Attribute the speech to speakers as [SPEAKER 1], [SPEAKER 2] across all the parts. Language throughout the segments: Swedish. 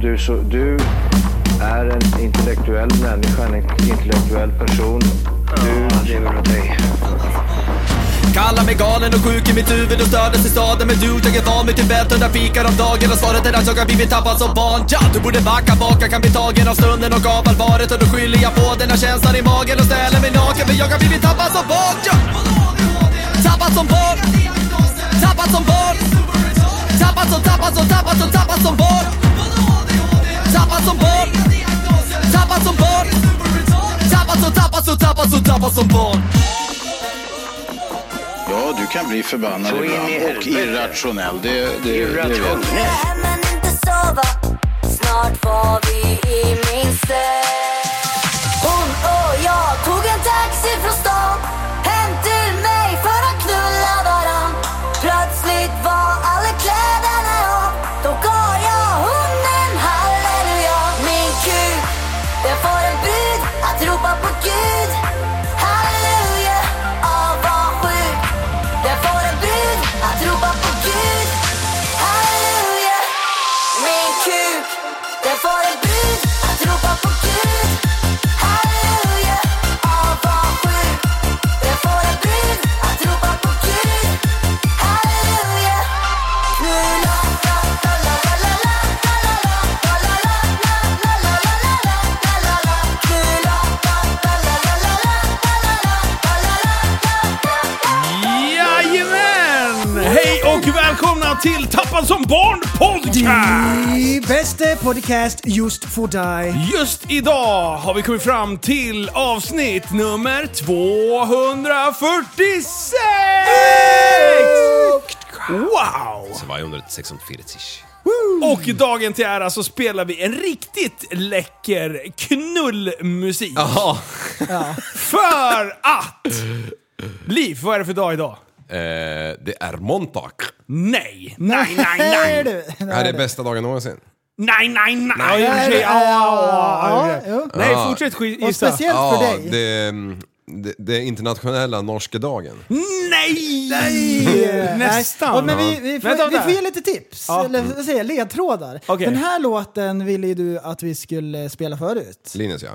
[SPEAKER 1] du, så, du är en intellektuell människa, en intellektuell person. Du lever av dig.
[SPEAKER 2] Kallar mig galen och sjuk i mitt huvud och stördes i staden Men du, jag är van vid Tibet och där fikar om dagen Och svaret är att jag har blivit tappad som barn ja, Du borde backa bak, jag kan bli tagen av stunden och av allvaret Och då skyller jag på den här känslan i magen och ställer mig naken För jag har blivit tappad som barn ja. Tappad som barn Tappad som barn Tappad som, tappad som, tappad som, tappad som barn Tappad som barn Tappad som barn Tappad som, tappad som, tappad som, tappad som barn
[SPEAKER 3] Ja, du kan bli förbannad
[SPEAKER 1] Så in i
[SPEAKER 3] ibland och
[SPEAKER 1] helvete.
[SPEAKER 3] irrationell. Det, det, det, vet jag.
[SPEAKER 1] Irrationell.
[SPEAKER 4] Nej men inte sova Snart var vi i min säng Hon och jag tog en taxi från stan Hem till mig för att knulla varann Plötsligt var alla kläderna av Då gav jag hon en halleluja Min kuk, den får en brud att ropa på Gud Halleluja, avundsjuk Den får en brud att ropa på Gud Halleluja min kuk Den får en brud att ropa på Gud Halleluja, avundsjuk Den får en brud att ropa på Gud Halleluja Knulla, la, la, la, la, la, la, la, la, la, la, la, la, la, la, la, la, la, la, la, la, la. Knulla, la, la, la, la, la, la, la, la, la, la, la, la, la, la.
[SPEAKER 5] Jajamän! Hej och välkomna till Tappad som barn podcast!
[SPEAKER 6] Die bästa podcast just för dig.
[SPEAKER 5] Just idag har vi kommit fram till avsnitt nummer 246! Wow! Och dagen till ära så spelar vi en riktigt läcker knullmusik.
[SPEAKER 7] Ja.
[SPEAKER 5] För att... Liv, vad är det för dag idag?
[SPEAKER 7] Eh, det är måndag.
[SPEAKER 5] Nej! Nej, nej, nej!
[SPEAKER 6] Är du?
[SPEAKER 7] Det här är bästa dagen någonsin.
[SPEAKER 5] Nej, nej, nej! Ja, i och för sig.
[SPEAKER 6] Ja, ja, ja,
[SPEAKER 5] Ja,
[SPEAKER 6] jo.
[SPEAKER 5] Nej, fortsätt skit-
[SPEAKER 6] Och
[SPEAKER 5] gissa.
[SPEAKER 6] speciellt för dig.
[SPEAKER 7] det, mm, det, det är internationella norska dagen.
[SPEAKER 5] Mm. Nej!
[SPEAKER 6] Yeah.
[SPEAKER 5] Nästan.
[SPEAKER 6] Och, men vi, vi, får,
[SPEAKER 5] Vänta,
[SPEAKER 6] vi
[SPEAKER 5] vänta.
[SPEAKER 6] får ge lite tips, eller vad säger jag, ledtrådar.
[SPEAKER 5] Okej.
[SPEAKER 6] Den här låten ville ju du att vi skulle spela förut.
[SPEAKER 7] Linus ja.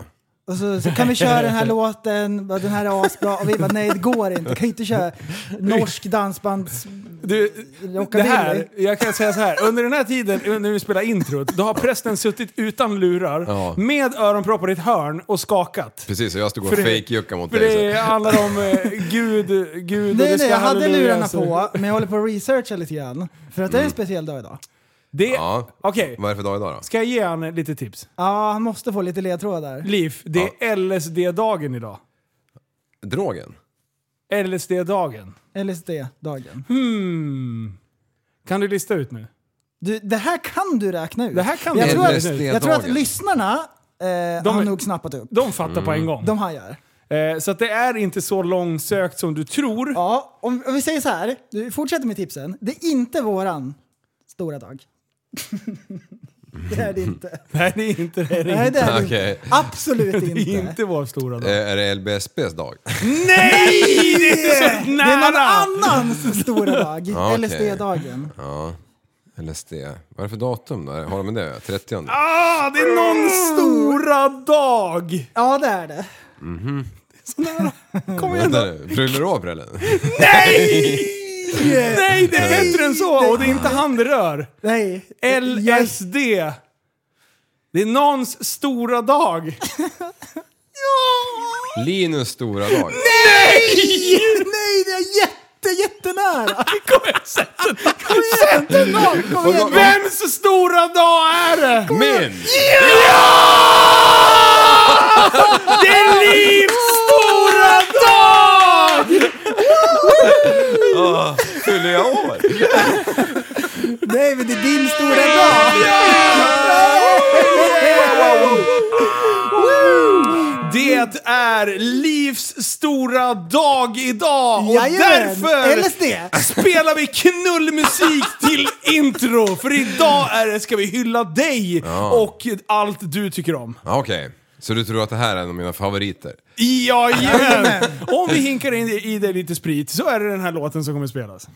[SPEAKER 6] Och så, så kan vi köra den här låten, bara, den här är asbra. Och vi bara nej det går inte, kan ju inte köra norsk dansbands...
[SPEAKER 5] Du, det
[SPEAKER 6] Rockabilly.
[SPEAKER 5] här, jag kan säga så här. Under den här tiden, när vi spelar introt, då har prästen suttit utan lurar,
[SPEAKER 7] Ja.
[SPEAKER 5] med öronproppar i ett hörn och skakat.
[SPEAKER 7] Precis, och jag stod och
[SPEAKER 5] För det-
[SPEAKER 7] fejkjuckade mot
[SPEAKER 5] För
[SPEAKER 7] dig. så-
[SPEAKER 5] det handlar om eh, Gud, Gud och
[SPEAKER 6] Nej
[SPEAKER 5] det ska
[SPEAKER 6] nej jag hade
[SPEAKER 5] halleluja, Mm.
[SPEAKER 6] lurarna
[SPEAKER 5] så-
[SPEAKER 6] på, men jag håller på att researcha lite grann. För att det är en speciell dag idag.
[SPEAKER 5] Det,
[SPEAKER 7] Ja.
[SPEAKER 5] Okej,
[SPEAKER 7] Vad är det för dag idag då?
[SPEAKER 5] ska jag ge han lite tips?
[SPEAKER 6] Ja, han måste få lite ledtrådar.
[SPEAKER 5] Liv, det är LSD-dagen idag.
[SPEAKER 7] Drogen?
[SPEAKER 5] LSD-dagen.
[SPEAKER 6] LSD-dagen.
[SPEAKER 5] Hmm. Kan du lista ut nu?
[SPEAKER 6] Du, det här kan du räkna ut.
[SPEAKER 5] Det här kan
[SPEAKER 6] jag
[SPEAKER 5] du
[SPEAKER 6] tror att,
[SPEAKER 5] räkna ut.
[SPEAKER 6] Jag tror att
[SPEAKER 7] LSD-dagen.
[SPEAKER 6] lyssnarna eh, har nog snappat upp.
[SPEAKER 5] De fattar på en gång.
[SPEAKER 6] De hajar.
[SPEAKER 5] Eh, så att det är inte så långsökt som du tror.
[SPEAKER 6] Ja, om, om vi säger så här. Du fortsätter med tipsen. Det är inte våran stora dag. det är det inte.
[SPEAKER 5] Nej, det är inte det. Det är
[SPEAKER 6] Nej, det är det
[SPEAKER 7] Okej.
[SPEAKER 6] inte. Absolut
[SPEAKER 5] inte, det är
[SPEAKER 6] inte.
[SPEAKER 5] inte vår stora dag.
[SPEAKER 7] Eh, är det LBSBs dag?
[SPEAKER 5] Nej! Det är inte så
[SPEAKER 6] Det är någon
[SPEAKER 5] nära!
[SPEAKER 6] annans stora dag.
[SPEAKER 7] Ja, okej.
[SPEAKER 6] LSD-dagen.
[SPEAKER 7] Ja. LSD. Vad är det för datum då? Har de med det? 30?
[SPEAKER 5] Ah, det är någon stora dag!
[SPEAKER 6] Ja, det är det.
[SPEAKER 5] Kom igen
[SPEAKER 7] Vänta
[SPEAKER 5] då.
[SPEAKER 7] nu, Fyller du av eller?
[SPEAKER 5] Nej, det är bättre än så! Och det är inte han det rör.
[SPEAKER 6] Nej. Jag-
[SPEAKER 5] LSD. Det är någons stora dag.
[SPEAKER 7] Linus stora dag.
[SPEAKER 6] Nej, det är jätte, jättenära!
[SPEAKER 5] Kom igen, sätt det.
[SPEAKER 6] Sätt en dag! Kom igen!
[SPEAKER 5] Vems stora dag är det?
[SPEAKER 7] Min!
[SPEAKER 5] Det är Livs stora dag!
[SPEAKER 7] Fyller jag år?
[SPEAKER 6] Nej, men det är din stora dag!
[SPEAKER 5] Det är Livs stora dag idag och
[SPEAKER 6] Jajamän.
[SPEAKER 5] därför
[SPEAKER 6] LSD.
[SPEAKER 5] spelar vi knullmusik till intro. För idag är det, ska vi hylla dig och allt du tycker om.
[SPEAKER 7] Ja, Okej. Så du tror att det här är en av mina favoriter?
[SPEAKER 5] Jajamän! Om vi hinkar in i det lite sprit så är det den här låten som kommer spelas.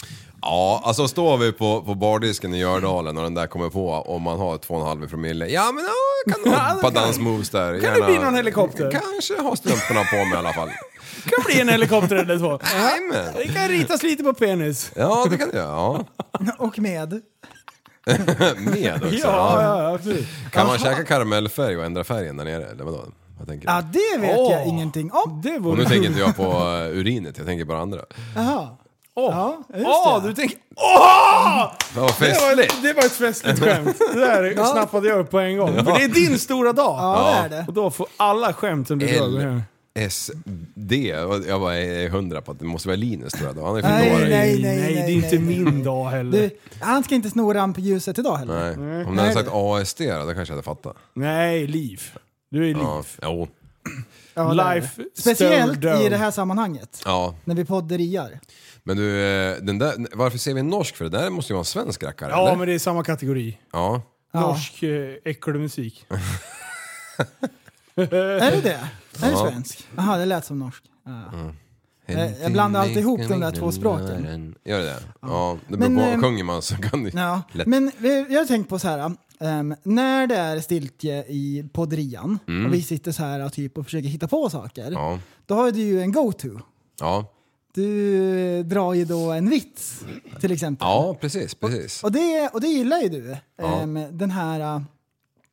[SPEAKER 7] Ja, alltså står vi på, på bardisken i Gördalen och den där kommer på om man har 2,5 i promille. Ja men ja, kan
[SPEAKER 5] Ja,
[SPEAKER 7] ha
[SPEAKER 5] det
[SPEAKER 7] ett par
[SPEAKER 5] kan-
[SPEAKER 7] dansmoves där.
[SPEAKER 5] kan det bli någon helikopter?
[SPEAKER 7] Kanske ha strumporna på mig i alla fall.
[SPEAKER 5] Det kan bli en helikopter eller två.
[SPEAKER 7] Jajamän.
[SPEAKER 5] Det kan ritas lite på penis.
[SPEAKER 7] Ja det kan det göra. Ja.
[SPEAKER 6] Och med.
[SPEAKER 7] Med också.
[SPEAKER 5] Ja,
[SPEAKER 7] Ja.
[SPEAKER 5] ja, absolut.
[SPEAKER 7] Kan man käka karamellfärg och ändra färgen där nere? Eller vadå? Vad tänker
[SPEAKER 6] Ja,
[SPEAKER 7] du?
[SPEAKER 6] det vet jag
[SPEAKER 5] Åh.
[SPEAKER 6] ingenting om.
[SPEAKER 5] Det
[SPEAKER 7] Och nu
[SPEAKER 5] vore
[SPEAKER 7] tänker inte jag på eh, urinet, jag tänker bara andra.
[SPEAKER 6] Jaha.
[SPEAKER 5] Åh,
[SPEAKER 6] Ja, just
[SPEAKER 5] Åh,
[SPEAKER 6] det.
[SPEAKER 5] du tänker... Åh!
[SPEAKER 7] Fan, Vad
[SPEAKER 5] Det var,
[SPEAKER 7] festligt!
[SPEAKER 5] ett, det var ett festligt skämt. Det där snappade jag upp på en gång. För det är din stora dag.
[SPEAKER 6] Ja, det är det.
[SPEAKER 5] Och då får alla skämt som du
[SPEAKER 7] L.
[SPEAKER 5] drar. här.
[SPEAKER 7] SD, och jag bara är hundra på att det måste vara Linus tror jag då. Han är
[SPEAKER 6] Nej,
[SPEAKER 7] ju nej,
[SPEAKER 6] nej,
[SPEAKER 7] i...
[SPEAKER 6] nej,
[SPEAKER 5] det är
[SPEAKER 6] nej,
[SPEAKER 5] inte
[SPEAKER 6] nej,
[SPEAKER 5] min dag heller.
[SPEAKER 6] Du, Eh, han ska inte sno rampljuset idag heller.
[SPEAKER 7] nej. Om du hade sagt ASD då, då kanske jag hade fattat.
[SPEAKER 5] Nej, liv. Du är liv.
[SPEAKER 7] Ja, jo.
[SPEAKER 6] Ja, det är det.
[SPEAKER 5] Life
[SPEAKER 6] Speciellt
[SPEAKER 5] stole down.
[SPEAKER 6] i det här sammanhanget.
[SPEAKER 7] Ja,
[SPEAKER 6] När vi podderiar.
[SPEAKER 7] men du, eh, den där, varför ser vi en norsk? För det där måste ju vara en svensk rackare,
[SPEAKER 5] Ja,
[SPEAKER 7] eller?
[SPEAKER 5] men det är samma kategori.
[SPEAKER 7] Ja.
[SPEAKER 5] Norsk eh, äckelmusik.
[SPEAKER 6] Är det det? Är det svensk? Jaha, det lät som norsk. Ja.
[SPEAKER 7] Mm.
[SPEAKER 6] Eh, Jag- jag blandar alltid ihop de där två språken.
[SPEAKER 7] Gör det det? Ja, det
[SPEAKER 6] Men,
[SPEAKER 7] beror
[SPEAKER 6] ehm,
[SPEAKER 7] på. Sjunger man så kan det
[SPEAKER 6] Ja.
[SPEAKER 7] lätt...
[SPEAKER 6] Men vi- jag har tänkt på så här. ehm, när det är stiltje i podderian och vi sitter så här typ, och försöker hitta på saker.
[SPEAKER 7] Mm. Ja.
[SPEAKER 6] Då har du ju en go-to.
[SPEAKER 7] Ja.
[SPEAKER 6] Du drar ju då en vits till exempel.
[SPEAKER 7] ja, precis, precis.
[SPEAKER 6] Och, det, och det gillar ju du. Ehm, den här eh,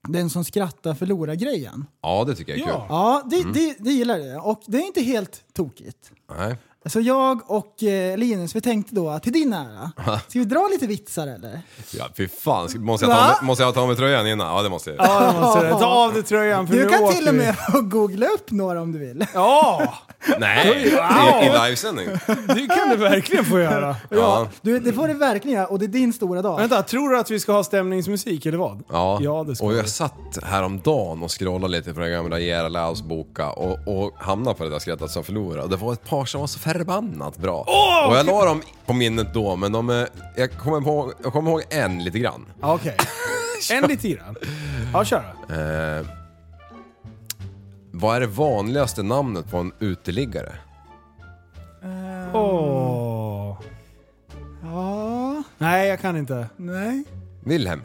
[SPEAKER 6] den som skrattar förlorar grejen.
[SPEAKER 7] Ja, det tycker jag är kul.
[SPEAKER 6] Ja, det,
[SPEAKER 7] Mm.
[SPEAKER 6] det, det gillar du. Och det är inte helt tokigt.
[SPEAKER 7] Nej.
[SPEAKER 6] Så jag och eh, Linus, vi tänkte då att till din ära, ska vi dra lite vitsar eller?
[SPEAKER 7] Ja, fy fan. Ska- Måste jag, ta
[SPEAKER 6] Va?
[SPEAKER 7] av mig, måste jag ta av mig tröjan innan? Ja, det måste jag.
[SPEAKER 5] Ja, jag måste säga. Ta av dig tröjan för
[SPEAKER 6] Du
[SPEAKER 5] nu
[SPEAKER 6] kan
[SPEAKER 5] åker
[SPEAKER 6] till och
[SPEAKER 5] vi.
[SPEAKER 6] med googla upp några om du vill.
[SPEAKER 5] Ja,
[SPEAKER 7] Nej,
[SPEAKER 5] Ja.
[SPEAKER 7] i, i livesändning.
[SPEAKER 5] det kan du verkligen få göra.
[SPEAKER 7] Ja.
[SPEAKER 6] Du, det får du verkligen göra och det är din stora dag.
[SPEAKER 5] Vänta, tror du att vi ska ha stämningsmusik eller vad?
[SPEAKER 7] Ja.
[SPEAKER 5] Ja, det ska
[SPEAKER 7] och
[SPEAKER 5] vi.
[SPEAKER 7] jag satt häromdagen och scrollade lite på den gamla Jera Laos boka och, och hamnade på det där skrattet som förlorade. Det var ett par som var så förbannat bra. och jag la dem på minnet då, men de, eh, jag, kommer ihåg, jag kommer ihåg en lite grann.
[SPEAKER 5] Ja, Okej. En lite i den. Ja, kör då.
[SPEAKER 7] Eh, vad är det vanligaste namnet på en uteliggare?
[SPEAKER 5] Åh.
[SPEAKER 6] Ja,
[SPEAKER 5] Nej, jag kan inte.
[SPEAKER 6] nej.
[SPEAKER 7] Wilhelm.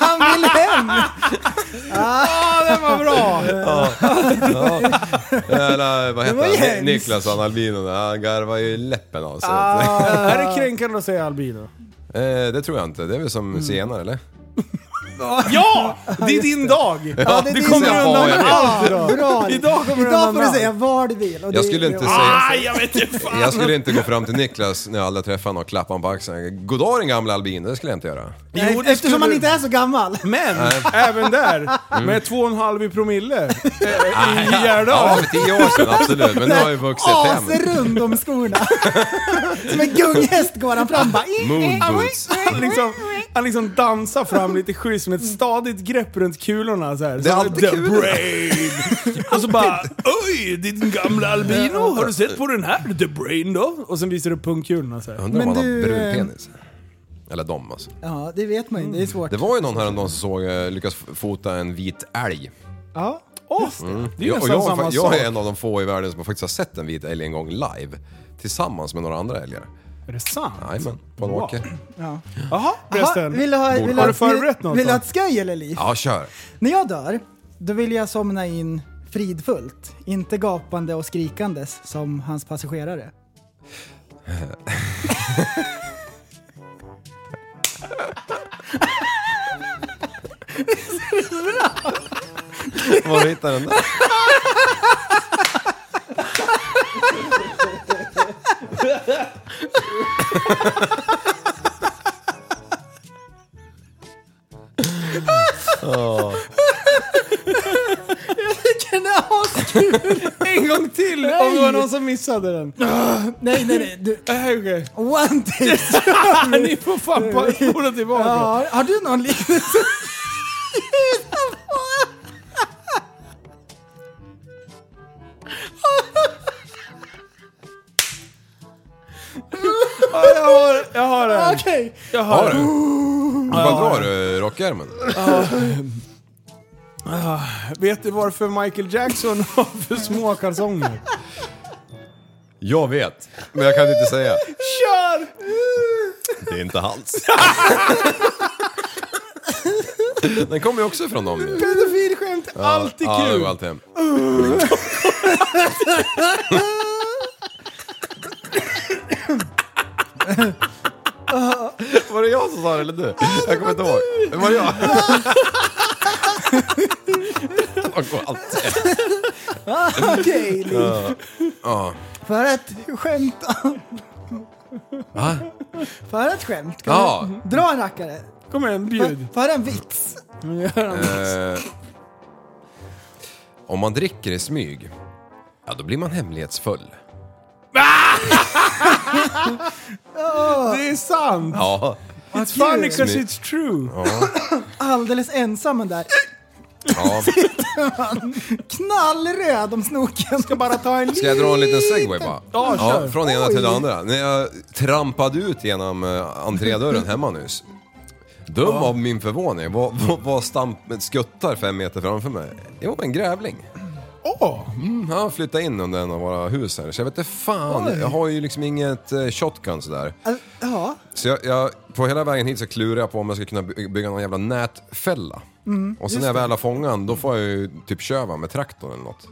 [SPEAKER 6] Han vill hem!
[SPEAKER 5] Den var bra!
[SPEAKER 7] Eller vad
[SPEAKER 6] var
[SPEAKER 7] heter
[SPEAKER 6] Jens.
[SPEAKER 7] han? Niklas han albino, han garvar ju läppen av sig.
[SPEAKER 6] Ah.
[SPEAKER 5] är det kränkande att säga albino?
[SPEAKER 7] Eh, det tror jag inte. Det är väl som
[SPEAKER 6] Mm.
[SPEAKER 7] zigenare eller?
[SPEAKER 5] Ja! Det är din dag!
[SPEAKER 6] Ja, det är
[SPEAKER 5] du
[SPEAKER 6] din
[SPEAKER 5] kommer
[SPEAKER 6] dag.
[SPEAKER 5] undan med
[SPEAKER 7] Ja,
[SPEAKER 5] allt
[SPEAKER 6] Ja,
[SPEAKER 5] idag!
[SPEAKER 6] Bra!
[SPEAKER 5] Idag kommer du
[SPEAKER 6] Idag
[SPEAKER 5] undan
[SPEAKER 6] får du
[SPEAKER 5] med
[SPEAKER 6] säga
[SPEAKER 5] allt.
[SPEAKER 6] vad du vill. Och det-
[SPEAKER 7] Jag skulle inte
[SPEAKER 6] det-
[SPEAKER 7] säga-
[SPEAKER 5] Aj, jag vet inte fan!
[SPEAKER 7] Jag skulle inte gå fram till Niklas när jag aldrig träffade honom och klappa honom på axeln. God dag din gamla albino, det skulle jag inte göra.
[SPEAKER 6] Nej,
[SPEAKER 5] Jo, det
[SPEAKER 6] Eftersom
[SPEAKER 5] skulle
[SPEAKER 6] han
[SPEAKER 5] du-
[SPEAKER 6] inte är så gammal.
[SPEAKER 5] Men även där, med två och en halv i promille eh, i
[SPEAKER 7] Ja,
[SPEAKER 5] Gärdal.
[SPEAKER 7] för tio år sedan absolut, men nu har jag vuxit
[SPEAKER 6] Ah,
[SPEAKER 7] hem.
[SPEAKER 6] Asrund om skorna. Som en gunghäst går han fram bara.
[SPEAKER 7] Moon boots.
[SPEAKER 5] Han liksom, han liksom dansar fram lite schysst med ett stadigt grepp runt kulorna så här.
[SPEAKER 7] Det är
[SPEAKER 5] Som
[SPEAKER 7] alltid
[SPEAKER 5] The
[SPEAKER 7] kul.
[SPEAKER 5] Brain! Och så bara Oj, din gamla albino! Har du sett på den här? The Brain då? Och sen visar du pungkulorna så här.
[SPEAKER 7] Undrar om
[SPEAKER 6] Men
[SPEAKER 7] han har
[SPEAKER 6] du,
[SPEAKER 7] brun
[SPEAKER 6] eh,
[SPEAKER 7] penis. Eller dom alltså.
[SPEAKER 6] Ja, det vet man ju. Det är svårt.
[SPEAKER 7] Det var ju någon häromdagen som såg, eh, lyckas fota en vit älg.
[SPEAKER 6] Ja.
[SPEAKER 5] Åh, det är
[SPEAKER 7] Jag, och
[SPEAKER 5] nästan
[SPEAKER 7] jag, är
[SPEAKER 5] samma
[SPEAKER 7] fa- jag
[SPEAKER 5] sak.
[SPEAKER 7] är en av de få i världen som faktiskt har sett en vit älg en gång live. Tillsammans med några andra älgar.
[SPEAKER 5] Är det sant?
[SPEAKER 7] Jajamän, på en
[SPEAKER 5] Wow.
[SPEAKER 7] åker.
[SPEAKER 5] Jaha
[SPEAKER 6] Jaha,
[SPEAKER 5] förresten.
[SPEAKER 6] vill du ha, vill
[SPEAKER 7] Har
[SPEAKER 6] ha,
[SPEAKER 5] du förberett något
[SPEAKER 6] Vill du
[SPEAKER 5] då?
[SPEAKER 6] ha ett skoj eller liv?
[SPEAKER 7] Ja, kör.
[SPEAKER 6] När jag dör, då vill jag somna in fridfullt. Inte gapande och skrikandes som hans passagerare.
[SPEAKER 7] Var hittar den där?
[SPEAKER 6] Vilken askul!
[SPEAKER 5] En gång till om det var någon som missade den.
[SPEAKER 6] Ah, Nej, nej, nej. Du,
[SPEAKER 5] Nej, okej.
[SPEAKER 6] one take.
[SPEAKER 5] Ni får fan bara spola tillbaka.
[SPEAKER 6] Ja, har du någon liknelse?
[SPEAKER 5] Ja, jag, har, jag har en.
[SPEAKER 6] Okej.
[SPEAKER 5] Jag har
[SPEAKER 7] Har
[SPEAKER 5] en.
[SPEAKER 7] du? Vad drar du rockärmen?
[SPEAKER 5] Vet du varför Michael Jackson har för små kalsonger?
[SPEAKER 7] Jag vet, men jag kan inte säga.
[SPEAKER 5] Kör!
[SPEAKER 7] Det är inte hans. Den kommer ju också från dem ju.
[SPEAKER 5] Pedofilskämt, alltid
[SPEAKER 7] Ja, det
[SPEAKER 5] kul!
[SPEAKER 7] går alltid hem. Var det jag som sa det eller du? Jag kommer inte ihåg. Det var jag. Det går alltid hem.
[SPEAKER 6] Okej, Liv. För ett skämt.
[SPEAKER 7] Va?
[SPEAKER 6] För ett skämt. Kan
[SPEAKER 7] Ja.
[SPEAKER 6] du dra en rackare.
[SPEAKER 5] Kom igen, bjud.
[SPEAKER 6] För, för en vits.
[SPEAKER 7] Eh, om man dricker i smyg, ja då blir man hemlighetsfull.
[SPEAKER 5] Det är sant!
[SPEAKER 7] Ja.
[SPEAKER 5] It's funny
[SPEAKER 7] kul.
[SPEAKER 5] 'cause it's true.
[SPEAKER 6] Alldeles ensam den där.
[SPEAKER 7] ja.
[SPEAKER 6] Knallröd om snoken. Ska bara ta en
[SPEAKER 7] Ska jag dra en liten segway bara?
[SPEAKER 5] Ja, kör.
[SPEAKER 7] från det ena till det andra. När jag trampade ut genom eh, entrédörren hemma nyss. Dum av min förvåning. Vad, vad, vad stamp, skuttar fem meter framför mig? Jo, en grävling. Mm, han flyttade in under en av våra hus här. Så jag vet inte fan, jag har ju liksom inget eh, shotgun sådär.
[SPEAKER 5] Äh,
[SPEAKER 6] Ja,
[SPEAKER 7] Så jag, jag, på hela vägen hit så klurar jag på om jag ska kunna by- bygga någon jävla nätfälla.
[SPEAKER 5] Mm,
[SPEAKER 7] och sen när jag väl har fångan, då får jag ju typ köva med traktorn eller något.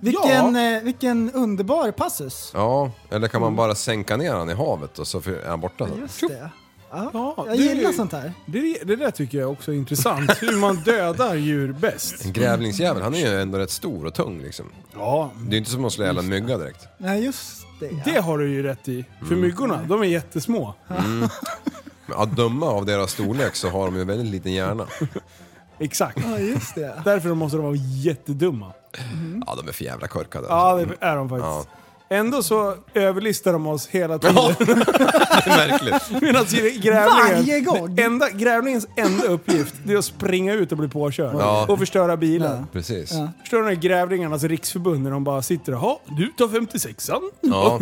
[SPEAKER 6] vilken, eh, vilken underbar passus.
[SPEAKER 7] Ja, eller kan man bara sänka ner han i havet och så är han borta?
[SPEAKER 6] Mm. Just det. Ja,
[SPEAKER 5] Ja,
[SPEAKER 6] jag
[SPEAKER 5] det-
[SPEAKER 6] gillar sånt här.
[SPEAKER 5] Det, det där tycker jag också är intressant. Hur man dödar djur bäst.
[SPEAKER 7] En grävlingsjävel, han är ju ändå rätt stor och tung liksom.
[SPEAKER 5] Ja.
[SPEAKER 7] Det är ju inte som att slå ihjäl en mygga direkt.
[SPEAKER 6] Nej, just det. ja.
[SPEAKER 5] Det har du ju rätt i. För myggorna, de är jättesmå.
[SPEAKER 7] Men att döma av deras storlek så har de ju väldigt liten hjärna.
[SPEAKER 5] Exakt.
[SPEAKER 6] Ja, just det.
[SPEAKER 5] Därför måste de vara jättedumma.
[SPEAKER 7] Ja, de är för jävla korkade. alltså.
[SPEAKER 5] Ja, det är de faktiskt. Ändå så överlistar de oss hela tiden.
[SPEAKER 7] Verkligt.
[SPEAKER 5] Medan grävlingen,
[SPEAKER 6] Varje gång.
[SPEAKER 5] det Enda, grävlingens enda uppgift det är att springa ut och bli påkörd.
[SPEAKER 7] Ja.
[SPEAKER 5] Och förstöra bilar.
[SPEAKER 7] Precis.
[SPEAKER 5] Förstår du när grävlingarnas riksförbund när de bara sitter och "Ha, du tar 56an.
[SPEAKER 7] Ja.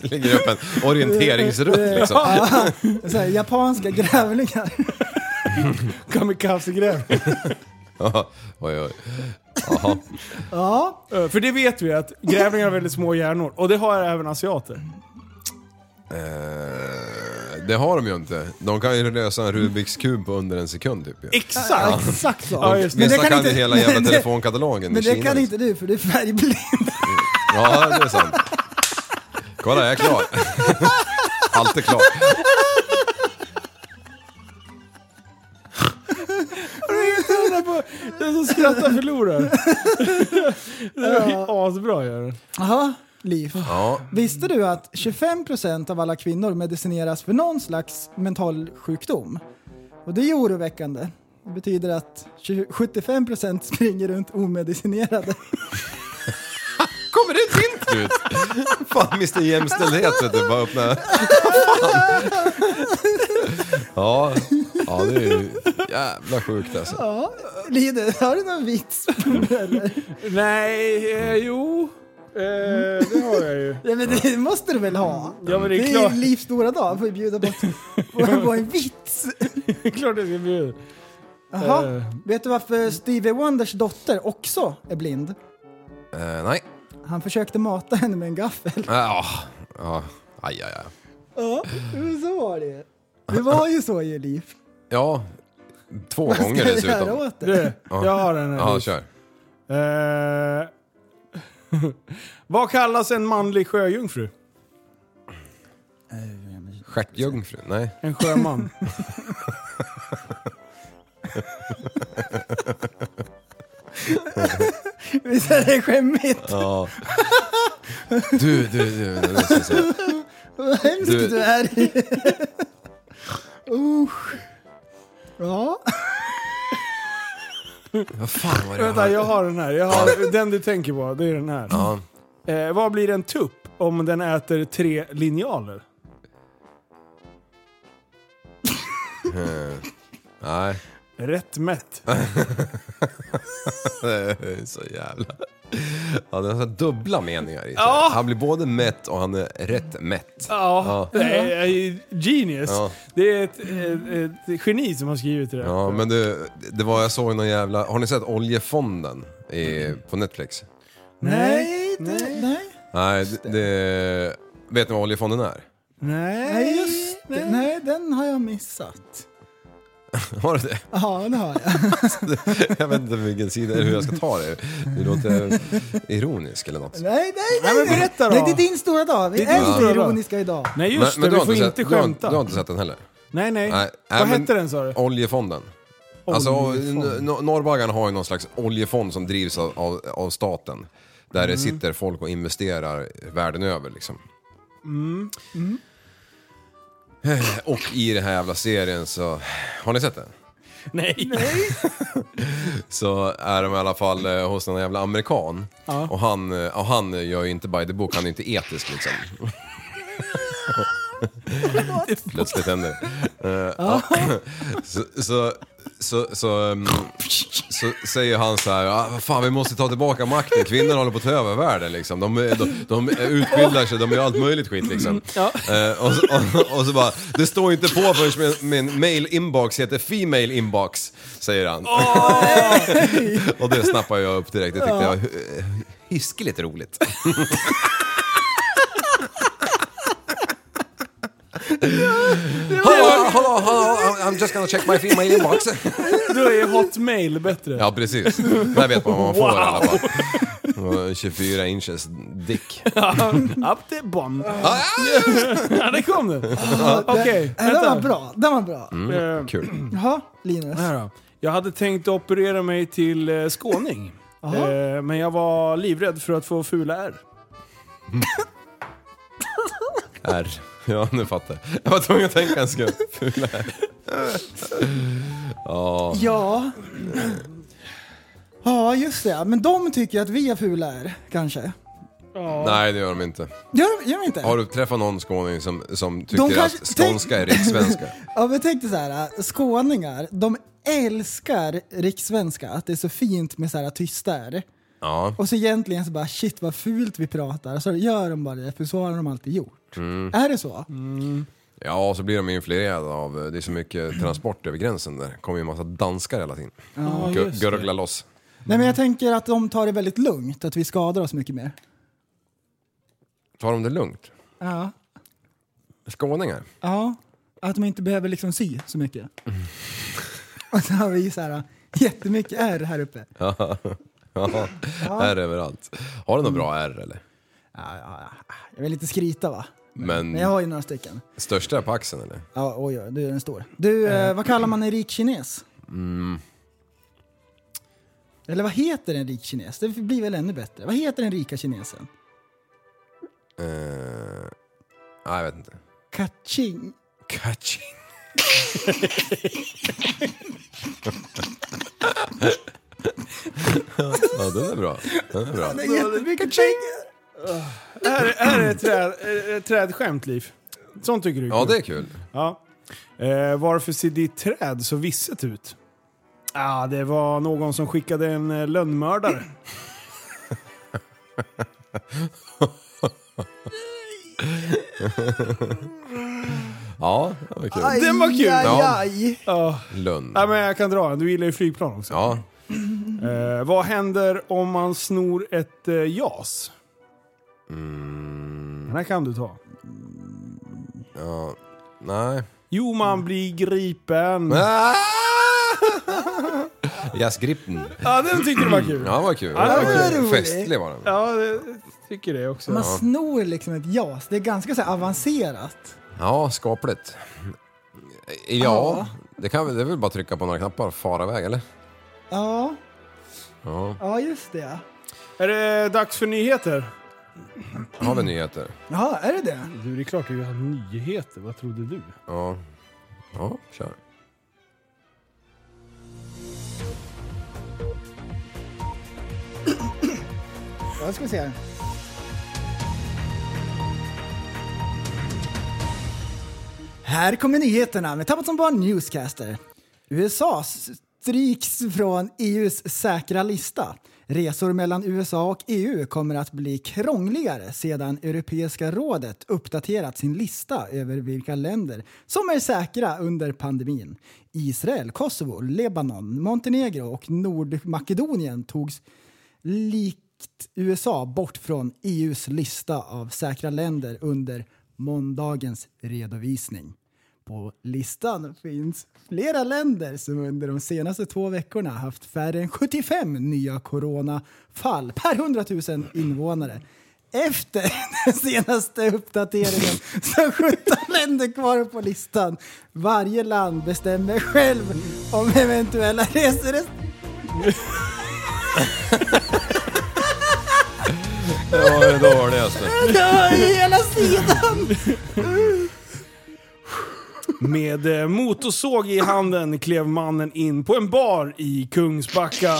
[SPEAKER 7] Det ligger upp en orienteringsrutt liksom.
[SPEAKER 6] Så här, japanska grävlingar.
[SPEAKER 5] Kamikazegrävling.
[SPEAKER 7] Ja. Oj, oj. Jaha.
[SPEAKER 5] Eh, För det vet vi att grävlingar har väldigt små hjärnor. Och det har även asiater.
[SPEAKER 7] Eh, det har de ju inte. De kan ju lösa en Rubiks kub på under en sekund typ ju.
[SPEAKER 5] Exakt!
[SPEAKER 6] Ja, exakt så.
[SPEAKER 5] Ja, just det.
[SPEAKER 7] Vissa kan, ju hela jävla
[SPEAKER 6] men det-
[SPEAKER 7] telefonkatalogen
[SPEAKER 6] Men
[SPEAKER 7] i
[SPEAKER 6] det
[SPEAKER 7] Kina.
[SPEAKER 6] kan
[SPEAKER 7] liksom.
[SPEAKER 6] inte du för du är färgblind.
[SPEAKER 7] Ja, det är sant. Kolla, jag är klar. Allt är klart.
[SPEAKER 5] Den som skrattar förlorar. det var ju asbra gör den.
[SPEAKER 6] Jaha, Liv.
[SPEAKER 7] Ja,
[SPEAKER 6] Visste du att 25% av alla kvinnor medicineras för någon slags mental sjukdom? Och det är ju oroväckande. Det betyder att 20 75% springer runt omedicinerade.
[SPEAKER 7] kommer det ett hint ut? Fan, Mr Jämställdhet vet du, bara öppna. Fan. Ja, ja, det är ju jävla sjukt alltså.
[SPEAKER 6] Ja, Lider, har du någon vits? Eller?
[SPEAKER 5] Nej, eh, jo. Eh, det har jag ju.
[SPEAKER 6] Ja, men det måste du väl ha?
[SPEAKER 5] Ja men det
[SPEAKER 6] Det
[SPEAKER 5] är
[SPEAKER 6] är
[SPEAKER 5] klart,
[SPEAKER 6] ju Livs stora dag, får ju bjuda bort på, på en vits.
[SPEAKER 5] det är klart det ska bli
[SPEAKER 6] Jaha,
[SPEAKER 5] Eh.
[SPEAKER 6] vet du varför Stevie Wonders dotter också är blind?
[SPEAKER 7] Eh, nej.
[SPEAKER 6] Han försökte mata henne med en gaffel.
[SPEAKER 7] Ja, ja. Aj, aj, aj.
[SPEAKER 6] Ja, men så var det ju. Det var ju så ju, Liv.
[SPEAKER 7] Ja, två gånger
[SPEAKER 6] Ska jag göra
[SPEAKER 7] dessutom.
[SPEAKER 6] åt det?
[SPEAKER 5] Du, jag har den här.
[SPEAKER 7] Ja, kör.
[SPEAKER 5] Eh, vad kallas en manlig sjöjungfru?
[SPEAKER 7] Stjärtjungfru? Nej.
[SPEAKER 5] En sjöman.
[SPEAKER 6] Visst är det skämmigt?
[SPEAKER 7] Ja. Du, du, du. det måste jag säga.
[SPEAKER 6] Vad hemskt
[SPEAKER 7] Du-
[SPEAKER 6] du, är. Usch. Ja.
[SPEAKER 7] Vad fan var det
[SPEAKER 5] Vänta,
[SPEAKER 7] hörde?
[SPEAKER 5] jag har den här. Jag har, den du tänker på, det är den här.
[SPEAKER 7] Ja.
[SPEAKER 5] Eh, vad blir en tupp om den äter tre linjaler?
[SPEAKER 7] Nej.
[SPEAKER 5] Rätt mätt.
[SPEAKER 7] Det är så jävla... Ja, den har dubbla meningar i sig.
[SPEAKER 5] Ja.
[SPEAKER 7] Han blir både mätt och han är rätt mätt.
[SPEAKER 5] Ja, det är- är genius.
[SPEAKER 7] Ja.
[SPEAKER 5] Det är ett, eh, ett, ett geni som har skrivit det där.
[SPEAKER 7] Ja, men du, det var, jag såg någon jävla... Har ni sett Oljefonden i, på Netflix?
[SPEAKER 6] Nej, det, nej.
[SPEAKER 7] Nej, det, det... Vet ni vad Oljefonden är?
[SPEAKER 5] Nej.
[SPEAKER 6] Nej, just det. Nej, den har jag missat.
[SPEAKER 7] Har du det?
[SPEAKER 6] Ja, det har jag.
[SPEAKER 7] Jag vet inte vilken sida eller hur jag ska ta det. Det låter ironisk eller något.
[SPEAKER 6] Nej, nej,
[SPEAKER 5] Nej,
[SPEAKER 6] nej.
[SPEAKER 5] men berätta då.
[SPEAKER 6] Nej, det är din stora dag. Vi
[SPEAKER 5] Det är din
[SPEAKER 6] är
[SPEAKER 5] stora dag.
[SPEAKER 6] ironiska idag.
[SPEAKER 5] Nej just
[SPEAKER 7] Men- men
[SPEAKER 5] det,
[SPEAKER 7] du
[SPEAKER 5] vi
[SPEAKER 7] har
[SPEAKER 5] får inte,
[SPEAKER 7] sett, Du
[SPEAKER 5] skämta.
[SPEAKER 7] har, du har inte sett den heller?
[SPEAKER 5] nej, nej.
[SPEAKER 7] Nej, nej,
[SPEAKER 5] Vad
[SPEAKER 7] men-
[SPEAKER 5] hette den sa du?
[SPEAKER 7] Oljefonden. Alltså,
[SPEAKER 5] Oljefond.
[SPEAKER 7] n- n- Norrbaggarna har ju någon slags oljefond som drivs av, av, av staten. Där
[SPEAKER 5] Mm.
[SPEAKER 7] det sitter folk och investerar världen över liksom.
[SPEAKER 5] Mm.
[SPEAKER 7] Eh, Och i den här jävla serien så, har ni sett den?
[SPEAKER 5] Nej.
[SPEAKER 7] så är de i alla fall eh, hos någon jävla amerikan. Och, han, eh, och han gör ju inte by the book, han är inte etisk liksom. Plötsligt händer det. Eh, ja. så, så, så, så, ehm, så säger han så här, "Ah, vad fan vi måste ta tillbaka makten, kvinnor håller på att ta över världen liksom. De, de, de utbildar sig, de gör allt möjligt skit liksom. Eh, och, så, och, och så bara, det står inte på förrän min, min mail inbox heter female inbox, säger han. Och det snappade jag upp direkt. Det tyckte jag eh, hiskeligt roligt. Hallå, hallå, hallå, I'm just gonna check my female inbox.
[SPEAKER 5] Då är Hotmail bättre.
[SPEAKER 7] Ja, precis. Där vet man vad man får i alla fall. Och 24 inches dick. Ah,
[SPEAKER 5] Up the bomb. ja, det kom den. Okej,
[SPEAKER 6] Nej, den var
[SPEAKER 5] vänta.
[SPEAKER 6] bra. Den var bra.
[SPEAKER 5] Eh,
[SPEAKER 7] Kul.
[SPEAKER 6] Jaha, Linus.
[SPEAKER 5] här då. Jag hade tänkt operera mig till eh, skåning. Eh, men jag var livrädd för att få fula ärr.
[SPEAKER 7] R. Ja, nu fattar jag. Jag var tvungen att tänka en sekund. Fula R. Ja.
[SPEAKER 6] Ja. Ja, just det. Men de tycker att vi är fula här, kanske.
[SPEAKER 7] Nej, det gör de inte.
[SPEAKER 6] Gör de, gör de inte?
[SPEAKER 7] Har du träffat någon skåning som, som tycker
[SPEAKER 6] De kanske-
[SPEAKER 7] att skånska är rikssvenska?
[SPEAKER 6] Ja, men tänk dig så här. äh, Skåningar, de älskar rikssvenska. Att det är så fint med så här tysta R.
[SPEAKER 7] Ja.
[SPEAKER 6] Och så egentligen så bara shit vad fult vi pratar. Så gör de bara det, för så har de alltid gjort. Är det så?
[SPEAKER 7] Ja, och så blir de influerade av, eh, det är så mycket transport över gränsen där. Det kommer ju en massa danskar hela tiden. Ja, Gurgla loss.
[SPEAKER 6] Nej men jag tänker att de tar det väldigt lugnt, att vi skadar oss mycket mer.
[SPEAKER 7] Tar de det lugnt?
[SPEAKER 6] Ja.
[SPEAKER 7] Skåningar?
[SPEAKER 6] Ja. Att de inte behöver liksom sy så mycket. Och så har vi ju så här jättemycket R här uppe.
[SPEAKER 7] Ja, är överallt. Har du något bra R eller?
[SPEAKER 6] Ja, ja, ja. Jag vill inte skryta va?
[SPEAKER 7] Men
[SPEAKER 6] Mm. Men jag har ju några stycken.
[SPEAKER 7] största är på axeln eller?
[SPEAKER 6] Ja, oj, oj, du är den stor. Du, eh, Mm. vad kallar man en rik kines? Eller vad heter en rik kines? Det blir väl ännu bättre. Vad heter den rika kinesen?
[SPEAKER 7] Eh, nej, jag vet inte.
[SPEAKER 6] Kaching.
[SPEAKER 7] Kaching. ja, den är bra. Den är bra.
[SPEAKER 6] Det är jättemycket pengar.
[SPEAKER 5] Här, här är ett träd, eh, ett trädskämt, Liv. Sånt tycker du är
[SPEAKER 7] Ja,
[SPEAKER 5] kul.
[SPEAKER 7] det är kul.
[SPEAKER 5] Ja. Eh, varför ser ditt träd så visset ut? Ah, det var någon som skickade en eh, lönnmördare.
[SPEAKER 7] Ja, det var kul.
[SPEAKER 5] Den var kul.
[SPEAKER 7] Ja.
[SPEAKER 6] Aj, aj.
[SPEAKER 5] Ja.
[SPEAKER 7] Lönn.
[SPEAKER 5] Nej, men jag kan dra den. Du gillar ju flygplan också.
[SPEAKER 7] Ja,
[SPEAKER 5] Eh, vad händer om man snor ett eh, JAS?
[SPEAKER 7] Mm.
[SPEAKER 5] Den här kan du ta.
[SPEAKER 7] ja, nej.
[SPEAKER 5] Jo, man blir gripen.
[SPEAKER 7] Ah! Jazzgripen.
[SPEAKER 5] Ja, den tyckte du var kul.
[SPEAKER 7] Ja, vad kul.
[SPEAKER 5] det var
[SPEAKER 6] roligt.
[SPEAKER 7] Festlig var den.
[SPEAKER 5] Ja, det tycker det också.
[SPEAKER 6] Man snor liksom ett JAS. Det är ganska så här avancerat.
[SPEAKER 7] Ja, skapligt. Ja, det, kan, väl- det är väl bara att trycka på några knappar och fara iväg, eller?
[SPEAKER 6] Ja,
[SPEAKER 7] Ja.
[SPEAKER 6] ja just det.
[SPEAKER 5] Är det dags för nyheter?
[SPEAKER 7] Har vi nyheter?
[SPEAKER 6] Ja, är det det?
[SPEAKER 5] Du, det är klart du har nyheter. Vad trodde du?
[SPEAKER 7] Ja. Ja, kör.
[SPEAKER 6] Ja, ska vi se. här. Här kommer nyheterna med Tappat som barn Newscaster. USAs stryks från EUs säkra lista. Resor mellan USA och EU kommer att bli krångligare sedan Europeiska rådet uppdaterat sin lista över vilka länder som är säkra under pandemin. Israel, Kosovo, Lebanon, Montenegro och Nordmakedonien togs likt USA bort från EUs lista av säkra länder under måndagens redovisning. På listan finns flera länder som under de senaste två veckorna haft färre än 75 nya coronafall per 100 000 invånare. Efter den senaste uppdateringen så 17 länder kvar på listan. Varje land bestämmer själv om eventuella reser...
[SPEAKER 7] Det var det dåligaste.
[SPEAKER 6] Dö i hela sidan!
[SPEAKER 5] Med eh, motorsåg i handen klev mannen in på en bar i Kungsbacka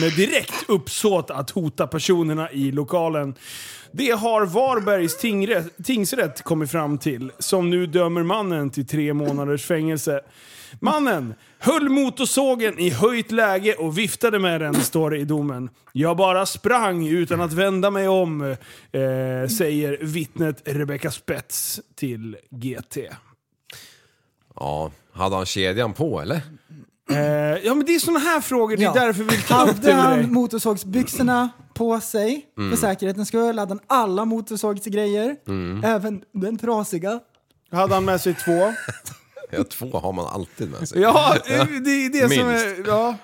[SPEAKER 5] med direkt uppsåt att hota personerna i lokalen. Det har Varbergs tingrätt, tingsrätt kommit fram till, som nu dömer mannen till tre månaders fängelse. Mannen höll motorsågen i höjt läge och viftade med den, står det i domen. Jag bara sprang utan att vända mig om, eh, säger vittnet Rebecca Spets till GT.
[SPEAKER 7] Ja, hade han kedjan på eller?
[SPEAKER 5] Eh, ja men det är såna här frågor, det är
[SPEAKER 6] Ja.
[SPEAKER 5] därför vi tar upp
[SPEAKER 6] Hade
[SPEAKER 5] det med
[SPEAKER 6] han
[SPEAKER 5] dig.
[SPEAKER 6] motorsågsbyxorna på sig
[SPEAKER 7] Mm.
[SPEAKER 6] för säkerhetens skull? Hade han alla motorsågsgrejer?
[SPEAKER 7] Mm.
[SPEAKER 6] Även den trasiga?
[SPEAKER 5] Hade han med sig två?
[SPEAKER 7] Ja, två har man alltid med sig.
[SPEAKER 5] Ja, eh, det är det som är...
[SPEAKER 7] Minst.
[SPEAKER 5] Ja.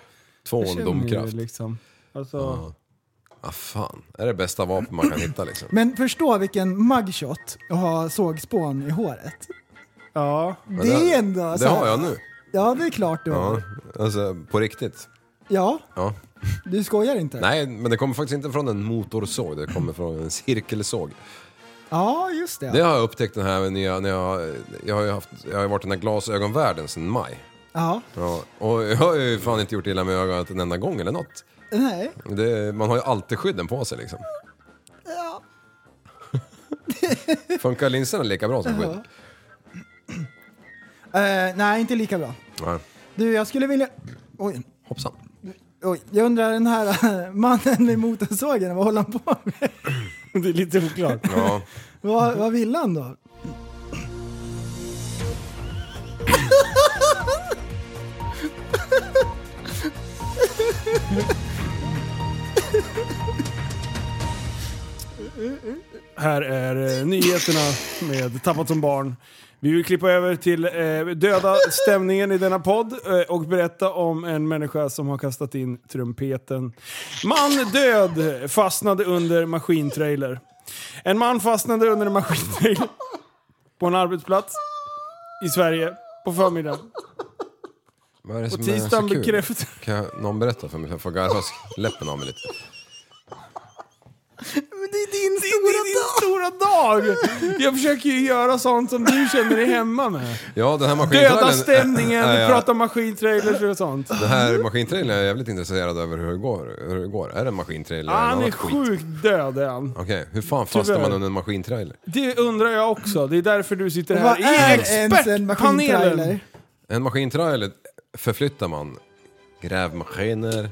[SPEAKER 7] Två och en domkraft.
[SPEAKER 5] Liksom. Alltså,
[SPEAKER 7] Ah, fan, det är det bästa vapen man kan hitta liksom.
[SPEAKER 6] Men förstå vilken mugshot att ha sågspån i håret.
[SPEAKER 5] ja.
[SPEAKER 7] Men
[SPEAKER 6] det alltså. är ändå
[SPEAKER 7] Det
[SPEAKER 6] så här-
[SPEAKER 7] har jag nu.
[SPEAKER 6] Ja, det är klart du har.
[SPEAKER 7] Ja, alltså på riktigt.
[SPEAKER 6] Ja,
[SPEAKER 7] Ja.
[SPEAKER 6] du skojar inte?
[SPEAKER 7] Nej, men det kommer faktiskt inte från en motorsåg, det kommer från en cirkelsåg.
[SPEAKER 6] Ja, just det.
[SPEAKER 7] Det har jag upptäckt den här när jag, när jag, jag, har ju haft, jag har ju varit i den här glasögonvärlden sedan maj.
[SPEAKER 6] Ja.
[SPEAKER 7] Ja, och jag har ju fan inte gjort illa med ögat en enda gång eller något.
[SPEAKER 6] Nej.
[SPEAKER 7] Det, man har ju alltid skydden på sig liksom.
[SPEAKER 6] Ja.
[SPEAKER 7] Funkar linserna lika bra som skydd?
[SPEAKER 6] Eh, nej, inte lika bra.
[SPEAKER 7] Nej.
[SPEAKER 6] Du, jag skulle vilja... Oj.
[SPEAKER 7] Hoppsan.
[SPEAKER 6] Oj, jag undrar den här mannen med motorsågen, vad håller han på med?
[SPEAKER 5] Det är lite oklart.
[SPEAKER 7] Ja.
[SPEAKER 6] Vad, vad vill han då?
[SPEAKER 5] Här är eh, nyheterna med Tappat som barn. Vi vill klippa över till eh, döda stämningen i denna podd eh, och berätta om en människa som har kastat in trumpeten. Man död fastnade under maskintrailer. En man fastnade under en maskintrailer på en arbetsplats i Sverige på förmiddagen.
[SPEAKER 7] Vad är det som är så
[SPEAKER 5] Tisdagen
[SPEAKER 7] kul?
[SPEAKER 5] bekräftade...
[SPEAKER 7] Kan jag, någon berätta för mig? Jag får garva sk- läppen av mig lite.
[SPEAKER 6] Men det är din
[SPEAKER 5] Det är din
[SPEAKER 6] stora dag!
[SPEAKER 5] stora dag! Jag försöker ju göra sånt som du känner dig hemma med.
[SPEAKER 7] Ja, den här maskintrailern...
[SPEAKER 5] Döda stämningen,
[SPEAKER 7] Nej,
[SPEAKER 5] vi
[SPEAKER 7] ja.
[SPEAKER 5] pratar maskintrailers och sånt.
[SPEAKER 7] Den här maskintrailern är jag jävligt intresserad över hur det går. Hur det går. Är det en maskintrailer eller
[SPEAKER 5] Ah, Han är
[SPEAKER 7] annat skit?
[SPEAKER 5] sjukt död är han.
[SPEAKER 7] Okej, hur fan fastnar
[SPEAKER 5] Tyvärr.
[SPEAKER 7] man under en maskintrailer?
[SPEAKER 5] Det undrar jag också. Det är därför du sitter här
[SPEAKER 6] Vad
[SPEAKER 5] i
[SPEAKER 6] är ens en
[SPEAKER 5] expertpanelen.
[SPEAKER 6] maskintrailer?
[SPEAKER 7] En maskintrailer förflyttar man grävmaskiner,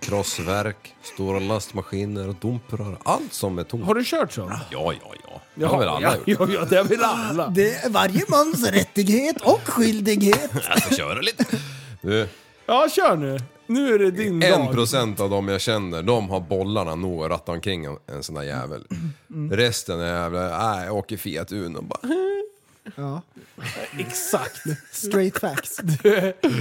[SPEAKER 7] krossverk, stora lastmaskiner och dumprar. Allt som är tomt.
[SPEAKER 5] Har du kört så?
[SPEAKER 7] Ja, ja, ja. Det har väl alla
[SPEAKER 5] ja,
[SPEAKER 7] gjort.
[SPEAKER 5] ja, ja, det har väl alla.
[SPEAKER 6] Det är Eh, varje mans rättighet och skyldighet.
[SPEAKER 7] Jag ska köra lite. Du,
[SPEAKER 5] Ja, kör nu. Nu är det din
[SPEAKER 7] en
[SPEAKER 5] dag.
[SPEAKER 7] procent av dem jag känner, de har bollarna nog att ratta omkring en, en sån där jävel. Resten är jävla, nej, jag åker Fiat Uno bara.
[SPEAKER 6] Ja,
[SPEAKER 5] Exakt.
[SPEAKER 6] straight facts.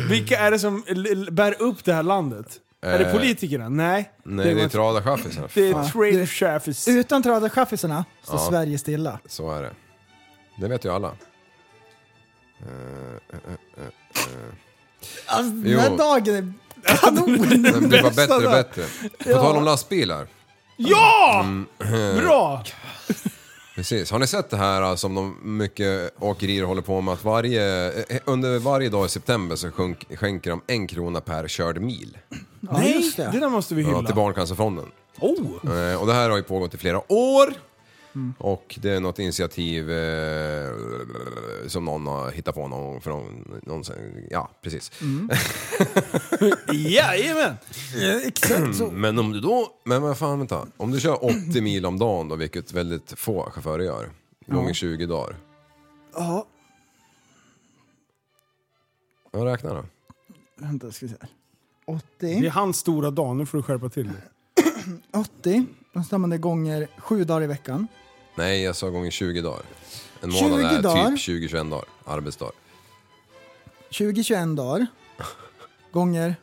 [SPEAKER 5] Vilka är det som l- l- bär upp det här landet? Är det
[SPEAKER 7] Eh,
[SPEAKER 5] politikerna? Nej.
[SPEAKER 7] Nej, det är
[SPEAKER 5] var-
[SPEAKER 7] tradarchaffisar.
[SPEAKER 5] det
[SPEAKER 7] Fan,
[SPEAKER 5] är trailer chefs.
[SPEAKER 6] Utan tradarchaffisarna står
[SPEAKER 7] Ja.
[SPEAKER 6] Sverige stilla.
[SPEAKER 7] Så är det. Det vet ju alla.
[SPEAKER 6] Alltså, den
[SPEAKER 7] Jo.
[SPEAKER 6] här dagen är kanon!
[SPEAKER 7] Den blir bara bättre och
[SPEAKER 5] där.
[SPEAKER 7] bättre. På tal om lastbilar.
[SPEAKER 5] Ja!
[SPEAKER 7] Mm.
[SPEAKER 5] Bra!
[SPEAKER 7] Precis. Har ni sett det här alltså, som de mycket åkerier håller på med? Att varje, eh, under varje dag i september så sjunk, skänker de en krona per körd mil.
[SPEAKER 6] Ja,
[SPEAKER 5] Nej,
[SPEAKER 6] just
[SPEAKER 5] det
[SPEAKER 6] det.
[SPEAKER 5] där måste vi
[SPEAKER 7] Ja, till
[SPEAKER 5] hylla.
[SPEAKER 7] Barncancerfonden.
[SPEAKER 5] Oh.
[SPEAKER 7] Eh, Och det här har ju pågått i flera år. Och det är något initiativ eh, som någon har hittat på någon, från, någon ja precis.
[SPEAKER 5] Jajamän!
[SPEAKER 6] Exakt så.
[SPEAKER 7] Men om du då, men vad fan vänta, om du kör 80 mil om dagen då, vilket väldigt få chaufförer gör, gånger 20 dagar.
[SPEAKER 6] Ja,
[SPEAKER 7] Jag räknar då.
[SPEAKER 6] vänta ska vi se. här.
[SPEAKER 5] Det
[SPEAKER 6] 80,
[SPEAKER 5] är hans stora dag, nu får du skärpa till dig.
[SPEAKER 6] 80, då tar man det gånger sju dagar i veckan.
[SPEAKER 7] Nej, jag sa gånger 20 dagar. En månad
[SPEAKER 6] 20
[SPEAKER 7] är
[SPEAKER 6] dagar.
[SPEAKER 7] typ 20-21 dagar, arbetsdag.
[SPEAKER 6] 20-21 dagar. Gånger,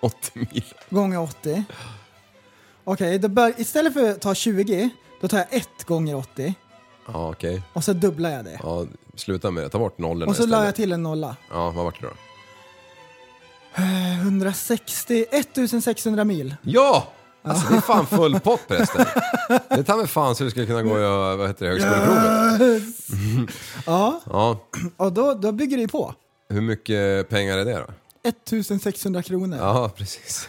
[SPEAKER 7] 80 mil.
[SPEAKER 6] gånger 80. Okej, då bör, istället för att ta 20, då tar jag 1 gånger 80
[SPEAKER 7] Ja, okej.
[SPEAKER 6] och så dubblar jag det.
[SPEAKER 7] Ja, sluta med det, ta bort nollorna
[SPEAKER 6] Och så la jag
[SPEAKER 7] istället.
[SPEAKER 6] till en nolla.
[SPEAKER 7] Ja, vad vart det då?
[SPEAKER 6] Eh, 160, 1600 mil.
[SPEAKER 7] Ja! Alltså det är fan full pott förresten. Det tar mig fan så du skulle kunna gå och göra, vad heter det, högskoleprovet.
[SPEAKER 6] Ja,
[SPEAKER 7] Ja,
[SPEAKER 6] och då, då bygger det ju på.
[SPEAKER 7] hur mycket pengar är det då?
[SPEAKER 6] 1600 kronor. Ja,
[SPEAKER 7] Ja, precis.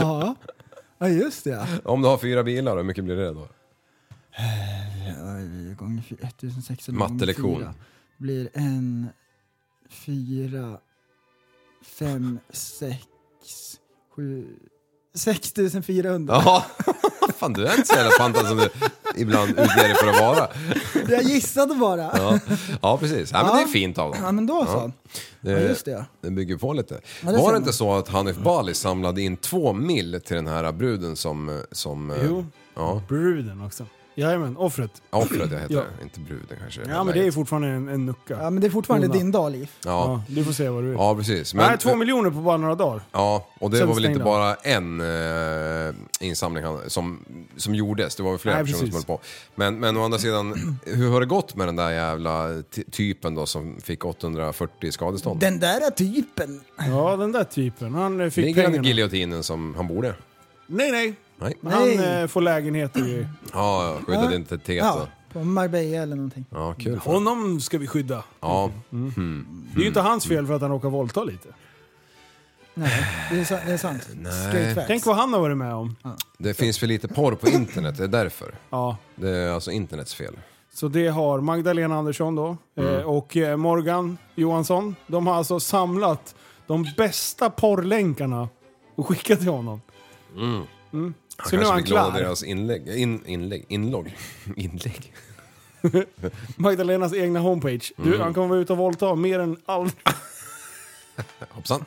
[SPEAKER 6] ja. just det. ja.
[SPEAKER 7] Om du har fyra bilar, hur mycket blir det då?
[SPEAKER 6] Oj, Gånger fy- 1600 gånger
[SPEAKER 7] Mattelektion.
[SPEAKER 6] fyra Blir en fyra fem sex sju 6400.
[SPEAKER 7] Ja, fan du är inte så jävla pantad som du ibland utger dig för att vara.
[SPEAKER 6] Jag gissade bara. Ja,
[SPEAKER 7] Ja, ja precis. Ja, men det är fint av dem.
[SPEAKER 6] men då så.
[SPEAKER 7] Det,
[SPEAKER 6] Ja, eh. just det.
[SPEAKER 7] det bygger på lite.
[SPEAKER 6] det
[SPEAKER 7] var
[SPEAKER 6] ser
[SPEAKER 7] det
[SPEAKER 6] man.
[SPEAKER 7] inte så att Hanif Bali samlade in två mil till den här bruden som... som eh,
[SPEAKER 5] Jo.
[SPEAKER 7] Ja,
[SPEAKER 5] Bruden också. Jajamän, offret.
[SPEAKER 7] offret jag heter
[SPEAKER 5] Ja.
[SPEAKER 7] det. Inte bruden kanske.
[SPEAKER 5] Ja men det är ju fortfarande en, en nucka.
[SPEAKER 6] Ja, men det är fortfarande
[SPEAKER 5] Undan.
[SPEAKER 6] din dag, Liv.
[SPEAKER 7] Ja,
[SPEAKER 5] Ja, du får säga vad du vill.
[SPEAKER 7] ja precis. Men,
[SPEAKER 5] Nej, två miljoner på bara några dagar.
[SPEAKER 7] Ja, och det
[SPEAKER 5] Sen
[SPEAKER 7] var väl inte
[SPEAKER 5] stängde
[SPEAKER 7] bara en eh, insamling han- som, som gjordes, det var väl flera
[SPEAKER 5] Nej,
[SPEAKER 7] personer
[SPEAKER 5] precis.
[SPEAKER 7] som höll på. Men, men å andra sidan, hur har det gått med den där jävla ty- typen då som fick 840 i skadestånd?
[SPEAKER 6] Den där typen.
[SPEAKER 5] Ja, den där typen. Han eh, fick
[SPEAKER 7] Ligger han i
[SPEAKER 5] pengarna.
[SPEAKER 7] giljotinen som han borde?
[SPEAKER 5] nej, nej.
[SPEAKER 7] Nej. Ja,
[SPEAKER 5] Han
[SPEAKER 6] Nej.
[SPEAKER 5] eh, får lägenheter i...
[SPEAKER 7] ja, skyddad identitet
[SPEAKER 6] Ja,
[SPEAKER 7] E då.
[SPEAKER 6] på Marbella eller någonting.
[SPEAKER 7] Ja, kul. fan.
[SPEAKER 5] Honom ska vi skydda.
[SPEAKER 7] Ja,
[SPEAKER 5] Det är ju inte
[SPEAKER 7] Mm.
[SPEAKER 5] hans fel för att han råkar våldta lite.
[SPEAKER 6] Nej, det är, sa- det är sant. Straight facts.
[SPEAKER 5] Tänk vad han har varit med om.
[SPEAKER 7] det finns för lite porr på internet, det är därför.
[SPEAKER 5] Ja.
[SPEAKER 7] Det är alltså internets fel.
[SPEAKER 5] Så det har Magdalena Andersson då
[SPEAKER 7] Mm.
[SPEAKER 5] eh, och eh, Morgan Johansson. De har alltså samlat de bästa porrlänkarna och skickat till honom. Mm.
[SPEAKER 7] Han
[SPEAKER 5] Så nu är
[SPEAKER 7] kanske
[SPEAKER 5] han
[SPEAKER 7] blir glad
[SPEAKER 5] klar.
[SPEAKER 7] av deras inlägg, in, inlägg, inlogg, inlägg.
[SPEAKER 5] Magdalenas egna homepage. Du,
[SPEAKER 7] Mm.
[SPEAKER 5] han kommer vara ute och våldta mer än all...
[SPEAKER 7] Hoppsan.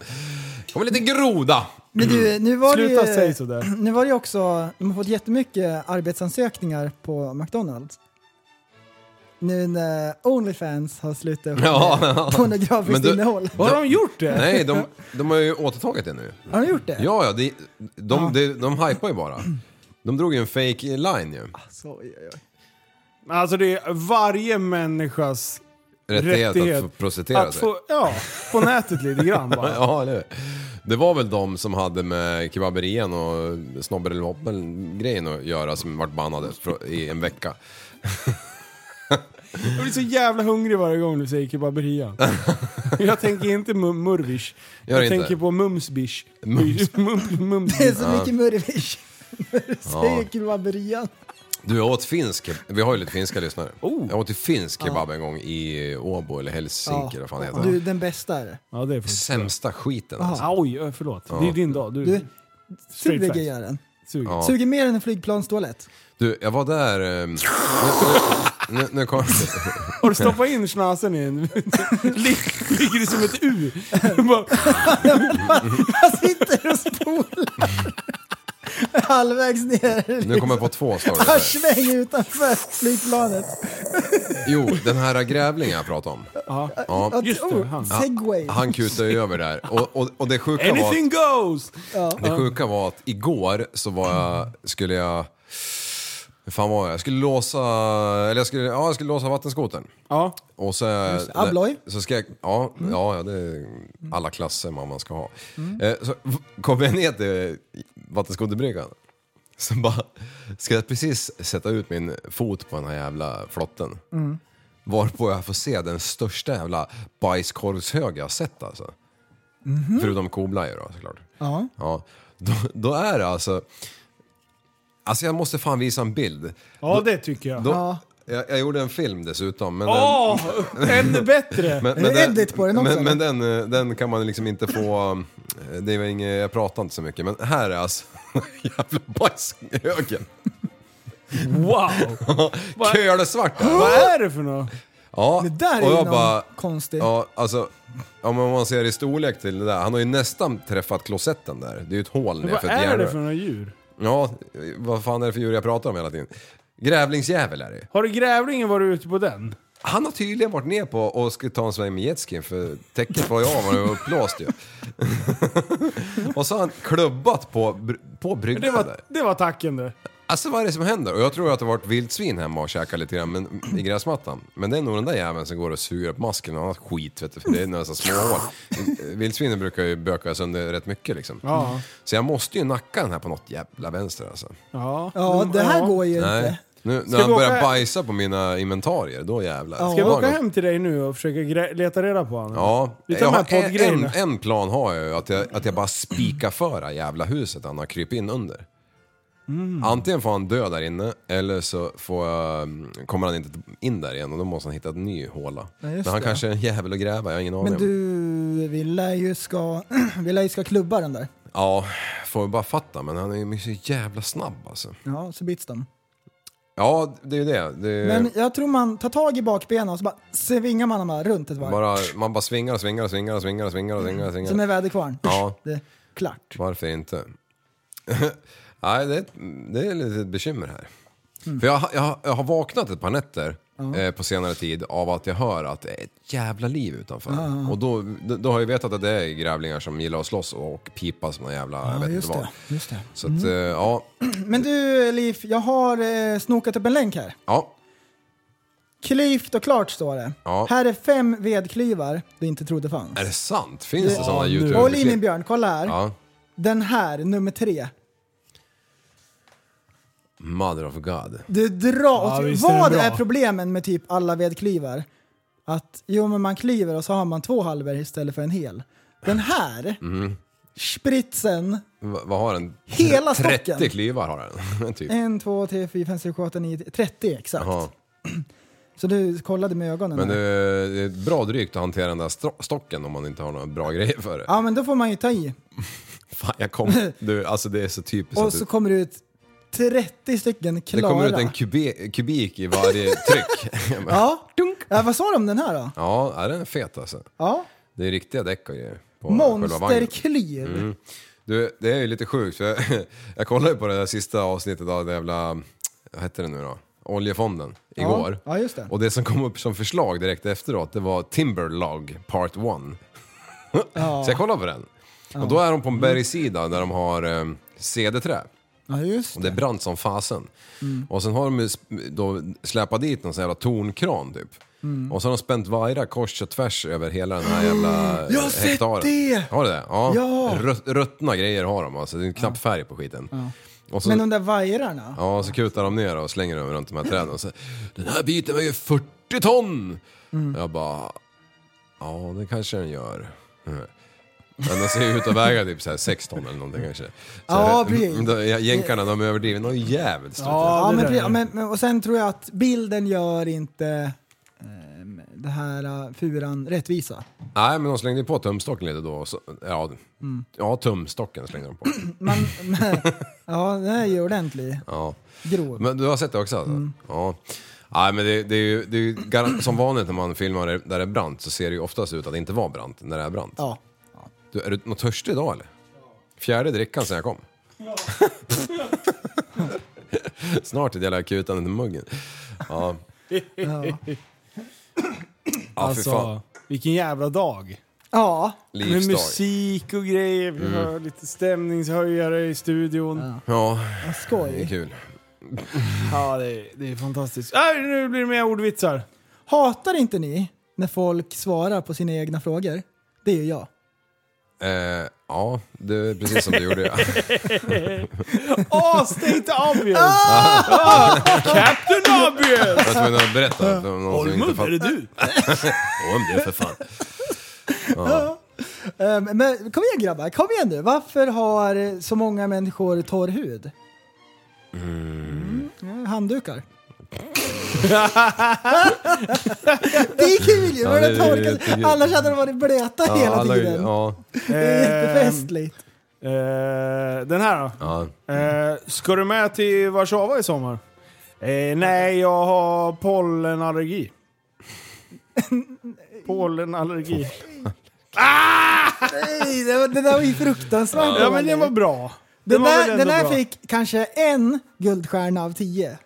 [SPEAKER 7] Kommer lite groda.
[SPEAKER 6] Men du, nu var det
[SPEAKER 5] Sluta säga
[SPEAKER 6] ju,
[SPEAKER 5] sådär.
[SPEAKER 6] nu var det ju också, de har fått jättemycket arbetsansökningar på McDonalds. Nu när Onlyfans har slutat upp med
[SPEAKER 7] Ja, ja.
[SPEAKER 6] pornografiskt
[SPEAKER 7] Men du-
[SPEAKER 6] innehåll.
[SPEAKER 5] Har de gjort det?
[SPEAKER 7] Nej, de, de har ju återtagit det nu.
[SPEAKER 6] Har de gjort det?
[SPEAKER 7] Ja, ja, de, de, de, de hypar ju bara. De drog ju en fake line ju.
[SPEAKER 6] Alltså, oj, oj, oj.
[SPEAKER 5] Alltså det är varje människas
[SPEAKER 7] Rättighet,
[SPEAKER 5] Rättighet.
[SPEAKER 7] att få prostituera
[SPEAKER 5] att
[SPEAKER 7] sig.
[SPEAKER 5] få... Ja, på nätet lite grann bara.
[SPEAKER 7] Ja, eller hur? Det var väl de som hade med kebaberien och snobben eller hoppen grejen att göra som vart bannade för- i en vecka.
[SPEAKER 5] Jag blir så jävla hungrig varje gång du säger kebaberia. jag tänker inte mu- murvish.
[SPEAKER 7] Gör
[SPEAKER 5] jag
[SPEAKER 7] inte.
[SPEAKER 5] tänker på mumsbish.
[SPEAKER 7] Mums.
[SPEAKER 5] Mum- mums.
[SPEAKER 6] Det är så mycket Murvish. Säger kebaberian.
[SPEAKER 7] Du, jag åt finsk, keb- vi har ju lite finska lyssnare.
[SPEAKER 5] Oh.
[SPEAKER 7] Jag åt ju finsk kebab en gång i Åbo eller Helsinki eller vad fan det heter.
[SPEAKER 6] Du, den bästa är det.
[SPEAKER 5] Ja, det är faktiskt...
[SPEAKER 7] Sämsta skiten alltså.
[SPEAKER 5] Ah, oj, ö, förlåt. Det är din dag. Du,
[SPEAKER 6] Du,
[SPEAKER 5] Straight
[SPEAKER 6] Suger
[SPEAKER 5] facts.
[SPEAKER 6] gör den.
[SPEAKER 5] suger.
[SPEAKER 6] Suger mer än en flygplanstoalett.
[SPEAKER 7] Du, jag var där... eh, Nu, nu, nu, nu kom...
[SPEAKER 5] Har du stoppat in schnazen i en... Lig- Ligger det som ett U? Bara,
[SPEAKER 6] Han sitter och spolar. Halvvägs ner.
[SPEAKER 7] Nu kommer jag på två stories.
[SPEAKER 6] Han
[SPEAKER 7] här.
[SPEAKER 6] svänger utanför flygplanet.
[SPEAKER 7] Jo, den här grävlingen jag pratade om. Ja,
[SPEAKER 5] Just det, han.
[SPEAKER 6] Oh, Segway.
[SPEAKER 7] han kutade ju över där. Och, och, och det, sjuka var,
[SPEAKER 5] Anything goes!
[SPEAKER 7] det sjuka var att igår så var jag, skulle jag... Hur fan var jag? Jag skulle låsa... Eller jag skulle, ja, jag skulle låsa vattenskotern.
[SPEAKER 5] Ja.
[SPEAKER 7] Och så,
[SPEAKER 6] det. Abloy. Mm.
[SPEAKER 7] Så ska jag, ja, ja, ja, det är alla klasser man, man ska ha. Eh, så v- kom jag ner till vattenskoterbryggan. Så bara, ska jag precis sätta ut min fot på den här jävla flotten.
[SPEAKER 6] Mm.
[SPEAKER 7] Varpå jag får se den största jävla bajskorvshög jag har sett alltså. Förutom koblajor då såklart.
[SPEAKER 6] Mhm. Ja.
[SPEAKER 7] Ja, då, då är det alltså... Alltså jag måste fan visa en bild.
[SPEAKER 5] Ja, det tycker jag.
[SPEAKER 7] Då,
[SPEAKER 6] Ja.
[SPEAKER 7] jag, jag gjorde en film dessutom. Men
[SPEAKER 5] Åh, ännu bättre!
[SPEAKER 7] Men,
[SPEAKER 6] Är det edit på den också,
[SPEAKER 7] Men, men
[SPEAKER 6] eller?
[SPEAKER 7] den, eh, den kan man liksom inte få... eh, Det var inget, jag pratar inte så mycket, men här är alltså jävla bajshögen.
[SPEAKER 5] Wow! Vad-
[SPEAKER 7] Kölsvart där.
[SPEAKER 5] Vad är det för något?
[SPEAKER 7] Ja,
[SPEAKER 6] Det där är
[SPEAKER 7] och
[SPEAKER 6] ju
[SPEAKER 7] jag
[SPEAKER 6] någon
[SPEAKER 7] bara...
[SPEAKER 6] konstig.
[SPEAKER 7] Ja, alltså... Om man ser i storlek till det där, han har ju nästan träffat klosetten där. Det är ju ett hål ner
[SPEAKER 5] Vad
[SPEAKER 7] för ett
[SPEAKER 5] är det för
[SPEAKER 7] järnrör.
[SPEAKER 5] några djur?
[SPEAKER 7] Ja, vad fan är det för djur jag pratar om hela tiden? Grävlingsjävel är det ju.
[SPEAKER 5] Har du grävlingen varit ute på den?
[SPEAKER 7] Han har tydligen varit ner på och skulle ta en sväng med jetskin för täcket var ju av och det var uppblåst ju. och så har han klubbat på, br- på
[SPEAKER 5] Det
[SPEAKER 7] bryggan
[SPEAKER 5] var,
[SPEAKER 7] där.
[SPEAKER 5] det var tacken det.
[SPEAKER 7] Alltså vad är det som händer? Och jag tror att det har varit vildsvin hemma och käkat lite grann men, i gräsmattan. Men det är nog den där jäveln som går och suger upp masken och annat skit vet du, för det är nästan småhål. Vildsvinen brukar ju böka sönder rätt mycket liksom.
[SPEAKER 5] Ja.
[SPEAKER 7] Så jag måste ju nacka den här på något jävla vänster alltså.
[SPEAKER 5] Ja,
[SPEAKER 6] Ja, det här
[SPEAKER 5] Ja.
[SPEAKER 6] går ju
[SPEAKER 7] Nej.
[SPEAKER 6] inte.
[SPEAKER 7] Nu, när
[SPEAKER 5] vi
[SPEAKER 7] han börjar
[SPEAKER 5] åka-
[SPEAKER 7] bajsa på mina inventarier, då jävlar.
[SPEAKER 6] Ja.
[SPEAKER 5] Ska vi
[SPEAKER 7] Var
[SPEAKER 5] åka
[SPEAKER 7] något-
[SPEAKER 5] hem till dig nu och försöka grä- leta reda på honom?
[SPEAKER 7] Ja,
[SPEAKER 5] Vi tar
[SPEAKER 7] jag
[SPEAKER 5] med
[SPEAKER 7] har en, en,
[SPEAKER 5] poddgrejerna.
[SPEAKER 7] en plan har jag ju, att jag, att jag bara spikar för det här jävla huset han har krypit in under.
[SPEAKER 6] Mm.
[SPEAKER 7] Antingen får han dö där inne eller så får jag, mm, kommer han inte in där igen och då måste han hitta en ny håla. Men
[SPEAKER 6] just
[SPEAKER 7] han
[SPEAKER 6] det.
[SPEAKER 7] kanske är en jävel att gräva, jag har ingen aning.
[SPEAKER 6] Men du, vi lär ju ska, vi lär ju ska klubba den där.
[SPEAKER 7] Ja, får vi bara fatta, men han är ju så jävla snabb alltså.
[SPEAKER 6] Ja, så bits de.
[SPEAKER 7] Ja, det är ju det. det är
[SPEAKER 6] Men jag tror man tar tag i bakbenen och så bara svingar man dem här runt ett varv.
[SPEAKER 7] bara, man bara svingar och svingar och svingar och svingar och svingar och svingar. Och svingar.
[SPEAKER 6] Som en väderkvarn.
[SPEAKER 7] Ja.
[SPEAKER 6] Det är klart.
[SPEAKER 7] Varför inte? Nej, det, det är lite ett bekymmer här.
[SPEAKER 6] Mm.
[SPEAKER 7] För jag, jag, har- jag har vaknat ett par nätter eh, på senare tid av att jag hör att det är ett jävla liv utanför. Och då, då, då har jag vetat att det är grävlingar som gillar att slåss och pipa som någon jävla, jag vet
[SPEAKER 6] just
[SPEAKER 7] inte
[SPEAKER 6] det,
[SPEAKER 7] vad.
[SPEAKER 6] Mm. just det.
[SPEAKER 7] Så att, eh, ja,
[SPEAKER 6] Men du Liv, jag har eh, snokat upp en länk här.
[SPEAKER 7] ja,
[SPEAKER 6] Klyft och klart står det.
[SPEAKER 7] Ja.
[SPEAKER 6] Här är fem vedklyvar du inte trodde fanns.
[SPEAKER 7] är det sant? Finns det
[SPEAKER 6] Ja,
[SPEAKER 7] sådana
[SPEAKER 5] nu.
[SPEAKER 6] Håll i min
[SPEAKER 7] YouTube-klipp?
[SPEAKER 6] björn, kolla här.
[SPEAKER 7] Ja,
[SPEAKER 6] Den här, nummer tre.
[SPEAKER 7] mother of God.
[SPEAKER 6] Du drar
[SPEAKER 5] Ja,
[SPEAKER 6] åt-
[SPEAKER 5] visst är den
[SPEAKER 6] Vad
[SPEAKER 5] bra.
[SPEAKER 6] är, problemen med typ alla vedklyvar? Att jo men man kliver och så har man två halvor istället för en hel. Den här,
[SPEAKER 7] Mhm.
[SPEAKER 6] spritsen,
[SPEAKER 7] V- vad har den?
[SPEAKER 6] Hela stocken. Eh.
[SPEAKER 7] 30 klyvar har den, typ.
[SPEAKER 6] en, två, tre, fyra, fem, sex, sju, åtta, nio, 30 exakt.
[SPEAKER 7] Jaha.
[SPEAKER 6] Så du kollade med ögonen.
[SPEAKER 7] Men det
[SPEAKER 6] här.
[SPEAKER 7] är, det är bra drygt att hantera den där stro- stocken om man inte har några bra grejer för det.
[SPEAKER 6] Ja men då får man ju ta i.
[SPEAKER 7] Fan, jag kom, du, alltså det är så typiskt.
[SPEAKER 6] Och
[SPEAKER 7] att
[SPEAKER 6] så
[SPEAKER 7] du,
[SPEAKER 6] kommer det ut 30 stycken
[SPEAKER 7] det
[SPEAKER 6] klara.
[SPEAKER 7] kommer ut en kube, kubik i varje tryck.
[SPEAKER 6] Ja. ja, vad sa de om den här då?
[SPEAKER 7] ja, är den är fet alltså.
[SPEAKER 6] Ja.
[SPEAKER 7] Det är riktiga däck och grejer. på själva vagnen. Mm.
[SPEAKER 6] Monsterklyv.
[SPEAKER 7] Du, det är ju lite sjukt för jag, jag kollade ju på det där sista avsnittet av det jävla, vad hette det nu då? Oljefonden igår.
[SPEAKER 6] ja, just det.
[SPEAKER 7] Och det som kom upp som förslag direkt efteråt det var Timberlog Part 1. Så jag kollade på den. Och då är de på en bergssida där de har eh, cederträ.
[SPEAKER 6] Ja, just
[SPEAKER 7] Och det är brant som fasen. Och sen har de ju sp- då släpat dit någon sån jävla tornkran typ. Och så har de spänt vajrar kors och tvärs över hela den här jävla
[SPEAKER 6] Jag har
[SPEAKER 7] eh,
[SPEAKER 6] sett det!
[SPEAKER 7] Har du det? Ja.
[SPEAKER 6] Ja.
[SPEAKER 7] Rö- Ruttna grejer har de alltså. Det är knappt färg på skiten. Och så,
[SPEAKER 6] Men de där vajrarna.
[SPEAKER 7] Ja, så kutar de ner och slänger dem runt de här träden. Och så, den här biten väger 40 ton!
[SPEAKER 6] Mm.
[SPEAKER 7] Jag bara, ja det kanske den gör. Men den ser ju ut att väga typ så här 6 ton eller någonting kanske. Så
[SPEAKER 6] Ja,
[SPEAKER 7] här,
[SPEAKER 6] precis.
[SPEAKER 7] mm, de- Jänkarna de överdriver något jävligt stort.
[SPEAKER 5] Ja,
[SPEAKER 6] Ja,
[SPEAKER 5] det
[SPEAKER 6] men,
[SPEAKER 5] där
[SPEAKER 6] precis.
[SPEAKER 5] är-
[SPEAKER 6] Ja, men, men, och sen tror jag att bilden gör inte ehm, det här eh, furan rättvisa.
[SPEAKER 7] Nej, men de slängde ju på tumstocken lite då. och Så, ja,
[SPEAKER 6] Mm.
[SPEAKER 7] ja, tumstocken slängde de på.
[SPEAKER 6] Man, ja, den är ju ordentlig.
[SPEAKER 7] Ja.
[SPEAKER 6] Grov.
[SPEAKER 7] Men du har sett det också alltså?
[SPEAKER 6] Mm.
[SPEAKER 7] Ja. Nej, men det, det är ju, det är ju gar- som vanligt när man filmar där det är brant så ser det ju oftast ut att det inte var brant när det är brant.
[SPEAKER 6] Ja.
[SPEAKER 7] Du, är du något törstig idag eller? Fjärde drickan sen jag kom. Snart är det jävla akuten under muggen. Ja. Ja, för fan.
[SPEAKER 5] Alltså, vilken jävla dag.
[SPEAKER 6] Ja.
[SPEAKER 5] Med
[SPEAKER 7] Livsdag. Mm.
[SPEAKER 5] musik och grejer, vi har lite stämningshöjare i studion.
[SPEAKER 7] Ja,
[SPEAKER 6] vad
[SPEAKER 7] det är
[SPEAKER 6] skoj.
[SPEAKER 7] kul.
[SPEAKER 5] Ja, det är, det är fantastiskt. Äh, nu blir det mer ordvitsar.
[SPEAKER 6] Hatar inte ni när folk svarar på sina egna frågor? Det är ju jag.
[SPEAKER 7] Eh, ja, det är precis som du gjorde. ja.
[SPEAKER 5] Åh, state obvious! Ah! Captain obvious!
[SPEAKER 7] Jag var tvungen att berätta. för någon som inte
[SPEAKER 5] Holmud, är det
[SPEAKER 7] fattar.
[SPEAKER 5] du?
[SPEAKER 7] Holm, det är för fan.
[SPEAKER 6] Ehm, Men kom igen grabbar, kom igen nu. Varför har så många människor torr hud? Mm, Handdukar. det gick ju vilja,
[SPEAKER 7] Ja, det-
[SPEAKER 6] det
[SPEAKER 7] det-
[SPEAKER 6] torkade.
[SPEAKER 7] det- det-
[SPEAKER 6] Annars hade de varit blöta hela
[SPEAKER 7] alla-
[SPEAKER 6] tiden.
[SPEAKER 7] Ja,
[SPEAKER 6] Det är jättefestligt.
[SPEAKER 5] Eh, den här då?
[SPEAKER 7] ja.
[SPEAKER 5] Eh, ska du med till Warszawa i sommar? Eh, nej, jag har pollenallergi. pollenallergi.
[SPEAKER 6] Nej, det, var, det där var ju fruktansvärt
[SPEAKER 5] Ja, men
[SPEAKER 6] dåligt.
[SPEAKER 5] den var bra.
[SPEAKER 6] Den,
[SPEAKER 5] var väl
[SPEAKER 6] där,
[SPEAKER 5] ändå
[SPEAKER 6] den där
[SPEAKER 5] bra.
[SPEAKER 6] fick kanske en guldstjärna av tio.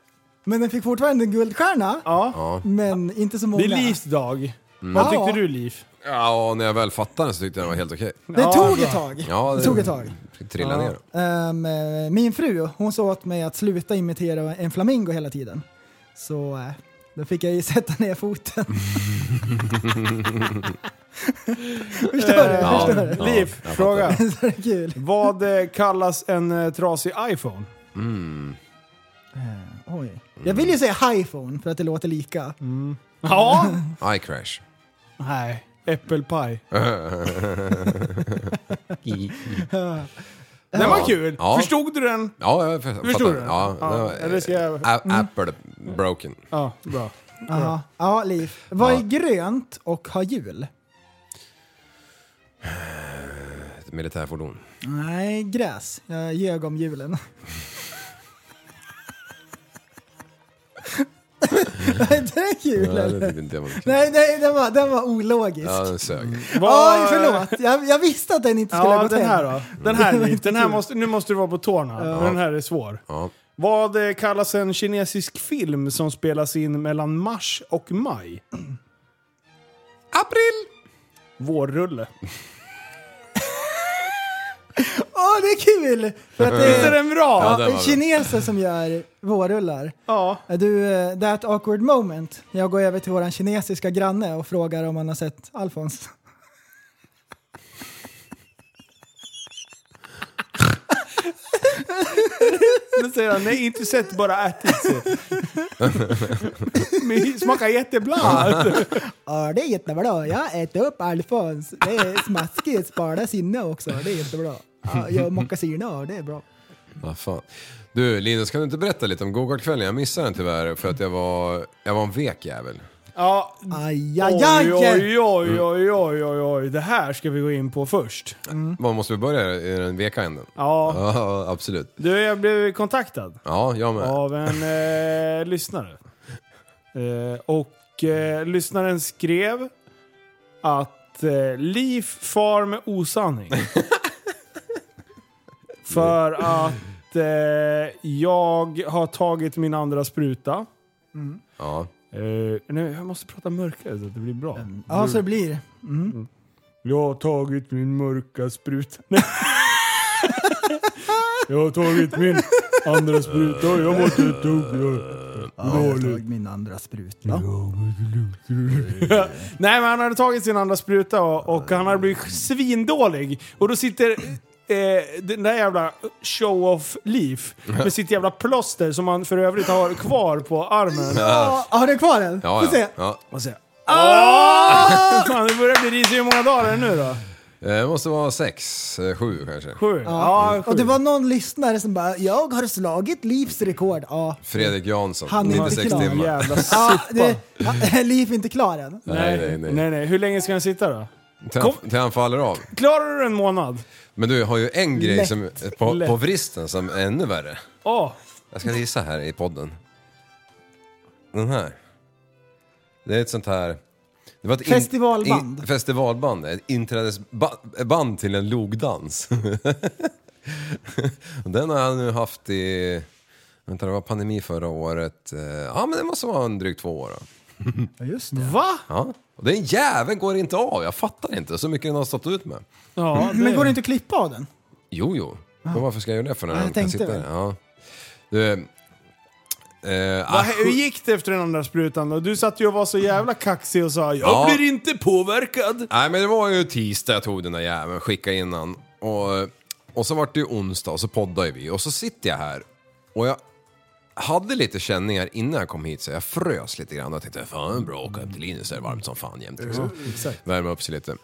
[SPEAKER 6] Men den fick fortfarande en guldstjärna,
[SPEAKER 5] Ja.
[SPEAKER 6] men inte så många.
[SPEAKER 5] Det är Livs dag. Vad
[SPEAKER 6] Ja.
[SPEAKER 5] tyckte du Liv?
[SPEAKER 7] ja, och när jag väl fattade den så tyckte jag den var helt okej.
[SPEAKER 6] Det
[SPEAKER 5] Ja,
[SPEAKER 6] tog
[SPEAKER 5] bra.
[SPEAKER 6] ett tag.
[SPEAKER 7] Ja,
[SPEAKER 6] det tog ett tag.
[SPEAKER 7] Trillade ner.
[SPEAKER 6] Ehm, eh, min fru, hon sa åt mig att sluta imitera en flamingo hela tiden. Så eh, då fick jag ju sätta ner foten. förstår du?
[SPEAKER 7] Ja.
[SPEAKER 6] Förstår du?
[SPEAKER 5] Liv,
[SPEAKER 7] jag
[SPEAKER 5] fråga.
[SPEAKER 6] Så det är kul.
[SPEAKER 5] Vad eh, kallas en eh, trasig iPhone?
[SPEAKER 6] Oj. Jag vill ju säga iPhone för att det låter lika.
[SPEAKER 5] Mm. Ja.
[SPEAKER 7] Eye crash.
[SPEAKER 5] Nej. Äppelpaj. Den var kul.
[SPEAKER 7] Ja.
[SPEAKER 5] Förstod du den?
[SPEAKER 7] Ja, jag fattar.
[SPEAKER 5] Förstår du?
[SPEAKER 7] Ja,
[SPEAKER 5] Ja,
[SPEAKER 7] det var-
[SPEAKER 5] eller ska jag-
[SPEAKER 7] A- Apple broken.
[SPEAKER 5] Ja, bra.
[SPEAKER 6] Aha. Ja, Liv. Vad
[SPEAKER 7] Ja.
[SPEAKER 6] är grönt och har hjul?
[SPEAKER 7] Ett militärfordon.
[SPEAKER 6] Nej, gräs. Jag ljög om julen. Är inte det
[SPEAKER 7] Ja,
[SPEAKER 6] kul
[SPEAKER 7] det
[SPEAKER 6] eller?
[SPEAKER 7] tyckte inte jag var kul.
[SPEAKER 6] Nej, nej den, var, den var ologisk.
[SPEAKER 7] Ja, den sög.
[SPEAKER 6] Oj, förlåt. Jag, jag visste att den inte skulle ha
[SPEAKER 5] Ja,
[SPEAKER 6] gått
[SPEAKER 5] den
[SPEAKER 6] hem.
[SPEAKER 5] här då. Den här,
[SPEAKER 6] Det var
[SPEAKER 5] Liv.
[SPEAKER 6] inte
[SPEAKER 5] den här
[SPEAKER 6] kul.
[SPEAKER 5] måste, nu måste du vara på tårna. Den här är svår.
[SPEAKER 7] Ja.
[SPEAKER 5] Vad eh, kallas en kinesisk film som spelas in mellan mars och maj?
[SPEAKER 7] April!
[SPEAKER 5] Vårrulle.
[SPEAKER 6] Åh, det är kul! För att
[SPEAKER 5] Är
[SPEAKER 6] det
[SPEAKER 5] den bra?
[SPEAKER 7] Ja, den
[SPEAKER 6] är
[SPEAKER 7] var
[SPEAKER 6] kineser som gör vårrullar.
[SPEAKER 5] Ja.
[SPEAKER 6] Är Du, eh, that awkward moment. Jag går över till våran kinesiska granne och frågar om han har sett Alfons.
[SPEAKER 5] Då säger han nej, inte sett, bara ätit. Men smakar jättebra.
[SPEAKER 6] Ja, det är jättebra. Jag äter upp Alfons. Det är smaskigt. Spara sinne också. Det är jättebra. Ja, jag mockasiner och det är bra.
[SPEAKER 7] Vad fan. Du Linus, kan du inte berätta lite om gokartkvällen? Jag missade den tyvärr för att jag var, jag var en vek jävel.
[SPEAKER 5] Ja.
[SPEAKER 6] Aj, aj, aj!
[SPEAKER 5] Oj, oj, oj, oj, oj, oj, oj. Det här ska vi gå in på först.
[SPEAKER 7] Vad måste vi börja i den veka änden?
[SPEAKER 5] Ja.
[SPEAKER 7] Ja, absolut.
[SPEAKER 5] Du, jag blev kontaktad
[SPEAKER 7] Ja, jag med.
[SPEAKER 5] av en eh, lyssnare. Eh, och eh, lyssnaren skrev att eh, Liv far med osanning. För att eh, jag har tagit min andra spruta.
[SPEAKER 7] Ja.
[SPEAKER 5] Eh, nej, jag måste prata mörkare så att det blir bra.
[SPEAKER 6] Ja, så det blir.
[SPEAKER 5] Jag har tagit min mörka spruta. jag har tagit min andra spruta och jag måste ta upp dåligt.
[SPEAKER 6] min andra spruta.
[SPEAKER 5] Nej men han hade tagit sin andra spruta och, och han hade blivit svindålig. Och då sitter eh, den där jävla show-off-Leaf med sitt jävla plåster som han för övrigt har kvar på armen.
[SPEAKER 6] Ja, har du kvar den?
[SPEAKER 7] Ja,
[SPEAKER 6] Får se.
[SPEAKER 7] ja. ja.
[SPEAKER 5] Och så, Fan, det börjar bli risigt. Hur många dagar är det nu då?
[SPEAKER 7] Eh, Det måste vara sex, eh, sju kanske.
[SPEAKER 5] Sju?
[SPEAKER 6] Ja.
[SPEAKER 5] Ja, sju.
[SPEAKER 6] Och det var någon lyssnare som bara “Jag har slagit Livs rekord”. Ja,
[SPEAKER 7] Fredrik Jansson,
[SPEAKER 6] Han är
[SPEAKER 7] 96
[SPEAKER 6] klar.
[SPEAKER 7] timmar.
[SPEAKER 5] Jävla
[SPEAKER 6] ja det, ja, Liv är inte klar än.
[SPEAKER 7] Nej, nej, nej.
[SPEAKER 5] nej, nej. Hur länge ska han sitta då?
[SPEAKER 7] Till,
[SPEAKER 5] Kom.
[SPEAKER 7] han, till han faller av.
[SPEAKER 5] Klarar du en månad?
[SPEAKER 7] Men du, jag har ju en grej
[SPEAKER 6] Lätt.
[SPEAKER 7] som, på,
[SPEAKER 5] Lätt.
[SPEAKER 7] på vristen som är ännu värre.
[SPEAKER 5] Åh,
[SPEAKER 7] Jag ska gissa här i podden. Den här. Det är ett sånt här... Det var ett in-
[SPEAKER 6] Festivalband.
[SPEAKER 7] in- festivalband, ett inträdesband till en logdans. Och Den har jag nu haft i... Vänta, det var pandemi förra året. Eh, Ja, men det måste vara en drygt två år då.
[SPEAKER 5] va?
[SPEAKER 7] Ja. Och den jäveln går inte av, jag fattar inte. Så mycket den har stått ut med.
[SPEAKER 5] Ja, det...
[SPEAKER 6] Mm. Men går det inte att klippa av den?
[SPEAKER 7] Jo, jo. Men varför ska jag göra det för när
[SPEAKER 6] Ja, Ah. jag
[SPEAKER 7] den kan
[SPEAKER 6] tänkte
[SPEAKER 7] sitta
[SPEAKER 6] väl.
[SPEAKER 7] där? Ja. Du, eh,
[SPEAKER 5] Va,
[SPEAKER 7] ah,
[SPEAKER 5] hur gick det efter den andra sprutan då? Du satt ju och var så jävla kaxig och sa “Jag
[SPEAKER 7] Ja.
[SPEAKER 5] blir inte påverkad”.
[SPEAKER 7] Nej men det var ju tisdag jag tog den där jäveln, skickade innan. Och, och så vart det ju onsdag och så poddade vi och så sitter jag här och jag hade lite känningar innan jag kom hit så jag frös lite grann och tänkte fan det är bra att åka hem till Linus, det är varmt som fan jämt. liksom. Värma upp sig lite.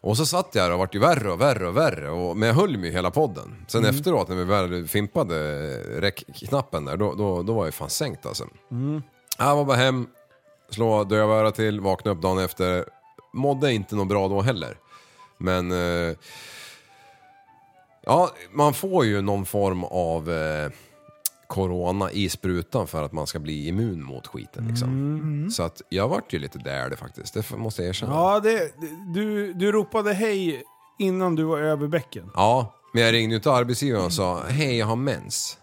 [SPEAKER 7] Och så satt jag där och vart ju värre och värre och värre. Och, men jag höll mig ju hela podden. Sen
[SPEAKER 5] Mm.
[SPEAKER 7] efteråt när vi väl fimpade räckknappen där, då, då, då var jag ju fan sänkt alltså.
[SPEAKER 5] Mm.
[SPEAKER 7] Jag var bara hem, slå dövöra till, vakna upp dagen efter. Mådde inte något bra då heller. Men... Eh, ja, man får ju någon form av eh, corona i sprutan för att man ska bli immun mot skiten liksom. Så att jag vart ju lite där det faktiskt, det måste jag erkänna. Ja.
[SPEAKER 5] Ja, det, du, du ropade hej innan du var över bäcken.
[SPEAKER 7] men jag ringde ju inte arbetsgivaren och sa hej jag har mens.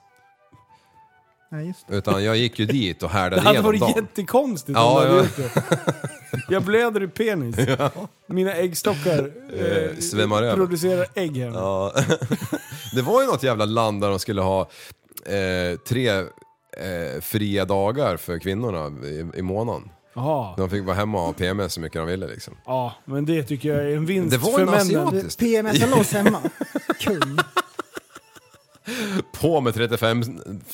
[SPEAKER 6] Nej, just det.
[SPEAKER 7] Utan jag gick ju dit och
[SPEAKER 5] Det
[SPEAKER 7] härdade
[SPEAKER 5] hade
[SPEAKER 7] igenom
[SPEAKER 5] varit
[SPEAKER 7] dagen.
[SPEAKER 5] jättekonstigt om
[SPEAKER 7] Ja,
[SPEAKER 5] du hade
[SPEAKER 7] ja.
[SPEAKER 5] gjort det. Jag blöder i penis. Mina äggstockar eh,
[SPEAKER 7] Eh, svämmar över.
[SPEAKER 5] producerar ägg här.
[SPEAKER 7] Ja. det var ju något jävla land där de skulle ha eh, tre eh, fria dagar för kvinnorna i, i månaden.
[SPEAKER 5] Jaha.
[SPEAKER 7] De fick vara hemma och ha PMS så mycket de ville liksom.
[SPEAKER 5] Ja, men det tycker jag är en vinst
[SPEAKER 7] Det var
[SPEAKER 5] för
[SPEAKER 7] en
[SPEAKER 5] männen.
[SPEAKER 7] asiat.
[SPEAKER 6] Du, PMSar lås hemma. Kung.
[SPEAKER 7] På med 35,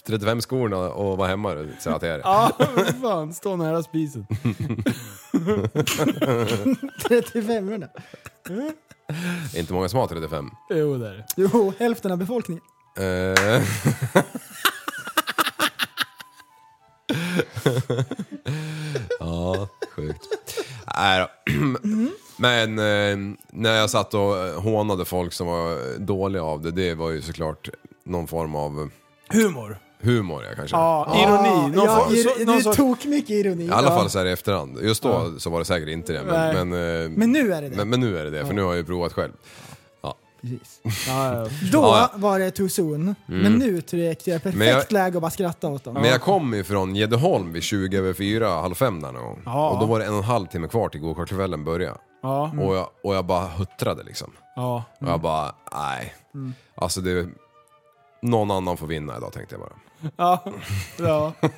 [SPEAKER 7] 35 skorna och vara hemma så att det är.
[SPEAKER 5] Ja, men fan. Stå nära spisen.
[SPEAKER 6] 35 orna.
[SPEAKER 7] Inte många som har 35.
[SPEAKER 5] Jo, där.
[SPEAKER 6] Jo, hälften av befolkningen.
[SPEAKER 7] Eh. ja, sjukt. Nej då. Men eh, när jag satt och eh, hånade folk som var dåliga av det, det var ju såklart någon form av
[SPEAKER 5] Humor.
[SPEAKER 7] humor jag kanske.
[SPEAKER 5] Ja, ironi. Någon
[SPEAKER 6] ja,
[SPEAKER 5] form-
[SPEAKER 6] ir-
[SPEAKER 5] så- någon
[SPEAKER 6] det är
[SPEAKER 5] sorts-
[SPEAKER 6] tok mycket ironi.
[SPEAKER 7] I alla
[SPEAKER 6] Ja.
[SPEAKER 7] fall så här i efterhand. Just då så var det säkert inte det.
[SPEAKER 5] Nej.
[SPEAKER 7] Men, men, eh,
[SPEAKER 6] Men nu är det det.
[SPEAKER 7] men, men nu är det det, för nu har jag ju provat själv. Ja.
[SPEAKER 6] Precis.
[SPEAKER 5] Ja, ja.
[SPEAKER 6] Då
[SPEAKER 7] Ja, ja.
[SPEAKER 6] var det too soon, men nu tycker jag är perfekt
[SPEAKER 7] Men jag-
[SPEAKER 6] läge att bara skratta åt dem.
[SPEAKER 7] Men jag kom ju från Gäddeholm vid 20 över 4, halv fem där någon gång.
[SPEAKER 5] Ja.
[SPEAKER 7] Och då var det en och en halv timme kvar till gokartkvällen började.
[SPEAKER 5] Ja,
[SPEAKER 7] Och, jag, och jag bara huttrade liksom.
[SPEAKER 5] ja.
[SPEAKER 7] Och jag bara, nej.
[SPEAKER 5] Mm.
[SPEAKER 7] Alltså det... Någon annan får vinna idag tänkte jag bara.
[SPEAKER 5] Ja, ja.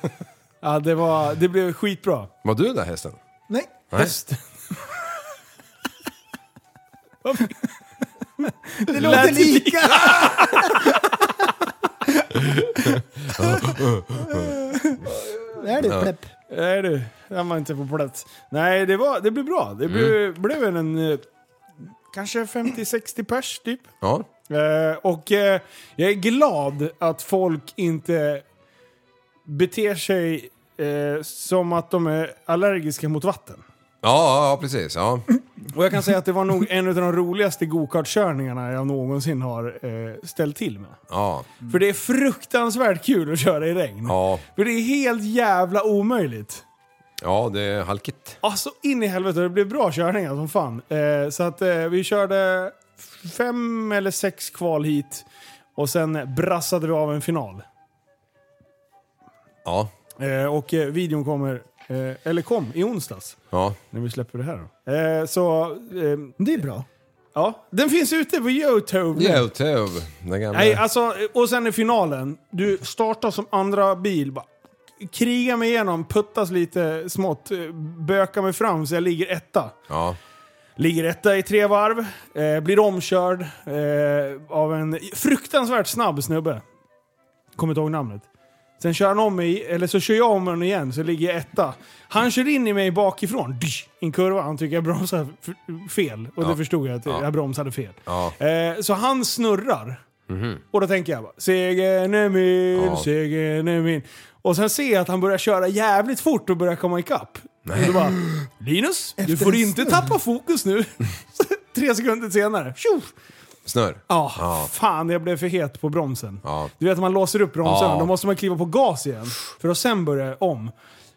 [SPEAKER 5] ja det, var, det blev skitbra.
[SPEAKER 7] Var du där hästen?
[SPEAKER 6] Nej,
[SPEAKER 7] Nej.
[SPEAKER 6] det låter lika! Det är du plepp.
[SPEAKER 5] Nej du, den var inte på plats. Nej, det, var, det blev bra. Det blev,
[SPEAKER 6] Mm.
[SPEAKER 5] blev en, en eh, kanske 50-60 pers typ.
[SPEAKER 7] Ja.
[SPEAKER 5] Eh, och eh, jag är glad att folk inte beter sig eh, som att de är allergiska mot vatten.
[SPEAKER 7] Ja, ja precis. Ja.
[SPEAKER 5] Och jag kan säga att det var nog en av de roligaste gokartkörningarna jag någonsin har eh, ställt till med.
[SPEAKER 7] Ja.
[SPEAKER 5] För det är fruktansvärt kul att köra i regn.
[SPEAKER 7] Ja.
[SPEAKER 5] För det är helt jävla omöjligt.
[SPEAKER 7] ja, det är halkigt.
[SPEAKER 5] Alltså in i helvete, det blev bra körningar som fan. Eh, så att eh, vi körde fem eller sex kval hit och sen brassade vi av en final.
[SPEAKER 7] Ja.
[SPEAKER 5] Eh, och eh, videon kommer, eh, eller kom, i onsdags.
[SPEAKER 7] Ja.
[SPEAKER 5] När vi släpper det här då. Eh, så, eh,
[SPEAKER 6] Det är bra.
[SPEAKER 5] ja. Den finns ute på Youtube.
[SPEAKER 7] Youtube. Den gamla...
[SPEAKER 5] Mm. Nej, alltså, och sen i finalen. Du startar som andra bil. Bara, kriga mig igenom, puttas lite smått, eh, böka mig fram så jag ligger etta.
[SPEAKER 7] Ja.
[SPEAKER 5] Ligger etta i tre varv, eh, blir omkörd eh, av en fruktansvärt snabb snubbe. Kommer inte ihåg namnet. Sen kör han om mig, eller så kör jag om honom igen, så ligger jag etta. Han kör in i mig bakifrån, dysch, i en kurva. Han tycker jag bromsar f- fel. Och det
[SPEAKER 7] Ja.
[SPEAKER 5] förstod jag, att
[SPEAKER 7] Ja.
[SPEAKER 5] jag bromsade fel.
[SPEAKER 7] Ja. Mhm.
[SPEAKER 5] Eh, så han snurrar. Och då tänker jag bara, segern är min,
[SPEAKER 7] Ja.
[SPEAKER 5] segern är min. Och sen ser jag att han börjar köra jävligt fort och börjar komma ikapp. Och då bara, Linus, du
[SPEAKER 6] Efter
[SPEAKER 5] får
[SPEAKER 6] en
[SPEAKER 5] inte tappa fokus nu. Tre sekunder senare, tjoff!
[SPEAKER 7] Snör.
[SPEAKER 5] Ja,
[SPEAKER 7] Ja.
[SPEAKER 5] fan jag blev för het på bromsen.
[SPEAKER 7] Ja.
[SPEAKER 5] Du vet när man låser upp bromsen,
[SPEAKER 7] Ja.
[SPEAKER 5] då måste man kliva på gas igen. För att sen börja om.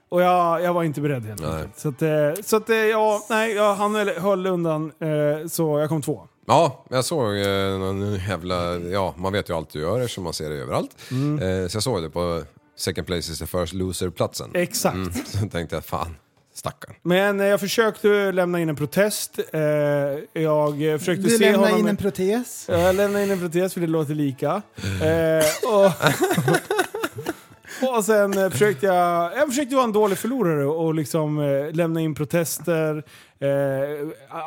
[SPEAKER 5] Och jag, jag var inte beredd helt enkelt. Så att, eh, så att eh, ja, nej, jag, han höll, höll undan, eh, så jag kom två.
[SPEAKER 7] Ja, jag såg eh, någon jävla... Ja, man vet ju allt du gör eftersom man ser det överallt.
[SPEAKER 5] Mm.
[SPEAKER 7] Eh, så jag såg det på second place is the first loser-platsen.
[SPEAKER 5] Exakt.
[SPEAKER 7] Mm. Så tänkte jag, fan, stackarn.
[SPEAKER 5] Men eh, jag försökte lämna in en protest. Eh, jag eh, försökte
[SPEAKER 6] Du
[SPEAKER 5] se
[SPEAKER 6] lämnar
[SPEAKER 5] honom...
[SPEAKER 6] in en protes.
[SPEAKER 5] Eh, Jag lämnade in en protes för det låter lika. Eh, och, och sen eh, försökte jag, jag försökte vara en dålig förlorare och liksom eh, lämna in protester. Eh,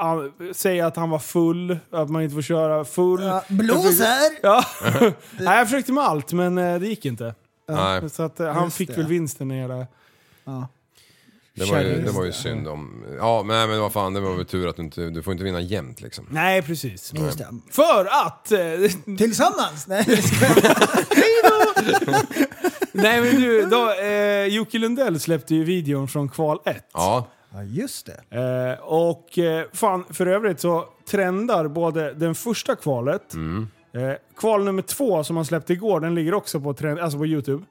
[SPEAKER 5] a- säga att han var full, att man inte får köra full.
[SPEAKER 6] Ja, blåser!
[SPEAKER 5] Ja. Nej, jag försökte med allt men eh, det gick inte.
[SPEAKER 7] Nej.
[SPEAKER 5] Så att, eh, han
[SPEAKER 6] Just
[SPEAKER 5] fick
[SPEAKER 6] det.
[SPEAKER 5] väl vinsten i hela...
[SPEAKER 6] Ja.
[SPEAKER 7] Det var, ju,
[SPEAKER 5] Kärring.
[SPEAKER 7] det var ju synd om... Ja, men, men vad fan, det var väl tur att du inte... Du får inte vinna jämt liksom.
[SPEAKER 5] Nej, precis.
[SPEAKER 6] Just det.
[SPEAKER 5] För att... eh,
[SPEAKER 6] Tillsammans! Nej, jag skojar.
[SPEAKER 5] nej men du, då, eh, Jocke Lundell släppte ju videon från kval 1.
[SPEAKER 7] Ja,
[SPEAKER 6] ja, just det.
[SPEAKER 5] Eh, och eh, fan, för övrigt så trendar både den första kvalet, eh, kval nummer två som han släppte igår, den ligger också på, trend, alltså på Youtube.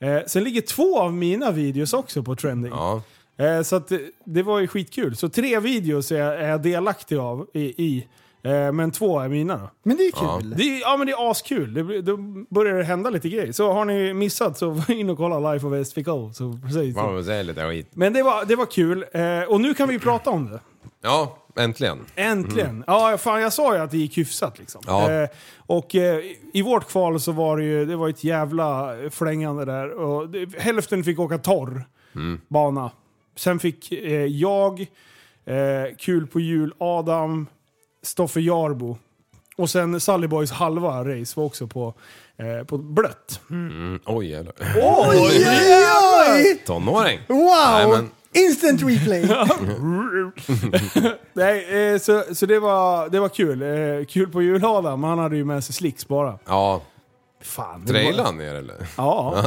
[SPEAKER 5] Eh, sen ligger två av mina videos också på trending.
[SPEAKER 7] ja.
[SPEAKER 5] Eh, så att, eh, det var ju skitkul. Så tre videos är jag, är jag delaktig av i, i eh, men två är mina då.
[SPEAKER 6] Men det är ju kul.
[SPEAKER 5] Det är, ja men det är askul. Det, blir- då börjar det hända lite grejer. Så har ni missat så var in och kolla Life of SVK. Så precis.
[SPEAKER 7] Vad man säger lite skit.
[SPEAKER 5] Men det var, det var kul. Eh, och nu kan vi ju prata om det.
[SPEAKER 7] Ja, äntligen.
[SPEAKER 5] Äntligen! Ja, fan jag sa ju att det gick hyfsat liksom.
[SPEAKER 7] Ja.
[SPEAKER 5] Eh, och eh, i vårt kval så var det ju det var ett jävla flängande där. Och det, hälften fick åka torr bana. Sen fick eh, jag, eh, Kul på jul, Adam, Stoffe Jarbo och sen Sallyboys halva race var också på, eh, på blött.
[SPEAKER 7] Mm, oj jävlar.
[SPEAKER 6] Oj, oj, oj!
[SPEAKER 7] Tonåring! Nej,
[SPEAKER 6] Wow!
[SPEAKER 7] men-
[SPEAKER 6] Instant replay!
[SPEAKER 5] Nej, eh, så, så det var, det var kul. Eh, kul på jul Adam, han hade ju med sig slicks bara.
[SPEAKER 7] Ja,
[SPEAKER 5] Fan, det var-
[SPEAKER 7] trailan ner eller?
[SPEAKER 5] Ja.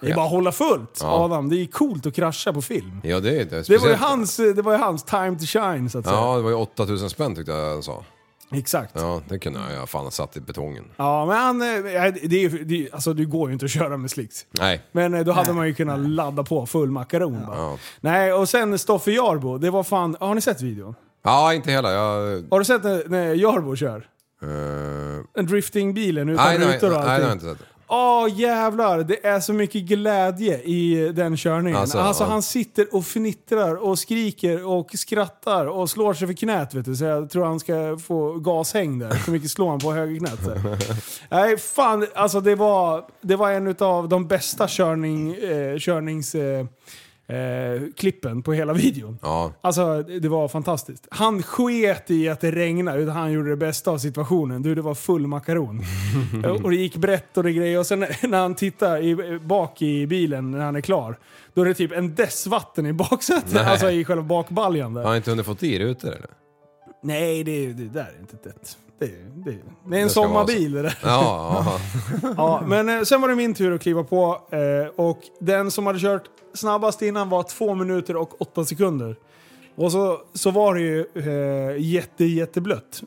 [SPEAKER 5] Det är bara att hålla fullt, Adam. Det är coolt att krascha på film.
[SPEAKER 7] Ja, det är det.
[SPEAKER 5] Det var, ju
[SPEAKER 7] Speciellt-
[SPEAKER 5] hans, det var ju hans time to shine, så att säga.
[SPEAKER 7] Ja, det var ju 8000 spänn tyckte jag han sa.
[SPEAKER 5] Exakt. Ja.
[SPEAKER 7] Ja, det kunde jag ju fan ha satt i betongen.
[SPEAKER 5] men han, eh, det är, ju- det, är- alltså, det går ju inte att köra med slicks.
[SPEAKER 7] Nej.
[SPEAKER 5] Men eh, då hade man ju kunnat ladda på full makaron bara.
[SPEAKER 7] Ja.
[SPEAKER 5] Nej, och sen Stoffe Jarbo. Det var fan... Har ni sett videon?
[SPEAKER 7] Ja, inte hela. Jag... eh,
[SPEAKER 5] Har du sett när, när Jarbo kör? Den driftingbilen utan
[SPEAKER 7] nej, nej, nej,
[SPEAKER 5] rutor
[SPEAKER 7] nej,
[SPEAKER 5] och
[SPEAKER 7] det har
[SPEAKER 5] allting.
[SPEAKER 7] jag inte sett.
[SPEAKER 5] Åh jävlar, det är så mycket glädje i den körningen. Alltså,
[SPEAKER 7] Alltså, ja.
[SPEAKER 5] han sitter och fnittrar och skriker och skrattar och slår sig för knät vet du. Så jag tror han ska få gashäng där. Så mycket slår han på högerknät. så här. Nej fan, alltså det var, det var en av de bästa körning, eh, körnings... Eh, Eh, klippen på hela videon.
[SPEAKER 7] Ja.
[SPEAKER 5] Alltså det det var fantastiskt. Han sket i att det regnade, utan han gjorde det bästa av situationen. Du, det var full makaron. Eh, och det gick brett och det grejer. Och sen när han tittar i, bak i bilen när han är klar, då är det typ en dess vatten i baksätet.
[SPEAKER 7] Nej.
[SPEAKER 5] Alltså i själva bakbaljan där.
[SPEAKER 7] Har han inte hunnit fått i rutor eller?
[SPEAKER 5] Nej, det, är- det där är inte det. Det, är- det, är- det är en
[SPEAKER 7] Det ska vara så.
[SPEAKER 5] sommarbil det där.
[SPEAKER 7] Ja, ja.
[SPEAKER 5] Ja, men eh, sen var det min tur att kliva på eh, och den som hade kört snabbast innan var 2 minuter och 8 sekunder. Och så, så var det ju eh, jätte, jätteblött.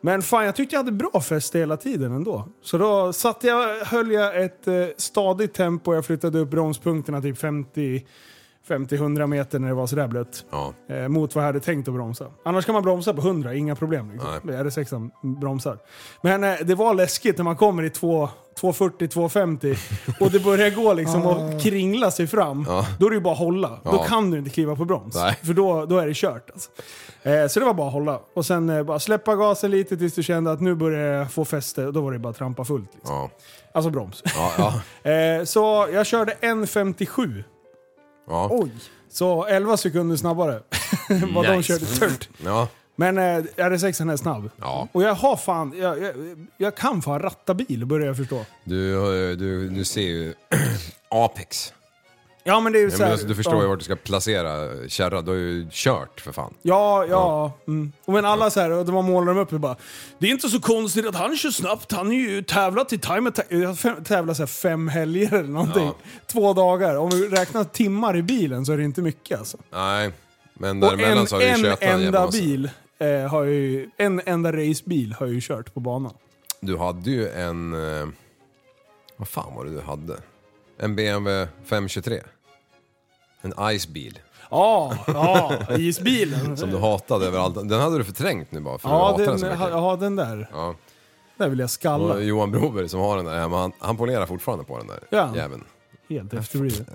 [SPEAKER 5] Men fan, jag tyckte jag hade bra fäste hela tiden ändå. Så då satt jag, höll jag ett eh, stadigt tempo. Jag flyttade upp bromspunkterna typ 50 50-100 meter när det var sådär blött.
[SPEAKER 7] ja.
[SPEAKER 5] Eh, mot vad jag hade tänkt att bromsa. Annars kan man bromsa på 100, inga problem. Liksom.
[SPEAKER 7] Nej.
[SPEAKER 5] RS6 bromsar. Men eh, det var läskigt när man kommer i 2 240-250 och det börjar gå liksom och kringla sig fram.
[SPEAKER 7] Ja.
[SPEAKER 5] Då är det ju bara att hålla. Då
[SPEAKER 7] Ja.
[SPEAKER 5] kan du inte kliva på broms.
[SPEAKER 7] Nej.
[SPEAKER 5] För då, då är det kört. Alltså. Eh, så det var bara att hålla. Och sen eh, bara släppa gasen lite tills du kände att nu börjar jag få fäste. Och då var det bara att trampa fullt. Liksom.
[SPEAKER 7] Ja,
[SPEAKER 5] Alltså broms.
[SPEAKER 7] ja, ja.
[SPEAKER 5] Eh, så jag körde 1.57.
[SPEAKER 7] ja.
[SPEAKER 6] Oj,
[SPEAKER 5] Så 11 sekunder snabbare. Vad de
[SPEAKER 7] Nice.
[SPEAKER 5] körde tört.
[SPEAKER 7] ja.
[SPEAKER 5] Men eh, RS6 är snabb.
[SPEAKER 7] Ja.
[SPEAKER 5] Och jag har fan, jag, jag, jag kan fan ratta bil börjar jag förstå.
[SPEAKER 7] Du, eh, du, du ser ju Apex.
[SPEAKER 5] Ja men det är ju
[SPEAKER 7] Ja,
[SPEAKER 5] så
[SPEAKER 7] men
[SPEAKER 5] här,
[SPEAKER 7] alltså, du förstår
[SPEAKER 5] ja.
[SPEAKER 7] ju vart du ska placera eh, kärra. Du har ju kört för fan.
[SPEAKER 5] Ja, ja. Mm. Och men alla så här, och de målar dem upp och bara Det är inte så konstigt att han kör snabbt, han är ju tävlat i time attack. Jag har fem- tävlat så här fem helger eller någonting.
[SPEAKER 7] Ja.
[SPEAKER 5] Två dagar. Om vi räknar timmar i bilen så är det inte mycket alltså.
[SPEAKER 7] Nej, men
[SPEAKER 5] Och
[SPEAKER 7] däremellan
[SPEAKER 5] en,
[SPEAKER 7] så har du ju
[SPEAKER 5] en
[SPEAKER 7] tjötat en jävla
[SPEAKER 5] enda
[SPEAKER 7] massa.
[SPEAKER 5] bil eh, har ju, en enda racebil har ju kört på banan.
[SPEAKER 7] Du hade ju en... eh, Vad fan var det du hade? En BMW 523. En Icebil.
[SPEAKER 5] Ja, ja, isbilen.
[SPEAKER 7] Som du hatade överallt. Den hade du förträngt nu bara för du
[SPEAKER 5] Ja
[SPEAKER 7] hatade den så
[SPEAKER 5] den,
[SPEAKER 7] mycket.
[SPEAKER 5] ha- ja, den där.
[SPEAKER 7] Ja.
[SPEAKER 5] Där vill jag skalla.
[SPEAKER 7] Och Johan Broberg som har den där hemma, han, han polerar fortfarande på den där
[SPEAKER 5] Ja.
[SPEAKER 7] jäveln.
[SPEAKER 5] Helt efterbliven.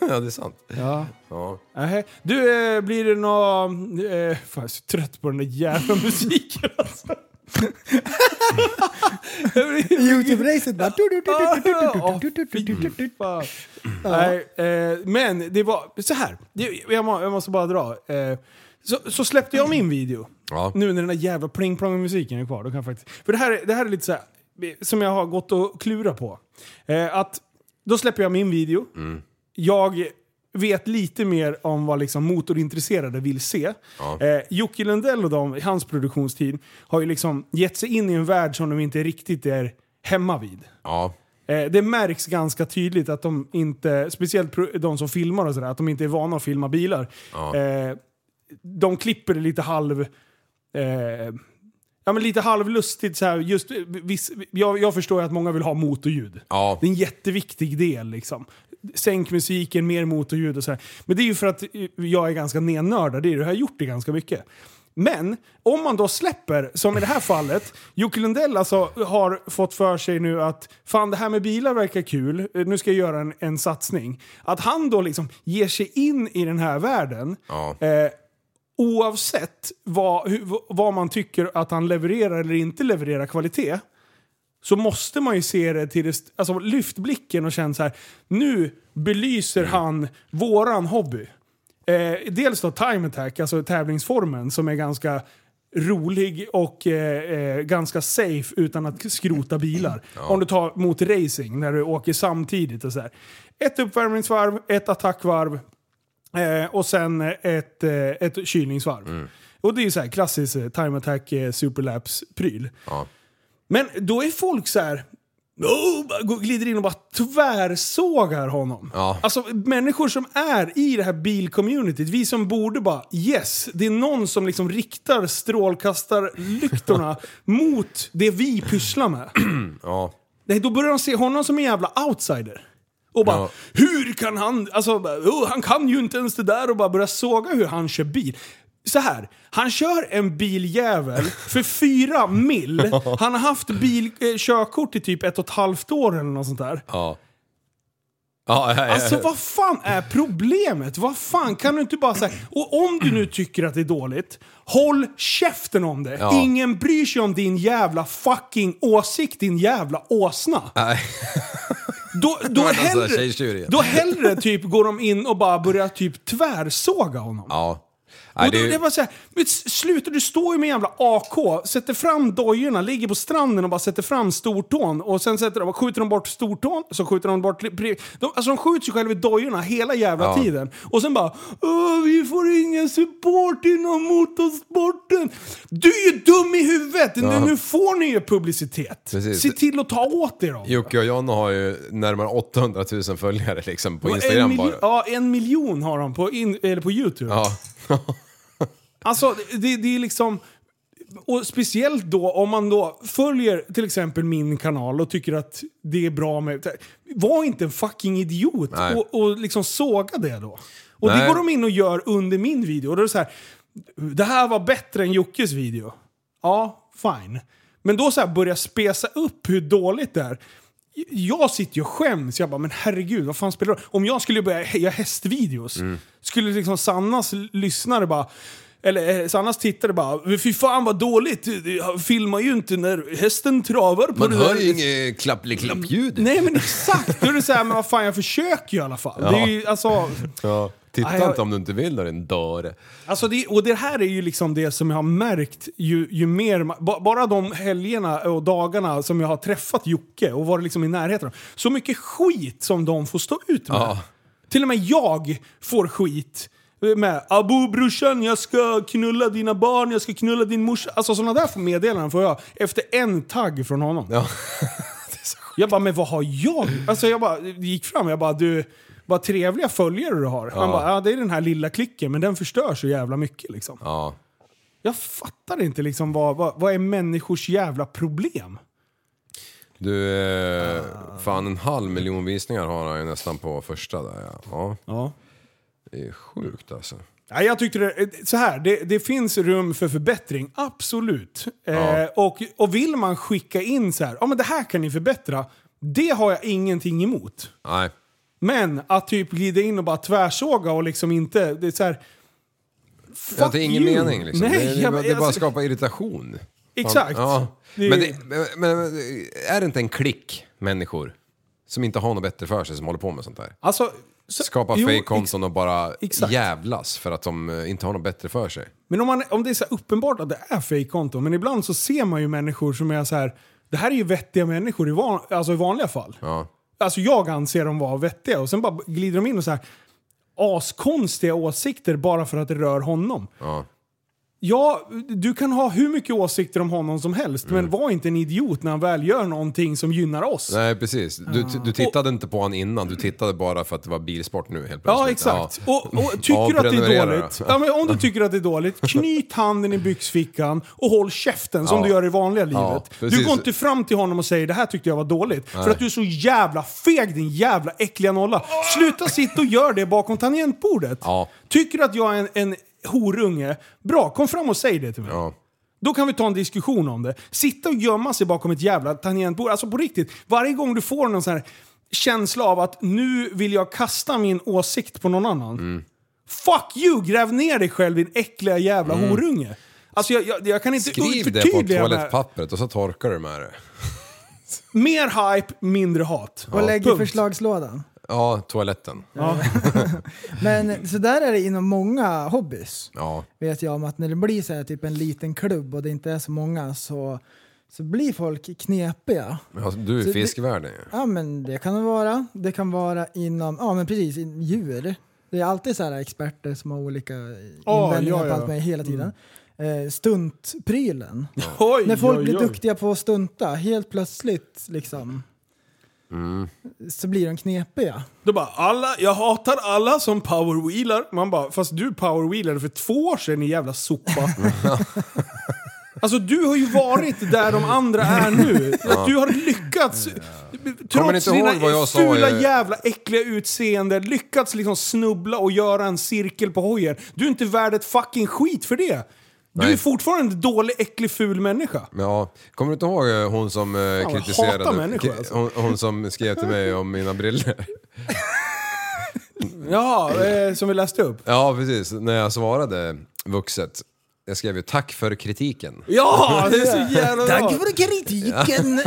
[SPEAKER 7] ja, det är sant.
[SPEAKER 5] Ja.
[SPEAKER 7] Ja.
[SPEAKER 5] Nähä. Du, eh, blir det nå... Eh, fan, jag är så trött på den där jävla musiken alltså. Jag blir-
[SPEAKER 6] Youtube-racet bara...
[SPEAKER 5] Ah, fy fan. Nej, eh, men det var så här. Det- Jag, må, jag måste bara dra. Eh, så, så släppte jag min video.
[SPEAKER 7] Ja.
[SPEAKER 5] Nu när den där jävla pling-plong-musiken är kvar. Då kan jag faktiskt, för det här, är- det här är lite så här, som jag har gått och klura på. Eh, att då släpper jag min video. Jag vet lite mer om vad liksom motorintresserade vill se. Eh, Jocke Lundell och de, i hans produktionstid, har ju liksom gett sig in i en värld som de inte riktigt är hemma vid.
[SPEAKER 7] Ja.
[SPEAKER 5] Eh, det märks ganska tydligt att de inte, speciellt pro- de som filmar och sådär, att de inte är vana att filma bilar. Eh, de klipper det lite halv... Eh, Ja men lite halvlustigt så här, just, eh, viss, jag, jag förstår ju att många vill ha motorljud.
[SPEAKER 7] Ja.
[SPEAKER 5] Det är en jätteviktig del liksom. Sänk musiken, mer motorljud och så här. Men det är ju för att eh, jag är ganska nennördad i det, jag har gjort det ganska mycket. Men om man då släpper, som i det här fallet, Jocke Lundell alltså har fått för sig nu att fan det här med bilar verkar kul, eh, nu ska jag göra en, en satsning. Att han då liksom ger sig in i den här världen
[SPEAKER 7] Ja.
[SPEAKER 5] Eh, oavsett vad, hur, vad man tycker att han levererar eller inte levererar kvalitet så måste man ju se det till det, st- alltså lyft blicken och känn så här. nu belyser han våran hobby. Eh, dels då time attack, alltså tävlingsformen som är ganska rolig och eh, eh, ganska safe utan att skrota bilar. Om du tar mot racing när du åker samtidigt och så här. Ett uppvärmningsvarv, ett attackvarv, Eh, och sen ett, eh, ett kylningsvarv. Och det är ju så här klassisk eh, time attack eh, superlaps-pryl.
[SPEAKER 7] Ja.
[SPEAKER 5] Men då är folk så här. "Oh", bara går- glider in och bara tvärsågar honom.
[SPEAKER 7] Ja.
[SPEAKER 5] Alltså människor som är i det här bilcommunityt, vi som borde bara yes, det är någon som liksom riktar strålkastarlyktorna mot det vi pysslar med.
[SPEAKER 7] Ja.
[SPEAKER 5] Nej, då börjar de se honom som en jävla outsider. Och bara,
[SPEAKER 7] Ja.
[SPEAKER 5] hur kan han, alltså, bara, "Åh, han kan ju inte ens det där och bara börja såga hur han kör bil. Så här, han kör en biljävel för fyra mil. Han har haft bil, eh, körkort i typ ett och ett halvt år eller något sånt där.
[SPEAKER 7] Ja. Ja, ja, ja.
[SPEAKER 5] Alltså vad fan är problemet? Vad fan kan du inte bara säga Och om du nu tycker att det är dåligt, håll käften om det.
[SPEAKER 7] Ja.
[SPEAKER 5] Ingen bryr sig om din jävla fucking åsikt, din jävla åsna.
[SPEAKER 7] Nej.
[SPEAKER 5] Då, då,
[SPEAKER 7] var nästan
[SPEAKER 5] hellre,
[SPEAKER 7] tjejtjurig.
[SPEAKER 5] då hellre typ går de in och bara börjar typ tvärsåga honom.
[SPEAKER 7] Ja. Nej,
[SPEAKER 5] och då,
[SPEAKER 7] det är
[SPEAKER 5] det...
[SPEAKER 7] ju-
[SPEAKER 5] Jag bara såhär, men s- sluta du står ju med en jävla AK, sätter fram dojorna, ligger på stranden och bara sätter fram stortån. Och sen sätter de, skjuter de bort stortån, så skjuter de bort... pri- De, alltså de skjuter sig själva i dojorna hela jävla
[SPEAKER 7] Ja.
[SPEAKER 5] tiden. Och sen bara "Åh, vi får ingen support inom motorsporten. Du är ju dum i huvudet! Nu, nu får ni ju publicitet.
[SPEAKER 7] Precis.
[SPEAKER 5] Se till att ta åt er dem.
[SPEAKER 7] Jocke och Jonna har ju närmare 800 000 följare liksom på
[SPEAKER 5] Och
[SPEAKER 7] Instagram
[SPEAKER 5] en
[SPEAKER 7] bara.
[SPEAKER 5] miljo- Ja, en miljon har de på, in, eller på YouTube.
[SPEAKER 7] Ja.
[SPEAKER 5] Alltså, det- det, det är liksom... Och speciellt då om man då följer till exempel min kanal och tycker att det är bra med... Var inte en fucking idiot
[SPEAKER 7] Nej.
[SPEAKER 5] och, och liksom såga det då. Och det
[SPEAKER 7] Nej.
[SPEAKER 5] går de in och gör under min video. Och då är det så här, det här var bättre än Jockes video. Ja, fine. Men då så här börja spesa upp hur dåligt det är. Jag sitter ju och skäms. Jag bara, men herregud, vad fan spelar det roll? Om jag skulle börja heja hästvideos,
[SPEAKER 7] Mm.
[SPEAKER 5] skulle liksom Sannas lyssnare bara... Eller eh, Sannas tittare bara, fy fan vad dåligt, jag filmar ju inte när hästen travar på
[SPEAKER 7] Man
[SPEAKER 5] det där."
[SPEAKER 7] hör ju inget klapp-klapp-ljud.
[SPEAKER 5] Nej men exakt! Då är det såhär, men vad fan jag försöker ju i alla fall. Det är ju, alltså,
[SPEAKER 7] Ja. Titta
[SPEAKER 5] Nej, jag-
[SPEAKER 7] inte om du inte vill då din dörre.
[SPEAKER 5] Alltså det, och det här är ju liksom det som jag har märkt ju, ju mer... ma- ba- Bara de helgerna och dagarna som jag har träffat Jocke och varit liksom i närheten av. Så mycket skit som de får stå ut med.
[SPEAKER 7] Ja.
[SPEAKER 5] Till och med jag får skit. Med “Abo brorsan, jag ska knulla dina barn, jag ska knulla din morsa”. Alltså sådana där meddelanden får jag efter en tagg från honom.
[SPEAKER 7] Ja.
[SPEAKER 5] Jag bara, men vad har jag Alltså jag bara gick fram jag bara, du, vad trevliga följare du har. Han bara, ja det är den här lilla klicken men den förstör så jävla mycket liksom.
[SPEAKER 7] Ja.
[SPEAKER 5] Jag fattar inte liksom vad, vad, vad är människors jävla problem?
[SPEAKER 7] Du, eh, fan en halv miljon visningar har han ju nästan på första där ja. ja.
[SPEAKER 5] Ja.
[SPEAKER 7] Det är sjukt alltså.
[SPEAKER 5] Ja, jag tyckte det, så här, det, det finns rum för förbättring, absolut. Eh, och, och vill man skicka in så här, ja men det här kan ni förbättra. Det har jag ingenting emot.
[SPEAKER 7] Nej.
[SPEAKER 5] Men att typ glida in och bara tvärsåga och liksom inte... Det är så här, fuck
[SPEAKER 7] Ja, det är ingen
[SPEAKER 5] you.
[SPEAKER 7] mening liksom.
[SPEAKER 5] Nej,
[SPEAKER 7] det, det,
[SPEAKER 5] jag-
[SPEAKER 7] det bara
[SPEAKER 5] alltså-
[SPEAKER 7] skapar irritation.
[SPEAKER 5] Exakt.
[SPEAKER 7] Ja.
[SPEAKER 5] Det är-
[SPEAKER 7] Men, det, men, men är det inte en klick människor som inte har något bättre för sig som håller på med sånt där?
[SPEAKER 5] Alltså, så-
[SPEAKER 7] Skapa
[SPEAKER 5] jo,
[SPEAKER 7] fake-konton och bara
[SPEAKER 5] exakt.
[SPEAKER 7] jävlas för att de eh, inte har något bättre för sig.
[SPEAKER 5] Men om, man, om det är så här uppenbart att det är fejkkonton, men ibland så ser man ju människor som är så här. Det här är ju vettiga människor i, van, alltså i vanliga fall.
[SPEAKER 7] Ja.
[SPEAKER 5] Alltså jag anser dem vara vettiga och sen bara glider de in och så här. askonstiga åsikter bara för att det rör honom.
[SPEAKER 7] Ja.
[SPEAKER 5] Ja, du kan ha hur mycket åsikter om honom som helst,
[SPEAKER 7] Mm.
[SPEAKER 5] men var inte en idiot när han väl gör någonting som gynnar oss.
[SPEAKER 7] Nej precis, du,
[SPEAKER 5] Ah.
[SPEAKER 7] du tittade inte på han innan, du tittade bara för att det var bilsport nu helt plötsligt.
[SPEAKER 5] Ja, exakt.
[SPEAKER 7] Ja.
[SPEAKER 5] Och, och tycker du att det är
[SPEAKER 7] Avprenumerera
[SPEAKER 5] dåligt,
[SPEAKER 7] då.
[SPEAKER 5] ja, men om du tycker att det är dåligt, knyt handen i byxfickan och håll käften som
[SPEAKER 7] Ja.
[SPEAKER 5] du gör i vanliga
[SPEAKER 7] Ja,
[SPEAKER 5] livet. du
[SPEAKER 7] precis.
[SPEAKER 5] går inte fram till honom och säger det här tyckte jag var dåligt, för att du är så jävla feg din jävla äckliga nolla. Sluta sitta och gör det bakom tangentbordet.
[SPEAKER 7] Ja.
[SPEAKER 5] Tycker du att jag är en, en horunge, bra kom fram och säg det till mig.
[SPEAKER 7] Ja.
[SPEAKER 5] Då kan vi ta en diskussion om det. Sitta och gömma sig bakom ett jävla tangentbord. Alltså på riktigt, varje gång du får någon sån här känsla av att nu vill jag kasta min åsikt på någon annan.
[SPEAKER 7] Mm.
[SPEAKER 5] Fuck you! Gräv ner dig själv din äckliga jävla horunge. Alltså jag, jag, jag kan inte
[SPEAKER 7] Mm. Skriv det på
[SPEAKER 5] förtydliga det här.
[SPEAKER 7] toalettpappret och så torkar du med det.
[SPEAKER 5] Mer hype, mindre hat.
[SPEAKER 6] Och lägger i
[SPEAKER 5] Punkt.
[SPEAKER 6] förslagslådan.
[SPEAKER 7] Ja, toaletten.
[SPEAKER 5] Ja.
[SPEAKER 6] Men så där är det inom många hobbys.
[SPEAKER 7] Ja.
[SPEAKER 6] Vet jag om att när det blir så här typ en liten klubb och det inte är så många så, så blir folk knepiga.
[SPEAKER 7] Ja, Du
[SPEAKER 6] Så det-
[SPEAKER 7] är fiskvärden ju.
[SPEAKER 6] Ja men det kan det vara. Det kan vara inom, ja men precis, in- djur. Det är alltid så här experter som har olika
[SPEAKER 5] Ja,
[SPEAKER 6] invändningar
[SPEAKER 5] ja,
[SPEAKER 6] på
[SPEAKER 5] ja.
[SPEAKER 6] allt med hela tiden. Eh, stuntprylen.
[SPEAKER 5] Oj,
[SPEAKER 6] När folk
[SPEAKER 5] oj,
[SPEAKER 6] blir
[SPEAKER 5] oj.
[SPEAKER 6] duktiga på att stunta, helt plötsligt liksom.
[SPEAKER 7] Mm.
[SPEAKER 6] Så blir de knepiga.
[SPEAKER 5] Då bara alla, jag hatar alla som powerwheelar. Man bara, fast du powerwheelade för två år sedan i jävla sopa. alltså du har ju varit där de andra är nu. Att du har lyckats,
[SPEAKER 7] Kommer ni
[SPEAKER 5] trots
[SPEAKER 7] inte
[SPEAKER 5] dina
[SPEAKER 7] ihåg vad jag sa
[SPEAKER 5] fula
[SPEAKER 7] i-
[SPEAKER 5] jävla äckliga utseende, lyckats liksom snubbla och göra en cirkel på hojen. Du är inte värd ett fucking skit för det. Du
[SPEAKER 7] Nej.
[SPEAKER 5] är fortfarande en dålig, äcklig, ful människa.
[SPEAKER 7] Ja, kommer du inte ihåg eh, hon som eh,
[SPEAKER 5] jag
[SPEAKER 7] kritiserade...
[SPEAKER 5] hatar människor,
[SPEAKER 7] ki-
[SPEAKER 5] alltså.
[SPEAKER 7] hon, hon som skrev till mig om mina briller
[SPEAKER 5] Ja, eh, som vi läste upp.
[SPEAKER 7] Ja, precis. När jag svarade vuxet. Jag skrev ju tack för kritiken.
[SPEAKER 5] Ja, det är så jävla bra!
[SPEAKER 6] kritiken!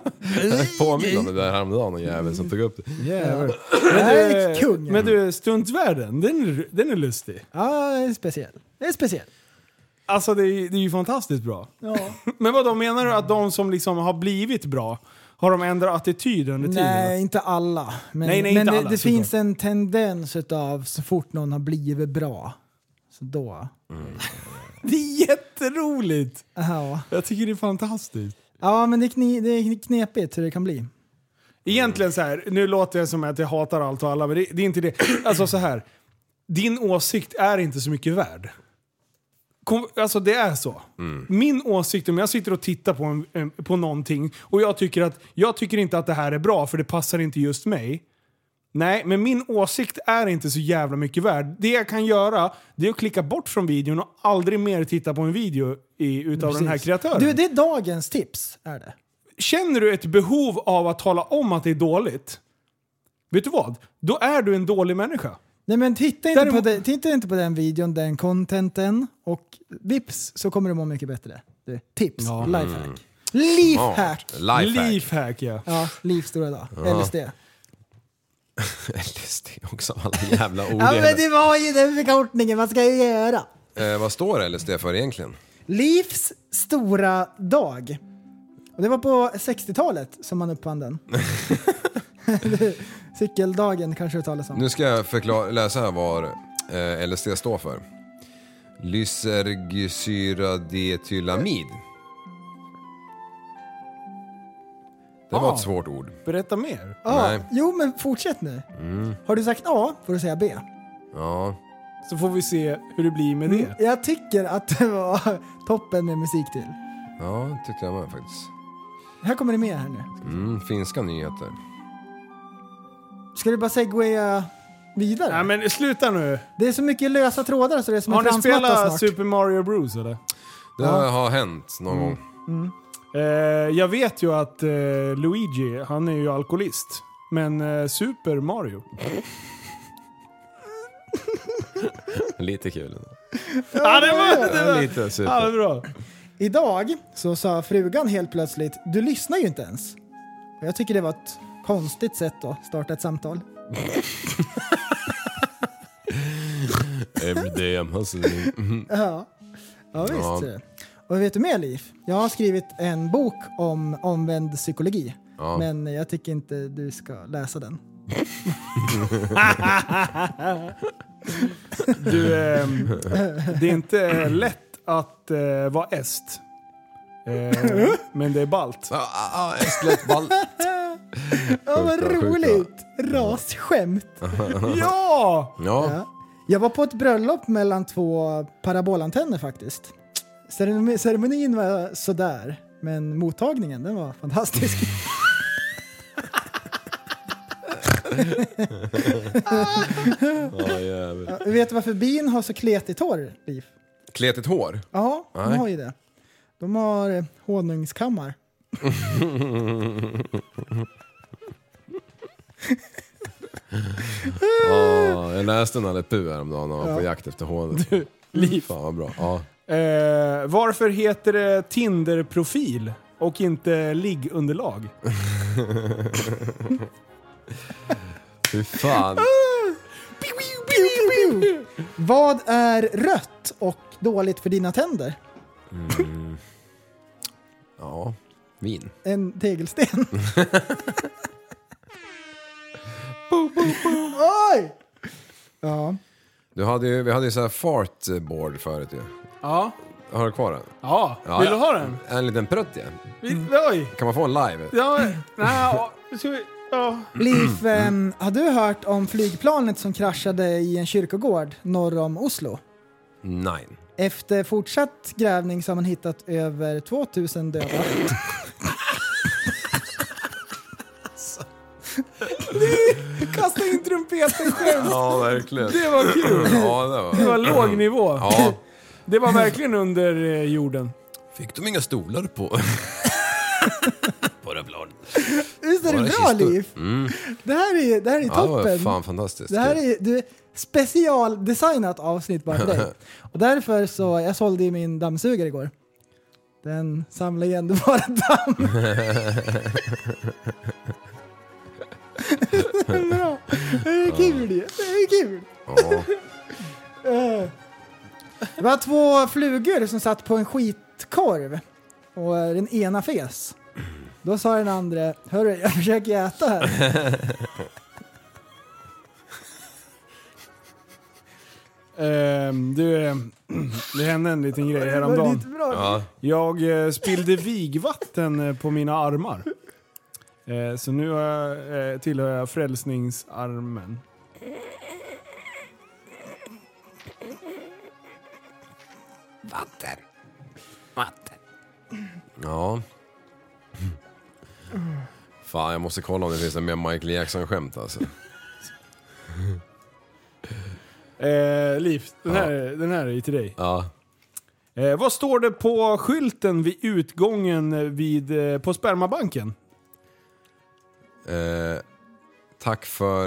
[SPEAKER 7] Påminner om det där häromdagen, någon jävel som tog upp det.
[SPEAKER 6] Jävlar. Det här är kung.
[SPEAKER 5] Men du, stuntvärlden, den är, den är lustig.
[SPEAKER 6] Ja, det är speciell. Det är speciell.
[SPEAKER 5] Alltså det är, det är ju fantastiskt bra.
[SPEAKER 6] Ja.
[SPEAKER 5] Men vad menar du att de som liksom har blivit bra, har de ändrat attityd under tiden?
[SPEAKER 6] Nej, inte alla. Men,
[SPEAKER 5] Nej, nej,
[SPEAKER 6] men
[SPEAKER 5] inte
[SPEAKER 6] det,
[SPEAKER 5] alla,
[SPEAKER 6] det
[SPEAKER 5] såklart.
[SPEAKER 6] finns en tendens utav så fort någon har blivit bra. Så då...
[SPEAKER 5] Det är jätteroligt!
[SPEAKER 6] Ja,
[SPEAKER 5] Jag tycker det är fantastiskt.
[SPEAKER 6] ja men det är, kni, det är knepigt hur det kan bli.
[SPEAKER 5] Egentligen så här, nu låter jag som att jag hatar allt och alla, men det, det är inte det. Alltså så här, din åsikt är inte så mycket värd. Kom, alltså det är så. Min åsikt, om jag sitter och tittar på, en, en, på någonting och jag tycker att jag tycker inte att det här är bra för det passar inte just mig. Nej, men min åsikt är inte så jävla mycket värd. Det jag kan göra det är att klicka bort från videon och aldrig mer titta på en video i, utav den här
[SPEAKER 6] Precis.
[SPEAKER 5] kreatören.
[SPEAKER 6] Du, det är dagens tips. Är det.
[SPEAKER 5] Känner du ett behov av att tala om att det är dåligt, vet du vad? Då är du en dålig människa.
[SPEAKER 6] Nej, men titta, inte
[SPEAKER 5] Däremot-
[SPEAKER 6] på det, titta inte på den videon, den contenten och vips så kommer du må mycket bättre. Du, tips, lifehack. Lifehack!
[SPEAKER 7] Lifehack.
[SPEAKER 5] Lifehack ja.
[SPEAKER 6] Ja, liv stora dag. LSD.
[SPEAKER 7] LSD också, alla jävla ord.
[SPEAKER 6] Ja,
[SPEAKER 7] i
[SPEAKER 6] men
[SPEAKER 7] henne.
[SPEAKER 6] det var ju den förkortningen. Vad ska jag göra?
[SPEAKER 7] eh, vad står LSD för egentligen?
[SPEAKER 6] Livs stora dag. Och det var på 60-talet som man uppfann den. Cykeldagen kanske det talas om.
[SPEAKER 7] Nu ska jag förklara, läsa här vad eh, LSD står för. Lysergysyradetylamid. Det var
[SPEAKER 5] Ah.
[SPEAKER 7] ett svårt ord.
[SPEAKER 5] Berätta mer.
[SPEAKER 6] ja,
[SPEAKER 7] nej.
[SPEAKER 6] jo, men fortsätt nu. Har du sagt A får du säga B.
[SPEAKER 7] Ja.
[SPEAKER 5] Så får vi se hur det blir med det.
[SPEAKER 6] Jag tycker att det var toppen med musik till.
[SPEAKER 7] Ja, tyckte jag med faktiskt.
[SPEAKER 6] Här kommer det med här nu.
[SPEAKER 7] Mm, finska nyheter.
[SPEAKER 6] Ska du bara segwaya vidare?
[SPEAKER 5] Nej men sluta nu.
[SPEAKER 6] Det är så mycket lösa trådar så det är som
[SPEAKER 5] Har
[SPEAKER 6] en
[SPEAKER 5] ni
[SPEAKER 6] fransmatta snart.
[SPEAKER 5] spelat Super Mario Bros eller?
[SPEAKER 7] Det har hänt någon gång.
[SPEAKER 5] Eh, jag vet ju att eh, Luigi, han är ju alkoholist. Men eh, Super Mario?
[SPEAKER 7] Lite kul.
[SPEAKER 5] Ja, det var, det var,
[SPEAKER 7] Lite
[SPEAKER 5] ja, det
[SPEAKER 7] super.
[SPEAKER 5] var bra.
[SPEAKER 6] Idag så sa frugan helt plötsligt, du lyssnar ju inte ens. Och jag tycker det var ett konstigt sätt att starta ett samtal.
[SPEAKER 7] MDM, alltså.
[SPEAKER 6] Ja, ja visst.
[SPEAKER 7] Ja.
[SPEAKER 6] Och vet du mer Liv? Jag har skrivit en bok om omvänd psykologi.
[SPEAKER 7] Ja.
[SPEAKER 6] Men jag tycker inte du ska läsa den.
[SPEAKER 5] Du, ehm, det är inte eh, lätt att eh, vara est. Eh, men det är balt.
[SPEAKER 7] Ah, ah, ah, Estlet Ball.
[SPEAKER 6] Ja,
[SPEAKER 7] Sjukt
[SPEAKER 6] vad
[SPEAKER 7] bra, sjukt
[SPEAKER 6] roligt! Rasskämt.
[SPEAKER 5] Ja!
[SPEAKER 7] Ja,
[SPEAKER 6] Ja. Jag var på ett bröllop mellan två parabolantenner faktiskt. Ceremoni- Ceremonin var sådär, men mottagningen den var fantastisk.
[SPEAKER 7] ja jävlar.
[SPEAKER 6] Vet du varför bin har så kletigt hår, Liv?
[SPEAKER 7] Kletigt hår.
[SPEAKER 6] Ja, de
[SPEAKER 7] Nej.
[SPEAKER 6] har ju det. De har eh, honungskammar.
[SPEAKER 7] Ja, jag läste Nalle Puh häromdagen när han var på jakt efter hålet.
[SPEAKER 5] Liv.
[SPEAKER 7] Fan vad bra. Ja.
[SPEAKER 5] Eh, varför heter det Tinder-profil och inte liggunderlag?
[SPEAKER 7] Fy fan.
[SPEAKER 6] Vad är rött och dåligt för dina tänder?
[SPEAKER 7] Ja, vin.
[SPEAKER 6] En tegelsten. Oj! Ja.
[SPEAKER 7] Du hade ju, vi hade ju så här fartboard förut ju.
[SPEAKER 5] Ja.
[SPEAKER 7] Har du kvar den?
[SPEAKER 5] Ja.
[SPEAKER 7] Ja,
[SPEAKER 5] Vill du
[SPEAKER 7] ja.
[SPEAKER 5] ha den?
[SPEAKER 7] En liten prutt ja.
[SPEAKER 5] Vi, Oj.
[SPEAKER 7] Kan man få en live?
[SPEAKER 5] Ja, nej, ja, ska vi, ja.
[SPEAKER 6] Liv, ehm, har du hört om flygplanet som kraschade i en kyrkogård norr om Oslo?
[SPEAKER 7] Nej.
[SPEAKER 6] Efter fortsatt grävning så har man hittat över 2000 döda.
[SPEAKER 5] Kasta in trumpeten själv.
[SPEAKER 7] Ja, verkligen.
[SPEAKER 5] Det var kul.
[SPEAKER 7] Ja, det
[SPEAKER 5] Det
[SPEAKER 7] var...
[SPEAKER 5] var låg nivå.
[SPEAKER 7] Mm. Ja.
[SPEAKER 5] Det var verkligen under eh, jorden.
[SPEAKER 7] Fick de inga stolar på? på det bladet.
[SPEAKER 6] Visst är det
[SPEAKER 7] Bara
[SPEAKER 6] bra
[SPEAKER 7] kistor. Mm.
[SPEAKER 6] Liv? Det här är, det här är
[SPEAKER 7] Ja, det var
[SPEAKER 6] toppen.
[SPEAKER 7] fan fantastiskt.
[SPEAKER 6] Det här är du, specialdesignat avsnitt bara för dig. Och därför så, jag sålde ju min dammsugare igår. Den samlar ju ändå bara damm. Bra. Det är kul ju. Det är kul. Eh.
[SPEAKER 7] Ja.
[SPEAKER 6] Det var två flugor som satt på en skitkorv och eh, den ena fes. Då sa den andra, hörru jag försöker äta här.
[SPEAKER 5] Ehm, du, eh, det hände en liten grej
[SPEAKER 6] Det var
[SPEAKER 5] häromdagen.
[SPEAKER 6] lite bra.
[SPEAKER 7] ja.
[SPEAKER 5] Jag eh, spillde vigvatten eh, på mina armar. Eh, så nu har jag, eh, tillhör jag frälsningsarmen.
[SPEAKER 7] Vatten. Vatten. Ja. Fan, jag måste kolla om det finns en mer Michael Jackson-skämt alltså.
[SPEAKER 5] Eh, Liv, den här, den här är ju till dig.
[SPEAKER 7] Ja.
[SPEAKER 5] Eh, vad står det på skylten vid utgången vid, eh, på spermabanken?
[SPEAKER 7] Eh, tack för...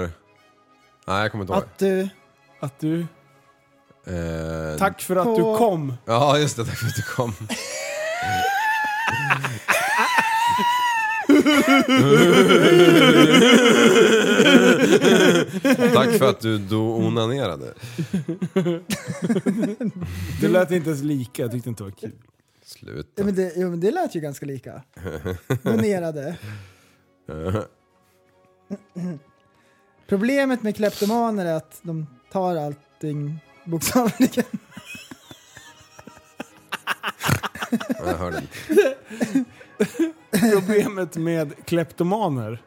[SPEAKER 7] Nej, jag kommer inte ihåg.
[SPEAKER 6] Att du,
[SPEAKER 5] Att du...
[SPEAKER 7] Eh,
[SPEAKER 5] Tack för att du
[SPEAKER 6] På-
[SPEAKER 5] kom.
[SPEAKER 7] Ja, just det. Tack för att du kom. Tack för att du då onanerade.
[SPEAKER 5] Det lät inte ens lika, jag tyckte inte det var kul.
[SPEAKER 7] Sluta.
[SPEAKER 6] ja, men det, jo, men det lät ju ganska lika. Donerade. Problemet med kleptomaner är att de tar allting bokstavligen.
[SPEAKER 7] Jag hörde inte.
[SPEAKER 5] Problemet med kleptomaner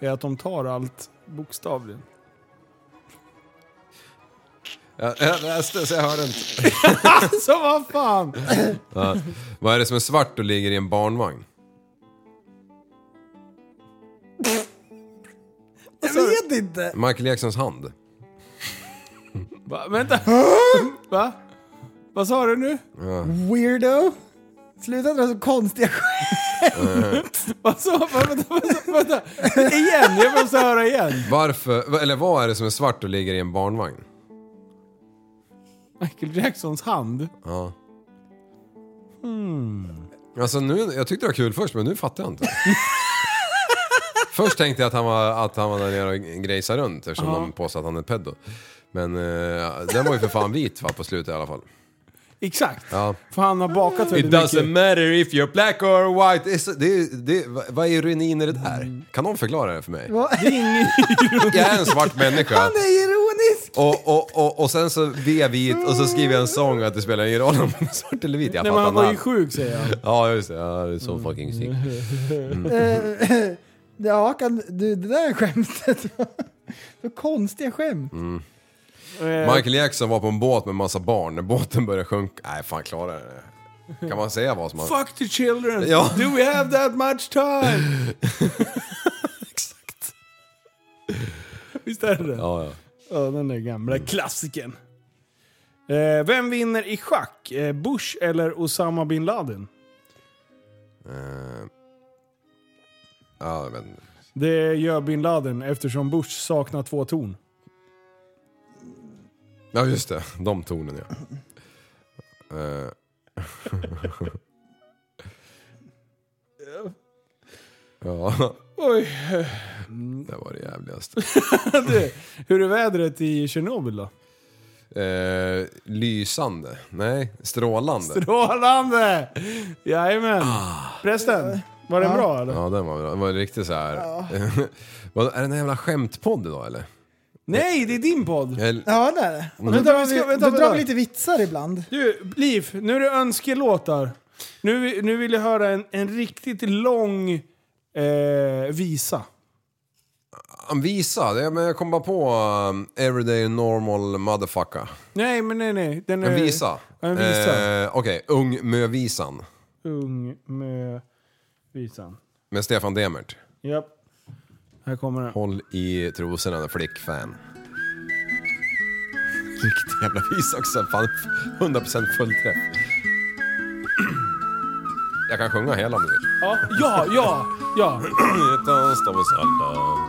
[SPEAKER 5] är att de tar allt bokstavligen.
[SPEAKER 7] Jag, jag läste så jag hörde inte.
[SPEAKER 5] Alltså vad fan!
[SPEAKER 7] Vad är det som är svart och ligger i en barnvagn?
[SPEAKER 6] Jag vet inte.
[SPEAKER 7] Michael Jacksons hand.
[SPEAKER 5] Va, vänta! Va? Vad sa du nu?
[SPEAKER 6] Weirdo. Sluta dra så konstiga skämt.
[SPEAKER 5] Vad sa vad- vänta, vänta, vänta. Igen, jag måste höra igen.
[SPEAKER 7] Varför, eller vad är det som är svart och ligger i en barnvagn?
[SPEAKER 5] Michael Jacksons hand.
[SPEAKER 7] Ja. Alltså nu, jag tyckte det var kul först men nu fattar jag inte. först tänkte jag att han var, att han var där nere och grejsade runt eftersom de påstod att han är peddo. Men eh, den var ju för fan vit va, på slutet i alla fall.
[SPEAKER 5] Exakt.
[SPEAKER 7] Ja.
[SPEAKER 5] För han har bakat
[SPEAKER 7] It
[SPEAKER 5] väldigt
[SPEAKER 7] doesn't
[SPEAKER 5] mycket.
[SPEAKER 7] matter if you're black or white. It's, det, det, vad är ironin i det där? Mm. Kan någon förklara det för mig?
[SPEAKER 6] Va?
[SPEAKER 7] Jag är en svart människa.
[SPEAKER 6] Han är ironisk!
[SPEAKER 7] Och, och, och, och sen så vev hit och så skriver jag en sång att det spelar ingen roll om man är svart eller vit. Jag
[SPEAKER 5] Nej men
[SPEAKER 7] fattar
[SPEAKER 5] han var ju
[SPEAKER 7] namn.
[SPEAKER 5] sjuk säger han.
[SPEAKER 7] Ja just det, ja, det är så fucking sick.
[SPEAKER 6] Eh, ja, kan, du, det där skämtet var... Så konstiga skämt.
[SPEAKER 5] Eh,
[SPEAKER 7] Michael Jackson var på en båt med massa barn. När båten började sjunka... Nej fan klara det. Kan man säga vad som man...
[SPEAKER 5] Fuck the children!
[SPEAKER 7] Ja.
[SPEAKER 5] Do we have that much time? Exakt. Visst är det det?
[SPEAKER 7] Ja, ja.
[SPEAKER 5] Ja, den där gamla klassikern. Eh, vem vinner i schack? Eh, Bush eller Osama bin Laden?
[SPEAKER 7] Eh, ja men...
[SPEAKER 5] Det gör bin Laden eftersom Bush saknar två torn.
[SPEAKER 7] Ja just det, de tonen ja. Eh, ja,
[SPEAKER 5] Oj.
[SPEAKER 7] det var det jävligaste.
[SPEAKER 5] Du, hur är vädret i Tjernobyl då?
[SPEAKER 7] Eh, lysande? Nej, strålande.
[SPEAKER 5] Strålande! Jajamän.
[SPEAKER 6] Ah.
[SPEAKER 5] Prästen, var den bra eller?
[SPEAKER 7] ja, den var bra. Den var riktigt så här. Vad, är det en jävla skämtpodd idag eller?
[SPEAKER 5] Nej, det är din podd!
[SPEAKER 7] Eller-
[SPEAKER 6] Ja, det är det. Då
[SPEAKER 5] Vänta,
[SPEAKER 6] drar
[SPEAKER 5] vi
[SPEAKER 6] vi,
[SPEAKER 5] ska- vänta,
[SPEAKER 6] då drar
[SPEAKER 5] vänta.
[SPEAKER 6] vi lite vitsar ibland.
[SPEAKER 5] Du, Liv, nu är det önskelåtar. Nu, vi- nu vill jag höra en, en riktigt lång eh, visa.
[SPEAKER 7] Han visade, ja, men jag kom bara på um, Everyday Normal Motherfucker.
[SPEAKER 5] Nej, men nej, nej. Den
[SPEAKER 7] En
[SPEAKER 5] är,
[SPEAKER 7] visa.
[SPEAKER 5] En visa.
[SPEAKER 7] Eh, Okej, Ung Mö-visan.
[SPEAKER 5] Ung med visan.
[SPEAKER 7] Med Stefan Demert.
[SPEAKER 5] Japp. Här kommer den.
[SPEAKER 7] Håll i trosorna, flickfan. Riktig jävla visa också. Fan, 100% fullträff. Jag kan sjunga hela om du vill.
[SPEAKER 5] Ja, ja, ja! ja.
[SPEAKER 7] Hjärtans av oss alla.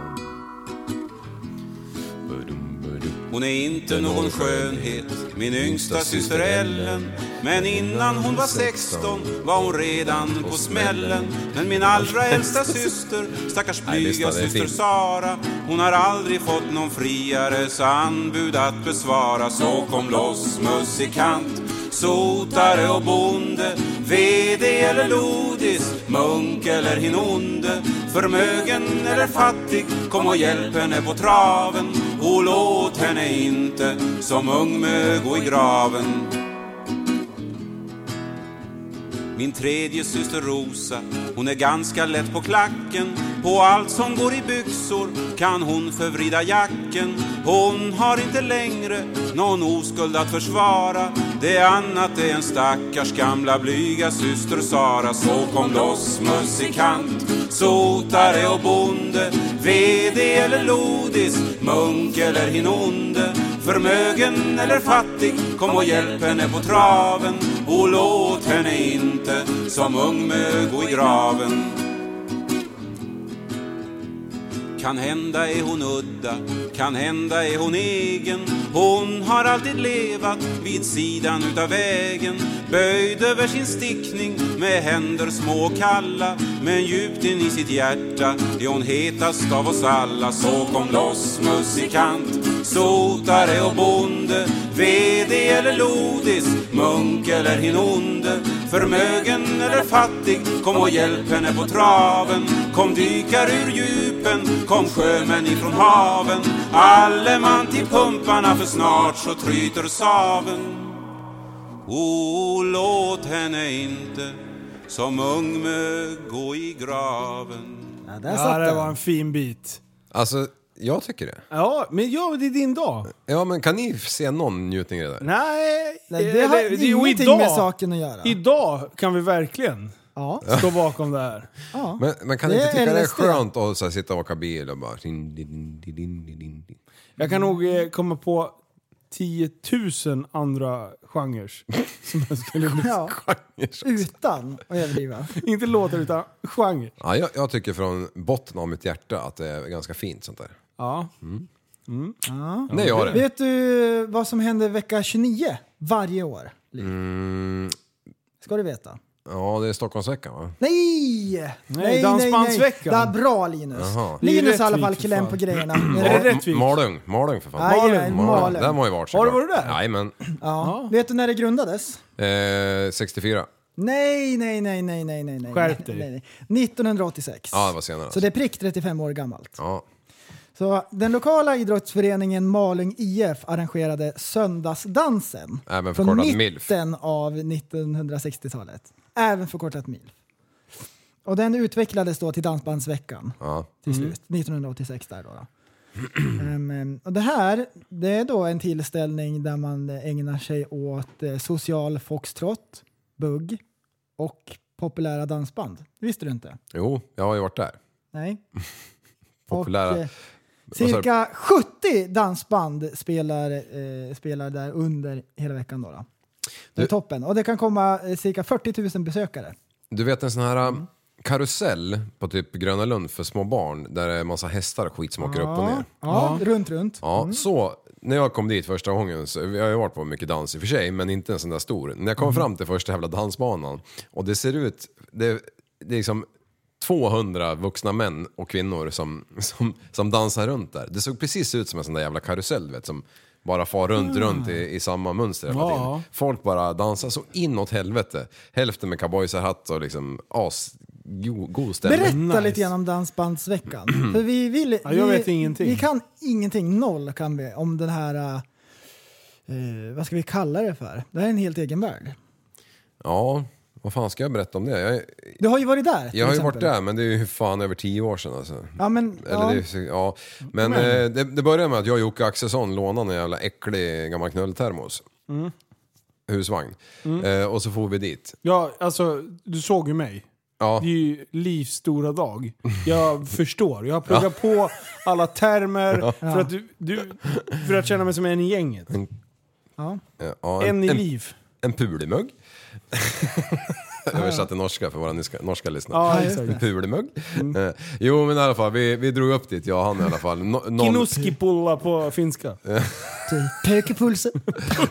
[SPEAKER 8] Hon är inte någon skönhet, min yngsta syster Ellen. Men innan hon var 16 var hon redan på smällen. Men min allra äldsta syster, stackars
[SPEAKER 7] Nej, lyssna,
[SPEAKER 8] blyga
[SPEAKER 7] det är
[SPEAKER 8] syster
[SPEAKER 7] fint.
[SPEAKER 8] Sara. Hon har aldrig fått någon friares anbud att besvara. Så kom loss musikant, sotare och bonde. VD eller lodis, munk eller hinonde. Förmögen eller fattig, kom och hjälp henne på traven. Och låt henne inte som ung mö gå i graven. Min tredje syster Rosa, hon är ganska lätt på klacken. På allt som går i byxor kan hon förvrida jacken. Hon har inte längre någon oskuld att försvara. Det är annat är en stackars gamla blyga syster Sara. Så kom loss musikant, sotare och bonde, VD eller lodis, munk eller hinonde. Förmögen eller fattig, kom och hjälp henne på traven och låt henne inte som ung mö gå i graven. Kan hända är hon udda, kan hända är hon egen. Hon har alltid levat vid sidan utav vägen. Böjd över sin stickning med händer små och kalla. Men djupt in i sitt hjärta är hon hetast av oss alla. Så kom loss musikant, sotare och bonde. VD eller lodis, munk eller hinonde. Förmögen eller fattig, kom och hjälp henne på traven. Kom dykar ur djupen, kom sjömän ifrån haven. Alle man till pumparna, för snart så tryter saven. O, låt henne inte som ung mö gå i graven.
[SPEAKER 6] Ja, där
[SPEAKER 5] Ja,
[SPEAKER 6] satt
[SPEAKER 5] det
[SPEAKER 6] den.
[SPEAKER 5] var en fin bit.
[SPEAKER 7] Alltså, jag tycker det.
[SPEAKER 5] Ja, men ja, det är din dag.
[SPEAKER 7] Ja, men kan ni se någon njutning i det där?
[SPEAKER 5] Nej,
[SPEAKER 6] Nej, det har
[SPEAKER 5] eller- det- jo,
[SPEAKER 6] ingenting
[SPEAKER 5] idag-
[SPEAKER 6] med saken att göra.
[SPEAKER 5] Idag kan vi verkligen
[SPEAKER 6] Ja,
[SPEAKER 5] stå bakom det här.
[SPEAKER 6] ja.
[SPEAKER 7] Men, men kan
[SPEAKER 6] Det
[SPEAKER 7] ni inte
[SPEAKER 6] är
[SPEAKER 7] tycka det är
[SPEAKER 6] LSD.
[SPEAKER 7] skönt att så här, sitta och åka bil och bara... din, din, din, din, din, din, din.
[SPEAKER 5] Jag kan nog eh, komma på 10 000 andra genrer. Som jag skulle...
[SPEAKER 6] ja. Utan att överdriva.
[SPEAKER 5] Inte låtar utan genre.
[SPEAKER 7] Ja, jag, jag tycker från botten av mitt hjärta att det är ganska fint sånt där.
[SPEAKER 5] Ja.
[SPEAKER 7] Nej, jag har det.
[SPEAKER 6] Vet du
[SPEAKER 7] Mm.
[SPEAKER 6] vad som händer vecka 29 varje år? Liv? Ska du veta.
[SPEAKER 7] Ja, det är Stockholmsveckan va?
[SPEAKER 6] Nej!
[SPEAKER 5] dansbandsveckan.
[SPEAKER 6] Det är bra Linus.
[SPEAKER 7] Jaha.
[SPEAKER 5] Det är
[SPEAKER 6] Linus
[SPEAKER 5] rätt Mm.
[SPEAKER 6] har i alla fall
[SPEAKER 5] vid, för
[SPEAKER 6] kläm
[SPEAKER 5] fan.
[SPEAKER 6] på grejerna.
[SPEAKER 5] Är
[SPEAKER 6] Är
[SPEAKER 5] det
[SPEAKER 6] det
[SPEAKER 5] rättvist?
[SPEAKER 7] Malung, Malung för fan.
[SPEAKER 6] Aj, aj, Malung.
[SPEAKER 7] Den har ju varit
[SPEAKER 5] Har du
[SPEAKER 7] såklart.
[SPEAKER 5] varit där?
[SPEAKER 7] Jajamän.
[SPEAKER 6] Ja. Vet du när det grundades?
[SPEAKER 7] Eh, 64.
[SPEAKER 6] Nej, nej, nej, nej, nej, nej. nej.
[SPEAKER 5] Skärp dig.
[SPEAKER 6] Nej, nej. 1986.
[SPEAKER 7] Ja, det var senare. alltså.
[SPEAKER 6] Så det är prick 35 år gammalt.
[SPEAKER 7] Ja.
[SPEAKER 6] Så den lokala idrottsföreningen Malung IF arrangerade Söndagsdansen
[SPEAKER 7] Även
[SPEAKER 6] från
[SPEAKER 7] förkortat
[SPEAKER 6] mitten
[SPEAKER 7] MILF.
[SPEAKER 6] av 1960-talet. Även förkortat MILF. Och den utvecklades då till Dansbandsveckan
[SPEAKER 7] ja.
[SPEAKER 6] till slut, 1986. Där då. Ehm, och det här det är då en tillställning där man ägnar sig åt eh, social foxtrot, bugg och populära dansband. Visste du inte?
[SPEAKER 7] Jo, jag har ju varit där.
[SPEAKER 6] Nej.
[SPEAKER 7] Populära.
[SPEAKER 6] Och, eh,
[SPEAKER 7] sa du?
[SPEAKER 6] cirka 70 dansband spelar, eh, spelar där under hela veckan. Då, då. Det är
[SPEAKER 7] Du-
[SPEAKER 6] toppen. Och det kan komma eh, cirka 40 000 besökare.
[SPEAKER 7] Du vet en sån här eh, karusell på typ Gröna Lund för små barn där det är massa hästar och skit som åker upp och ner.
[SPEAKER 6] Ja, runt, runt.
[SPEAKER 7] Ja, så när jag kom dit första gången, så, jag har ju varit på mycket dans i och för sig, men inte en sån där stor. När jag kom fram till första jävla dansbanan och det ser ut, det, det är liksom 200 vuxna män och kvinnor som, som, som dansar runt där. Det såg precis ut som en sån där jävla karusell du vet, som bara far runt, runt i, i samma mönster hela tiden.
[SPEAKER 5] Ja.
[SPEAKER 7] Folk bara dansar så inåt helvete. Hälften med cowboyserhatt och liksom as... go- God stämning.
[SPEAKER 6] Berätta
[SPEAKER 5] Nice.
[SPEAKER 6] lite grann om Dansbandsveckan. För vi vill,
[SPEAKER 5] Ja, jag
[SPEAKER 6] vi,
[SPEAKER 5] vet ingenting.
[SPEAKER 6] Vi kan ingenting, noll kan vi, om den här... eh, vad ska vi kalla det för? Det här är en helt egen värld.
[SPEAKER 7] Ja, vad fan ska jag berätta om det? Jag,
[SPEAKER 6] Du har ju varit där. till
[SPEAKER 7] Jag har ju
[SPEAKER 6] exempel.
[SPEAKER 7] varit där, men det är ju fan över tio år sedan alltså.
[SPEAKER 6] Ja, Mm. men,
[SPEAKER 7] Eller
[SPEAKER 6] ja.
[SPEAKER 7] Det, är, ju så- ja. Men eh, det, det började med att jag och Jocke Axelsson lånade en jävla äcklig gammal knulltermos.
[SPEAKER 6] Mm.
[SPEAKER 7] Husvagn. Eh, och så for vi dit.
[SPEAKER 5] Ja, alltså du såg ju mig.
[SPEAKER 7] Ja,
[SPEAKER 5] Det är ju livs stora dag. Jag förstår. Jag har pluggat på alla termer för, att du, du, för att känna mig som en i gänget.
[SPEAKER 7] eh, ja,
[SPEAKER 5] En i
[SPEAKER 7] en,
[SPEAKER 5] liv.
[SPEAKER 7] en pulimugg. Översatt till norska för våra norska, norska lyssnare.
[SPEAKER 5] Ja,
[SPEAKER 6] just Mm.
[SPEAKER 5] exakt.
[SPEAKER 7] En pulimugg. Eh, jo men i alla fall, vi, vi drog upp dit, jag och han i alla fall. No, någon-
[SPEAKER 5] Kinuskipulla på finska.
[SPEAKER 6] typ Pökepulsen.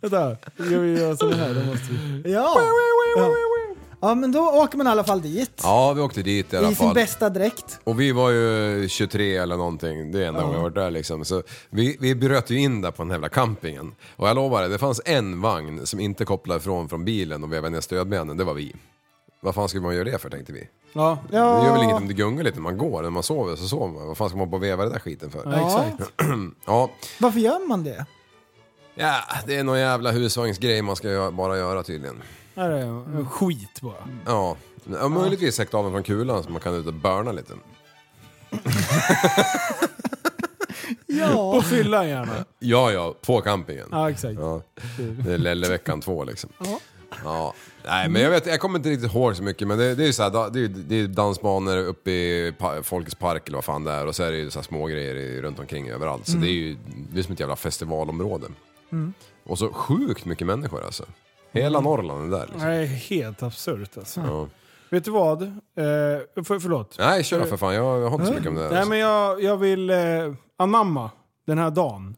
[SPEAKER 5] Vänta, jag vill göra sån här. Det måste vi.
[SPEAKER 6] Ja. ja. Ja, men då åker man i alla fall dit.
[SPEAKER 7] Ja, vi åkte dit i alla
[SPEAKER 6] I sin
[SPEAKER 7] fall.
[SPEAKER 6] bästa dräkt.
[SPEAKER 7] Och vi var ju 23 eller någonting, det är enda gången jag varit där liksom. Så vi, vi bröt ju in där på den jävla campingen. Och jag lovar dig, det fanns en vagn som inte kopplade ifrån från bilen och vevade ner stödbenen, det var vi. Vad fan skulle man göra det för tänkte vi?
[SPEAKER 5] Ja,
[SPEAKER 7] Det gör väl
[SPEAKER 6] Ja.
[SPEAKER 7] inget om det gungar lite när man går, när man sover så sover man. Vad fan ska man på och veva den där skiten för?
[SPEAKER 5] ja, exakt.
[SPEAKER 7] Ja.
[SPEAKER 6] Varför gör man det?
[SPEAKER 7] ja, det är någon jävla husvagnsgrej man ska gö- bara göra tydligen.
[SPEAKER 5] Här är en skit bara.
[SPEAKER 7] Ja, ja möjligtvis häkta av den från kulan så man kan ut och börna lite.
[SPEAKER 5] På fyllan gärna.
[SPEAKER 7] Ja, ja, på campingen.
[SPEAKER 5] Ja, exakt.
[SPEAKER 7] Ja. Det är Lelleveckan 2 liksom. Ja. Nej, men jag, vet, jag kommer inte riktigt ihåg så mycket, men det, det är ju så här, da- det, är, ju- det är dansbanor uppe i pa, Folkets park eller vad fan det är och så är det ju så här små grejer i- runt omkring överallt. Så det är ju det är som ett jävla festivalområde. Och så sjukt mycket människor alltså. Hela Norrland är där liksom.
[SPEAKER 5] Det är helt absurt alltså.
[SPEAKER 7] Ja.
[SPEAKER 5] Vet du vad? Eh, för, förlåt.
[SPEAKER 7] Nej, kör för fan. Jag, jag har inte så mycket om det alltså. här.
[SPEAKER 5] Nej, men jag, jag vill eh, anamma den här dagen.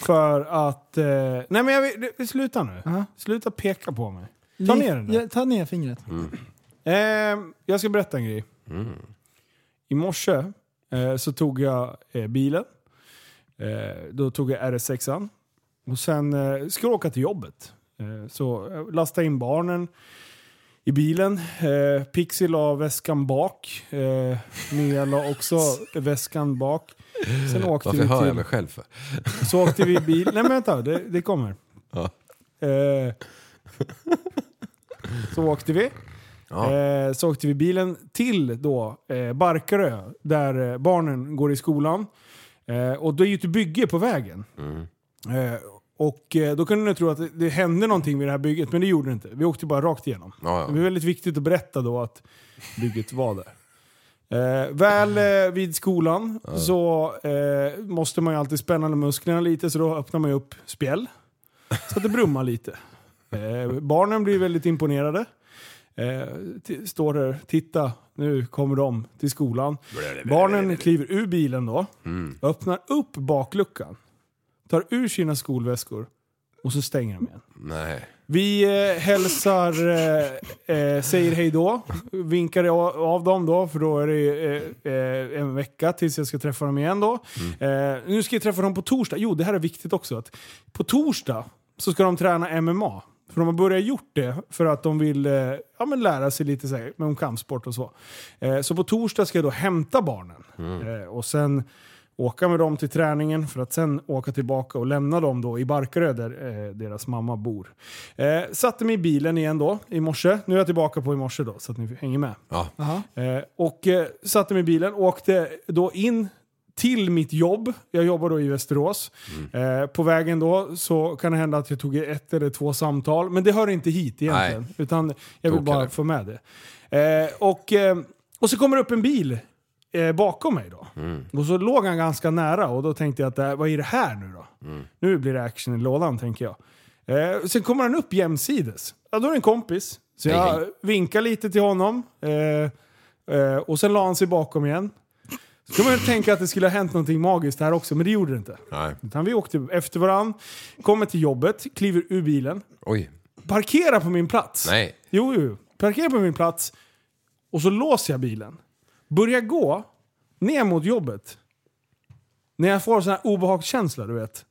[SPEAKER 5] För att... Eh, nej men jag vill, sluta nu. Sluta peka på mig. Ta ner den där.
[SPEAKER 6] Ja, ta ner fingret.
[SPEAKER 7] Mm.
[SPEAKER 5] Eh, jag ska berätta en grej. I morse eh, så tog jag eh, bilen. Eh, då tog jag RS6an. Och sen eh, skulle jag åka till jobbet. Eh, så jag lastade in barnen i bilen. Eh, Pixie la väskan bak. Eh, Mia la också väskan bak. Sen åkte
[SPEAKER 7] Varför
[SPEAKER 5] vi
[SPEAKER 7] hör
[SPEAKER 5] till...
[SPEAKER 7] jag mig själv för?
[SPEAKER 5] Så åkte vi i bil. Nej men vänta, det, det kommer.
[SPEAKER 7] Ja.
[SPEAKER 5] Eh, så åkte vi.
[SPEAKER 7] Ja.
[SPEAKER 5] Eh, så åkte vi bilen till då eh, Barkarö, där eh, barnen går i skolan. Eh, och då är ju ett bygge på vägen.
[SPEAKER 7] Mm.
[SPEAKER 5] Eh, och eh, då kunde ni tro att det, det hände någonting vid det här bygget, men det gjorde det inte. Vi åkte bara rakt igenom.
[SPEAKER 7] Ja,
[SPEAKER 5] Det
[SPEAKER 7] ja.
[SPEAKER 5] är väldigt viktigt att berätta då att bygget var där. Eh, väl eh, vid skolan så eh, måste man ju alltid spänna musklerna lite så då öppnar man ju upp spjäll. Så att det brummar lite. Eh, barnen blir väldigt imponerade. Eh, t- står där, titta nu kommer de till skolan. Barnen kliver ur bilen då, öppnar upp bakluckan, tar ur sina skolväskor Och så stänger de igen.
[SPEAKER 7] Nej.
[SPEAKER 5] Vi eh, hälsar, eh, eh, säger hej då, vinkar jag av dem då, för då är det ju, eh, eh, en vecka tills jag ska träffa dem igen då. Eh, nu ska jag träffa dem på torsdag. Jo, det här är viktigt också. Att på torsdag så ska de träna MMA. För de har börjat gjort det för att de vill eh, ja, men lära sig lite så här, om kampsport och så. Eh, så på torsdag ska jag då hämta barnen. Eh, och sen åka med dem till träningen för att sen åka tillbaka och lämna dem då i Barkarö där eh, deras mamma bor. Eh, satte mig i bilen igen då i morse. Nu är jag tillbaka på i morse då så att ni hänger med.
[SPEAKER 7] Ja.
[SPEAKER 5] Eh, och eh, satte mig i bilen och åkte då in till mitt jobb. Jag jobbar då i Västerås. Eh, på vägen då så kan det hända att jag tog ett eller två samtal. Men det hör inte hit egentligen.
[SPEAKER 7] Nej.
[SPEAKER 5] Utan jag vill
[SPEAKER 7] Då
[SPEAKER 5] bara
[SPEAKER 7] kan det.
[SPEAKER 5] få med det. Eh, och, eh, och så kommer det upp en bil eh, bakom mig då.
[SPEAKER 7] Mm.
[SPEAKER 5] Och så låg han ganska nära och då tänkte jag att det här- vad är det här nu då?
[SPEAKER 7] Mm.
[SPEAKER 5] Nu blir det action i lådan tänker jag. Eh, sen kommer han upp jämsides. Ja, då är det en kompis. Så
[SPEAKER 7] Hej,
[SPEAKER 5] jag
[SPEAKER 7] hej.
[SPEAKER 5] vinkar lite till honom. Eh, Eh, och sen la han sig bakom igen. Så kan man ju tänka att det skulle ha hänt någonting magiskt här också, men det gjorde det inte.
[SPEAKER 7] Nej.
[SPEAKER 5] Utan vi åkte efter varandra, kommer till jobbet, kliver ur bilen,
[SPEAKER 7] Oj.
[SPEAKER 5] parkerar på min plats.
[SPEAKER 7] Nej.
[SPEAKER 5] Jo, jo, jo. Parkerar på min plats och så låser jag bilen. Börjar gå ner mot jobbet. När jag får sån här obehagskänsla, du vet.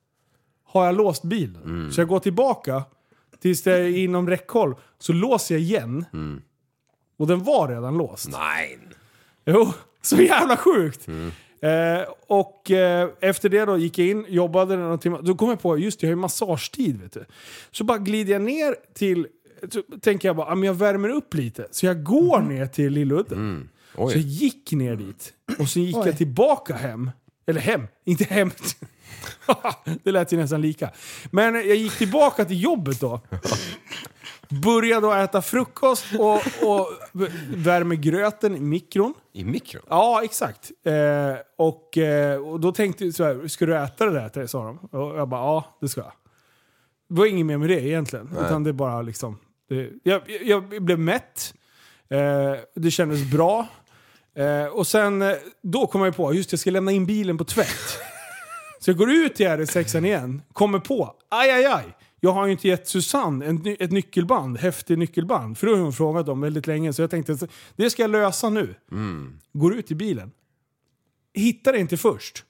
[SPEAKER 5] Har jag låst bilen? Så jag går tillbaka tills det är inom räckhåll. Så låser jag igen. Och den var redan låst.
[SPEAKER 7] Nej.
[SPEAKER 5] Jo, så jävla sjukt! Eh, och eh, efter det då gick jag in, jobbade några timmar. Då kom jag på, just det, jag har ju massagetid vet du. Så bara glider jag ner till, så tänker jag bara, ah, men jag värmer upp lite. Så jag går ner till Lilludden. Så jag
[SPEAKER 7] Oj.
[SPEAKER 5] gick ner dit. Och sen gick
[SPEAKER 6] Oj.
[SPEAKER 5] jag tillbaka hem. Eller hem, inte hem. det lät ju nästan lika. Men jag gick tillbaka till jobbet då. Började då äta frukost och, och värmer gröten i mikron.
[SPEAKER 7] I mikron?
[SPEAKER 5] Ja, exakt. Eh, och, eh, och då tänkte jag så här, ska du äta det där? sa de. Och jag bara, ja det ska jag. Det var inget mer med det egentligen. Utan det bara liksom, det, jag, jag jag blev mätt. Eh, det kändes bra. Eh, och sen, eh, då kom jag på, just det, jag ska lämna in bilen på tvätt. Så jag går ut i RS6 igen, kommer på, aj aj aj. Jag har ju inte gett Susanne en, ny- ett nyckelband, häftig nyckelband. För det har hon frågat om väldigt länge. Så jag tänkte, att det ska jag lösa nu. Går ut i bilen. Hittar det inte först.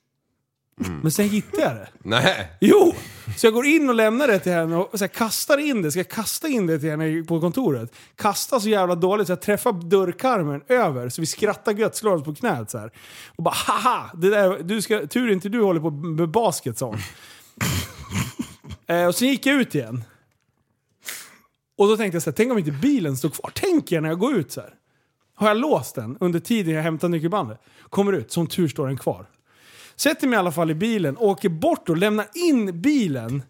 [SPEAKER 5] Men sen hittar jag det.
[SPEAKER 7] Nej.
[SPEAKER 5] Jo! Så jag går in och lämnar det till henne och så här, kastar in det. Ska jag kasta in det till henne på kontoret? Kastar så jävla dåligt så jag träffar dörrkarmen över. Så vi skrattar gött, slår oss på knät så här. Och bara haha! Det där, du ska, tur inte du håller på med basket sa hon. eh, och sen gick jag ut igen. Och då tänkte jag så här, tänk om inte bilen står kvar? Tänker jag när jag går ut så här. Har jag låst den under tiden jag hämtar nyckelbandet? Kommer ut, som tur står den kvar. Sätter mig i alla fall i bilen, åker bort och lämnar in bilen.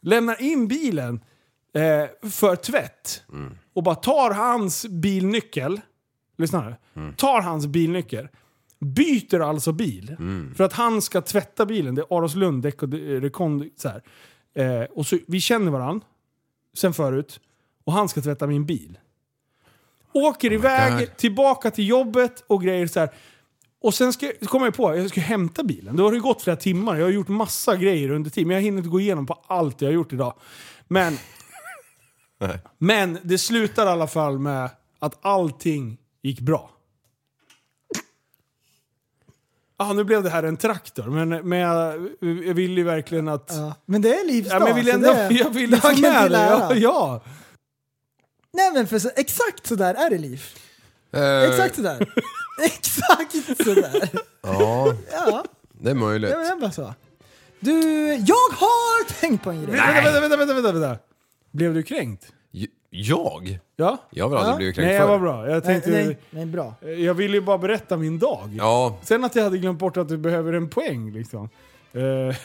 [SPEAKER 5] Lämnar in bilen eh, för tvätt. Och bara tar hans bilnyckel. Lyssna nu. Tar hans bilnyckel. Byter alltså bil. För att han ska tvätta bilen. Det är Aroslund, däck och eh, rekond. Så här. Eh, och så, vi känner varandra sen förut. Och han ska tvätta min bil. Åker iväg,
[SPEAKER 7] God.
[SPEAKER 5] tillbaka till jobbet och grejer så här. Och sen ska, så kom jag på att jag ska hämta bilen. Då har det gått flera timmar. Jag har gjort massa grejer under tiden. Men jag hinner inte gå igenom på allt jag har gjort idag. Men, men det slutar i alla fall med att allting gick bra. Ah, nu blev det här en traktor, men, men jag, jag vill ju verkligen att...
[SPEAKER 6] Ja. Men det är livsdag.
[SPEAKER 5] Ja, men jag vill
[SPEAKER 6] så
[SPEAKER 5] ändå,
[SPEAKER 6] det-
[SPEAKER 5] jag vill ju
[SPEAKER 6] det
[SPEAKER 5] få
[SPEAKER 6] kan vi
[SPEAKER 5] med det. Ja,
[SPEAKER 6] lära.
[SPEAKER 5] ja.
[SPEAKER 6] Nej men för så, exakt sådär är det liv.
[SPEAKER 7] Eh,
[SPEAKER 6] Exakt sådär. exakt sådär.
[SPEAKER 7] Ja,
[SPEAKER 6] Ja,
[SPEAKER 7] det är möjligt.
[SPEAKER 6] det är bara så. Du, jag har tänkt på en grej.
[SPEAKER 5] Vänta, vänta, vänta, vänta, vänta, vänta. Blev du kränkt?
[SPEAKER 7] J- Jag?
[SPEAKER 5] Ja?
[SPEAKER 7] Jag har väl aldrig blivit kränkt
[SPEAKER 5] Nej,
[SPEAKER 7] förr?
[SPEAKER 5] vad bra. Jag
[SPEAKER 6] Nej,
[SPEAKER 5] tänkte...
[SPEAKER 6] nej, nej, bra.
[SPEAKER 5] Jag ville ju bara berätta min dag.
[SPEAKER 7] Ja,
[SPEAKER 5] Sen att jag hade glömt bort att du behöver en poäng liksom. Eh,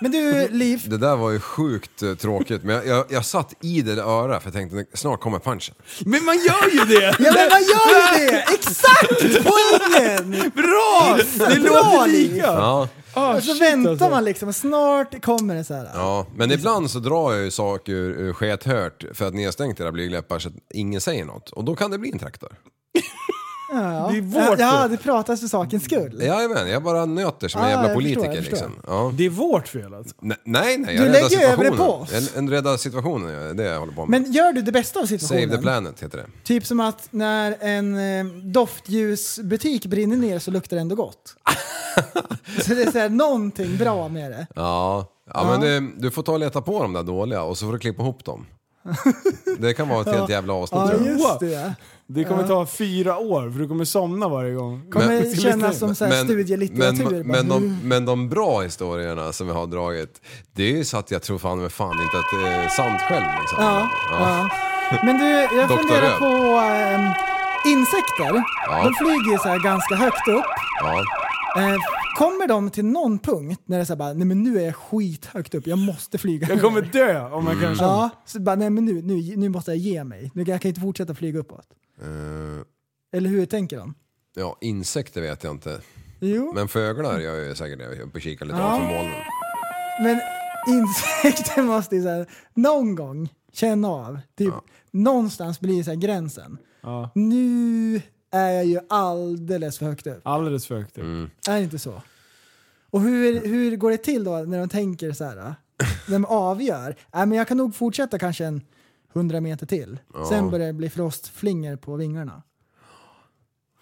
[SPEAKER 6] Men du, Liv.
[SPEAKER 7] det där var ju sjukt eh, tråkigt. Men jag, jag, jag satt i det där örat för jag tänkte snart kommer punchen.
[SPEAKER 5] men man gör ju det!
[SPEAKER 6] Ja men vad gör du det? Exakt poängen!
[SPEAKER 5] Bra! Det
[SPEAKER 6] Bra,
[SPEAKER 5] låter lika!
[SPEAKER 7] Ja.
[SPEAKER 5] Ah,
[SPEAKER 6] Och så
[SPEAKER 5] shit,
[SPEAKER 6] väntar
[SPEAKER 5] alltså.
[SPEAKER 6] man liksom och snart kommer det så här.
[SPEAKER 7] Ja, men ibland så drar jag ju saker ur, ur skethört för att ni har stängt era blygdläppar så att ingen säger något. Och då kan det bli en traktor.
[SPEAKER 6] Ja.
[SPEAKER 5] Det är vårt fel.
[SPEAKER 6] Ja, det pratas för sakens skull.
[SPEAKER 7] Jajamän, jag bara nöter som
[SPEAKER 6] Ja,
[SPEAKER 7] en jävla
[SPEAKER 6] jag förstår,
[SPEAKER 7] politiker
[SPEAKER 6] jag förstår.
[SPEAKER 7] liksom. Ja.
[SPEAKER 5] Det är vårt fel alltså.
[SPEAKER 7] Ne- Nej, nej,
[SPEAKER 6] Du
[SPEAKER 7] jag
[SPEAKER 6] lägger
[SPEAKER 7] räddar
[SPEAKER 6] ju över det
[SPEAKER 7] situationen.
[SPEAKER 6] på oss.
[SPEAKER 7] En, en rädda situationen, ja, det är det jag håller på med.
[SPEAKER 6] Men gör du det bästa av
[SPEAKER 7] Save the
[SPEAKER 6] situationen?
[SPEAKER 7] planet heter det.
[SPEAKER 6] Typ som att när en eh, doftljusbutik brinner ner så luktar det ändå gott. så det är så här, någonting bra med det.
[SPEAKER 7] Ja, ja, men det, du får ta och leta på de där dåliga och så får du klippa ihop dem. Det kan vara ett helt jävla avsnitt
[SPEAKER 6] Ja,
[SPEAKER 7] tror jag.
[SPEAKER 6] just det.
[SPEAKER 5] Det kommer ta fyra år för du kommer somna varje gång.
[SPEAKER 6] Kommer
[SPEAKER 7] Men-
[SPEAKER 6] det kännas som så här studielitteratur.
[SPEAKER 7] Men,
[SPEAKER 6] bara,
[SPEAKER 7] men, de, men de bra historierna som vi har dragit, det är ju så att jag tror fan med fan inte att det är sant själv liksom.
[SPEAKER 6] Ja, ja. Men du, jag
[SPEAKER 7] Dr.
[SPEAKER 6] funderar
[SPEAKER 7] Röd.
[SPEAKER 6] på ehm, insekter.
[SPEAKER 7] Ja.
[SPEAKER 6] De flyger ju så här ganska högt upp.
[SPEAKER 7] Ja.
[SPEAKER 6] Eh, kommer de till någon punkt när det är så här bara, nej men nu är jag skithögt upp, jag måste flyga
[SPEAKER 5] Jag kommer
[SPEAKER 6] ner."
[SPEAKER 5] dö om jag kan känna.
[SPEAKER 6] Ja, så bara nej men nu, nu, nu måste jag ge mig. Nu, kan- jag kan inte fortsätta flyga uppåt.
[SPEAKER 7] Eh,
[SPEAKER 6] Eller hur tänker de?
[SPEAKER 7] ja, insekter vet jag inte.
[SPEAKER 6] Jo, men,
[SPEAKER 7] Men fåglar gör ju säkert det. Jag är uppe och kikar lite ovanför molnen.
[SPEAKER 6] insekter måste ju så här, någon gång känna av. Typ, Någonstans blir så här gränsen.
[SPEAKER 5] Ja.
[SPEAKER 6] Nu är jag ju alldeles för högt upp.
[SPEAKER 5] Alldeles för högt.
[SPEAKER 7] Mm.
[SPEAKER 6] Är det inte så? Och hur, hur går det till då när de tänker så här? När de avgör? Äh, men jag kan nog fortsätta kanske en 100 meter till. Sen börjar det bli frostflingor på vingarna.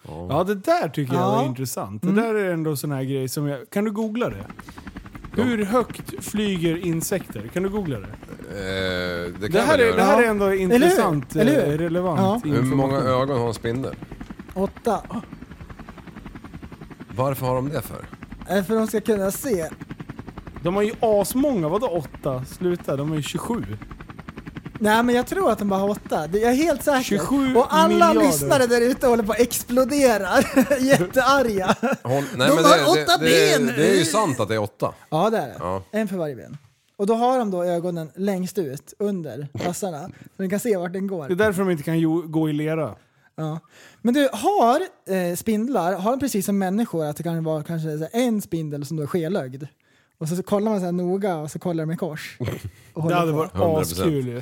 [SPEAKER 5] Ja, det där tycker jag
[SPEAKER 6] Ja.
[SPEAKER 5] var intressant. Det där är ändå sån här grej som jag... Kan du googla det? Hur högt flyger insekter? Kan du googla det?
[SPEAKER 7] Eh, det kan
[SPEAKER 5] Det
[SPEAKER 7] jag
[SPEAKER 5] här
[SPEAKER 7] väl
[SPEAKER 5] är,
[SPEAKER 7] göra.
[SPEAKER 5] det här är
[SPEAKER 6] Ja.
[SPEAKER 5] ändå
[SPEAKER 6] hur?
[SPEAKER 5] intressant, eh,
[SPEAKER 6] Eller hur?
[SPEAKER 5] relevant
[SPEAKER 6] Ja.
[SPEAKER 7] Hur många
[SPEAKER 5] information.
[SPEAKER 7] ögon har en spindel?
[SPEAKER 6] Åtta.
[SPEAKER 7] Varför har de det för?
[SPEAKER 6] Äh, för de ska kunna se.
[SPEAKER 5] De har ju asmånga, vadå åtta? Sluta, de har ju 27.
[SPEAKER 6] Nej men jag tror att de bara har åtta. Det- Jag är helt säker.
[SPEAKER 5] 27
[SPEAKER 6] och alla
[SPEAKER 5] miljarder.
[SPEAKER 6] lyssnare där ute håller på att explodera. Jättearga.
[SPEAKER 7] Håll, nej,
[SPEAKER 6] De
[SPEAKER 7] men
[SPEAKER 6] har
[SPEAKER 7] det,
[SPEAKER 6] åtta
[SPEAKER 7] det, det,
[SPEAKER 6] ben!
[SPEAKER 7] Det är ju sant att det är åtta.
[SPEAKER 6] Ja det är det.
[SPEAKER 7] Ja.
[SPEAKER 6] En för varje ben. Och då har de då ögonen längst ut under tassarna. Så de kan se vart den går.
[SPEAKER 5] Det är därför de inte kan jo, gå i lera.
[SPEAKER 6] Ja. Men du, har eh, spindlar, har de precis som människor att det kan vara kanske så här en spindel som då är skelögd? Och så, så kollar man så här noga och så kollar de i kors. Och
[SPEAKER 5] Det
[SPEAKER 6] håller
[SPEAKER 5] hade
[SPEAKER 6] på.
[SPEAKER 5] varit
[SPEAKER 7] 100%.
[SPEAKER 5] askul ju.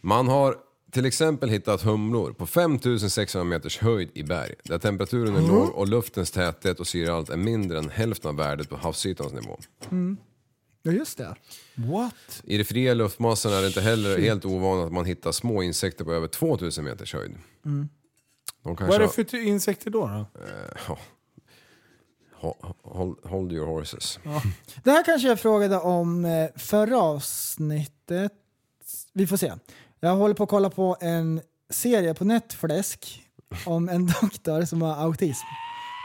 [SPEAKER 7] Man har till exempel hittat humlor på 5600 meters höjd i berg där temperaturen är låg och luftens täthet och syrehalt är mindre än hälften av värdet på havsytans nivå.
[SPEAKER 6] Ja just det.
[SPEAKER 5] What?
[SPEAKER 7] I de fria luftmassorna är det inte heller helt ovanligt att man hittar små insekter på över 2000 meters höjd.
[SPEAKER 6] Mm.
[SPEAKER 7] De kanske
[SPEAKER 5] Vad är det
[SPEAKER 7] har-
[SPEAKER 5] för ty- insekter då? då?
[SPEAKER 7] Ja. Ho- Hold, hold your horses.
[SPEAKER 6] Det här kanske jag frågade om eh, förra avsnittet. Vi får se. Jag håller på att kolla på en serie på Netflix om en doktor som har autism.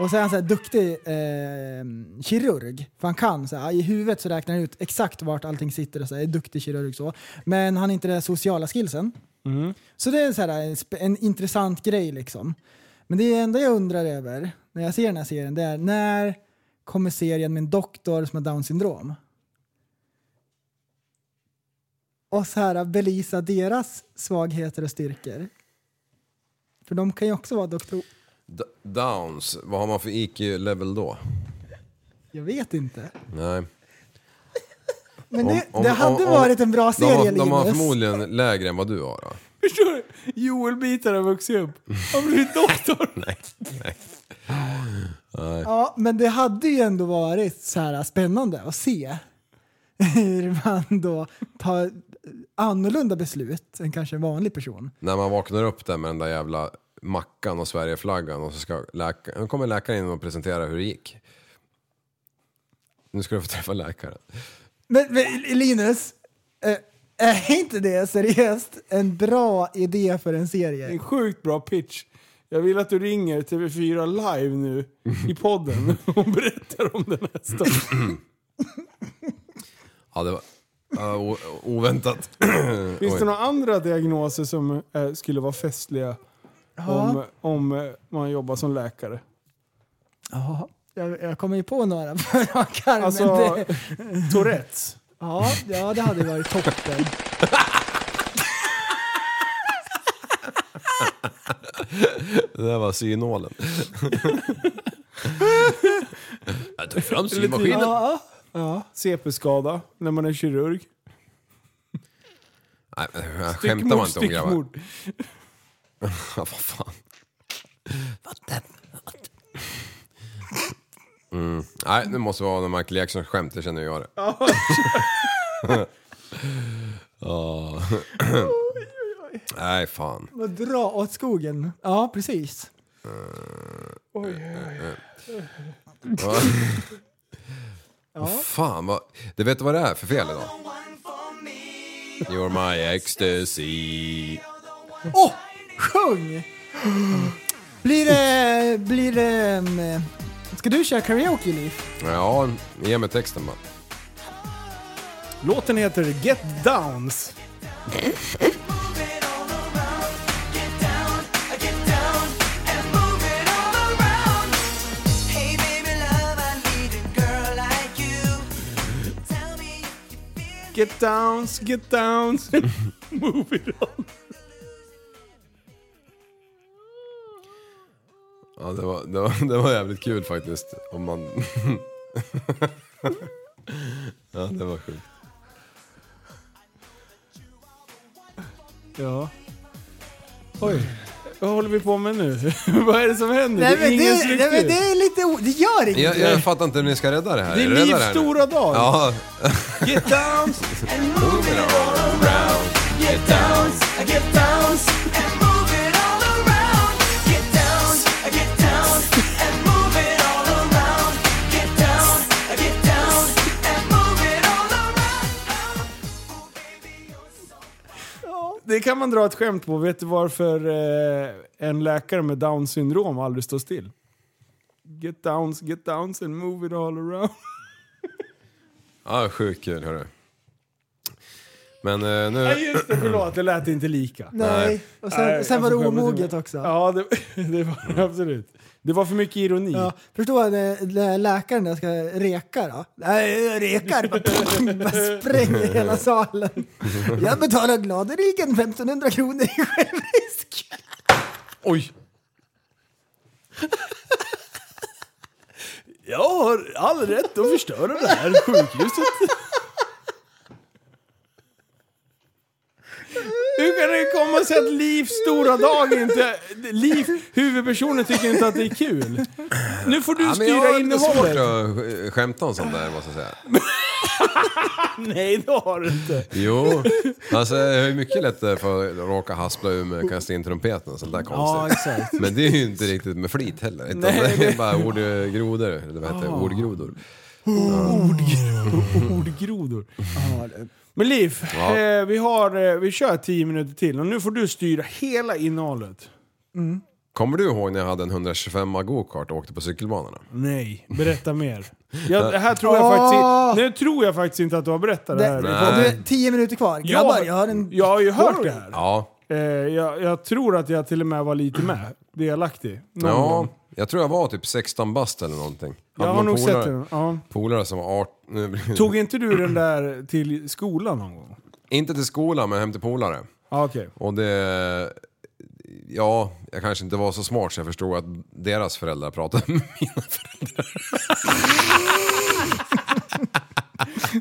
[SPEAKER 6] Och så är han så här duktig eh, kirurg. För han kan, så här, i huvudet så räknar han ut exakt vart allting sitter och så här, är duktig kirurg så. Men han har inte den sociala skillsen. Så det är så här, en, sp- en intressant grej liksom. Men det enda jag undrar över när jag ser den här serien det är när kommer serien med en doktor som har down syndrom? Och så här belysa deras svagheter och styrkor. För de kan ju också vara doktor...
[SPEAKER 7] D- Downs, vad har man för IQ-level då?
[SPEAKER 6] Jag vet inte.
[SPEAKER 7] Nej.
[SPEAKER 6] Men det,
[SPEAKER 7] Om- om-
[SPEAKER 6] det hade
[SPEAKER 7] om- om-
[SPEAKER 6] varit en bra
[SPEAKER 7] de har,
[SPEAKER 6] serie
[SPEAKER 7] De har
[SPEAKER 6] Linus.
[SPEAKER 7] förmodligen lägre än vad du har då.
[SPEAKER 5] Förstår du? Joel-bitar har vuxit upp. Han blir doktor.
[SPEAKER 6] Ja, men det hade ju ändå varit så här spännande att se hur man då tar annorlunda beslut än kanske en vanlig person.
[SPEAKER 7] När man vaknar upp där med den där jävla mackan och Sverigeflaggan och så ska läka, nu kommer läkaren in och presenterar hur det gick. Nu ska du få träffa läkaren.
[SPEAKER 6] Men, men Linus, eh, är inte det seriöst en bra idé för en
[SPEAKER 5] En
[SPEAKER 6] serie?
[SPEAKER 5] sjukt bra pitch. Jag vill att du ringer TV4 live nu i podden och berättar om den här storyn.
[SPEAKER 7] Ja, det var ja, o- oväntat.
[SPEAKER 5] Finns det
[SPEAKER 7] Oj.
[SPEAKER 5] några andra diagnoser som eh, skulle vara festliga om, om eh, man jobbar som läkare?
[SPEAKER 6] Ja, jag, jag kommer ju på några på rak arm,
[SPEAKER 5] Alltså,
[SPEAKER 6] men det,
[SPEAKER 5] Tourettes.
[SPEAKER 6] ja, ja, det hade ju varit toppen.
[SPEAKER 7] Det där var synålen. Jag tog fram synmaskinen.
[SPEAKER 6] Ja,
[SPEAKER 5] CP-skada när man är kirurg.
[SPEAKER 7] Nej, men jag skämtar man inte om grabbar?
[SPEAKER 5] Styckmord.
[SPEAKER 7] Ja, vad fan. Mm. Nej, det måste vara någon Michael Jackson-skämt, det känner jag det. Ja. Nej, fan.
[SPEAKER 6] Och dra åt skogen. Ja, precis.
[SPEAKER 7] Fan vad... Det vet du vad det är för fel idag? You're my ecstasy.
[SPEAKER 6] Åh! Oh, sjung! Blir det... Blir det... mm, Ska du köra karaoke, Liv?
[SPEAKER 7] Ja, ge mig texten bara.
[SPEAKER 5] Låten heter Get Downs. Get downs, get downs, move it on.
[SPEAKER 7] Ja, det var, det var, det var jävligt kul faktiskt. Om man... ja, det var sjukt.
[SPEAKER 5] Ja. Oj, vad håller vi på med nu? vad är det som händer?
[SPEAKER 6] Nej men
[SPEAKER 5] ingen
[SPEAKER 6] det, nej,
[SPEAKER 5] struktur.
[SPEAKER 6] men det är lite... o- Det gör inget.
[SPEAKER 7] Jag, jag fattar inte hur ni ska rädda det här.
[SPEAKER 5] Det är
[SPEAKER 7] Rädda
[SPEAKER 5] livs
[SPEAKER 7] här nu.
[SPEAKER 5] stora dag.
[SPEAKER 7] Ja,
[SPEAKER 5] Get downs!
[SPEAKER 4] Oh,
[SPEAKER 5] Det kan man dra ett skämt på. Vet du varför eh, en läkare med down syndrom aldrig står still? Get downs, get downs and move it all around.
[SPEAKER 7] ja sjukt kul hörru. Men eh,
[SPEAKER 5] Nej
[SPEAKER 7] nu...
[SPEAKER 5] just det, förlåt. Det lät inte lika.
[SPEAKER 6] Nej. Och sen,
[SPEAKER 5] Nej,
[SPEAKER 6] sen var det
[SPEAKER 5] jag får skämmas
[SPEAKER 6] omoget
[SPEAKER 5] tillbaka.
[SPEAKER 6] också.
[SPEAKER 5] Ja, det, det var det absolut. Det var för mycket ironi.
[SPEAKER 6] Ja, förstå när, när läkaren där ska reka då. Nej, rekar! Bara spränger hela salen. Jag betalar gladeligen 1500 kronor i självrisk.
[SPEAKER 7] Oj!
[SPEAKER 5] Jag har all rätt att förstöra det här sjukhuset. Hur kan det komma sig att Livs stora dag inte... Liv, huvudpersonen, tycker inte att det är kul? Nu får du
[SPEAKER 7] Ja, men jag
[SPEAKER 5] styra
[SPEAKER 7] har lite svårt
[SPEAKER 5] innehållet.
[SPEAKER 7] att sk- skämta om sånt där måste jag säga.
[SPEAKER 5] Nej, det har du inte.
[SPEAKER 7] Jo, alltså jag är mycket lättare för att råka haspla ur med att kasta in trumpeten och sånt där
[SPEAKER 5] Ja,
[SPEAKER 7] konstigt.
[SPEAKER 5] exakt.
[SPEAKER 7] Men det är ju inte riktigt med flit heller. Utan
[SPEAKER 5] Nej, Ah.
[SPEAKER 7] det är bara ordgrodor, eller vad heter det? Ordgrodor.
[SPEAKER 5] Ordgrodor. Men Liv,
[SPEAKER 7] Ja.
[SPEAKER 5] eh, vi, har, eh, vi kör tio minuter till och nu får du styra hela innehållet.
[SPEAKER 7] Kommer du ihåg när jag hade en 125 go-kart och åkte på cykelbanorna?
[SPEAKER 5] Mm. Nej, berätta mer. Jag, det här tror jag faktiskt, nu tror jag faktiskt inte att du har berättat det
[SPEAKER 6] Det,
[SPEAKER 5] här.
[SPEAKER 7] Nej.
[SPEAKER 6] det är tio minuter kvar. Grabbar, jag har en...
[SPEAKER 5] jag har ju hört det här.
[SPEAKER 7] Ja,
[SPEAKER 5] Eh, jag, jag tror att jag till och med var lite med. Delaktig. Någon
[SPEAKER 7] ja
[SPEAKER 5] gång.
[SPEAKER 7] jag tror jag var typ 16 bast eller någonting. Hade
[SPEAKER 5] Jag har
[SPEAKER 7] någon
[SPEAKER 5] nog
[SPEAKER 7] polare-
[SPEAKER 5] sett den. Ja.
[SPEAKER 7] Polare som var 18...
[SPEAKER 5] Tog inte du den där till skolan någon gång?
[SPEAKER 7] Inte till skolan men hem till polare.
[SPEAKER 5] Ja, Okej.
[SPEAKER 7] Och det... Ja, jag kanske inte var så smart så jag förstod att deras föräldrar pratade med mina föräldrar.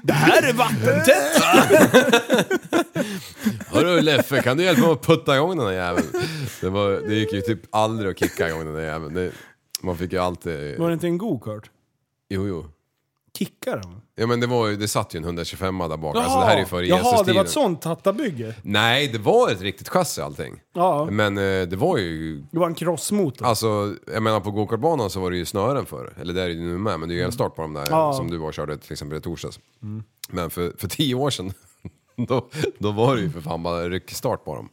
[SPEAKER 5] Det här är vattentätt!
[SPEAKER 7] Hörru Leffe, kan du hjälpa mig att putta igång den där jäveln? Det, var, det gick ju typ aldrig att kicka igång den där jäveln. Det, man fick ju alltid...
[SPEAKER 5] Var det inte en go-kart?
[SPEAKER 7] Jo, jo.
[SPEAKER 5] Kickar de?
[SPEAKER 7] Ja men det var ju, det satt ju en 125 där bak. alltså det här är ju före
[SPEAKER 5] Jaha, det var
[SPEAKER 7] Jesus-tiden.
[SPEAKER 5] ett sånt tattabygge?
[SPEAKER 7] Nej, det var ett riktigt chassi allting.
[SPEAKER 5] Ja.
[SPEAKER 7] Men eh, det var ju
[SPEAKER 5] Det var en crossmotor?
[SPEAKER 7] Alltså, jag menar på gokartbanan så var det ju snören förr. Eller det är det ju nu med, men det är ju elstart på de där
[SPEAKER 5] Mm. Ja. Mm.
[SPEAKER 7] som du var och körde till exempel i torsdags. Men för, för tio år sedan, då, då var det ju för fan bara ryckstart på dem.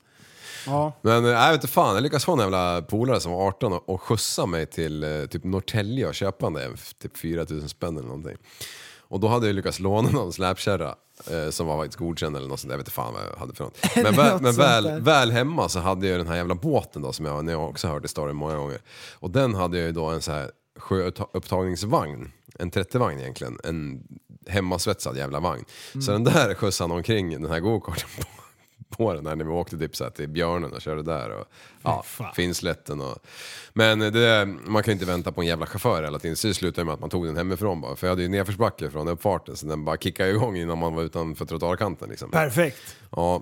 [SPEAKER 5] Ja.
[SPEAKER 7] Men eh, jag vet inte fan, jag lyckades få en jävla polare som var 18 och, och skjutsa mig till eh, typ Norrtälje och köpa en där, för typ 4000 spänn eller någonting. Och då hade jag lyckats låna någon släpkärra eh, som var faktiskt godkänd eller något sånt där. Jag vet inte fan vad jag hade för något. Men, väl,
[SPEAKER 6] Något
[SPEAKER 7] men
[SPEAKER 6] sånt
[SPEAKER 7] väl,
[SPEAKER 6] där.
[SPEAKER 7] väl hemma så hade jag den här jävla båten då som jag, ni har också hört i storyn många gånger. Och den hade jag ju då en så här sjöupptagningsvagn. En 30-vagn egentligen. En hemmasvetsad jävla vagn. Så den där skjutsade han omkring den här gokarten på på den här när vi åkte typ så här till Björnen och körde där och ja, Finnslätten och... Men det, man kan ju inte vänta på en jävla chaufför hela tiden. Så det slutade med att man tog den hemifrån bara. För jag hade ju nedförsbacke från uppfarten så den bara kickade igång innan man var utanför trottoarkanten liksom.
[SPEAKER 5] Perfekt.
[SPEAKER 7] Ja,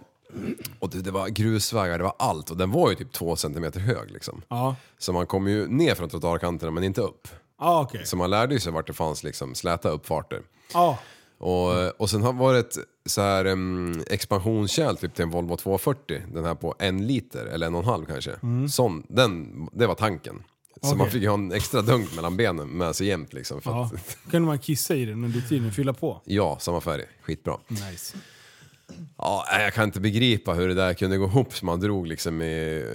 [SPEAKER 7] Och det, det var grusvägar, det var allt. Och den var ju typ två centimeter hög liksom.
[SPEAKER 5] Ja.
[SPEAKER 7] Så man kom ju ner från trottoarkanterna men inte upp.
[SPEAKER 5] Ja, okej.
[SPEAKER 7] Så man lärde ju sig vart det fanns liksom släta uppfarter.
[SPEAKER 5] Ja.
[SPEAKER 7] Och, och sen har varit ett så här um, expansionskärl typ till en Volvo 240. Den här på en liter eller en och en halv kanske.
[SPEAKER 5] Mm.
[SPEAKER 7] Sån, den, det var tanken. Så man fick ju ha en extra dunk mellan benen med sig jämt liksom. För
[SPEAKER 5] ja.
[SPEAKER 7] att,
[SPEAKER 5] Kunde man kissa i den under tiden? Fylla på?
[SPEAKER 7] ja, samma färg. Skitbra.
[SPEAKER 5] Nice.
[SPEAKER 7] Ja, nej, jag kan inte begripa hur det där kunde gå ihop så man drog liksom i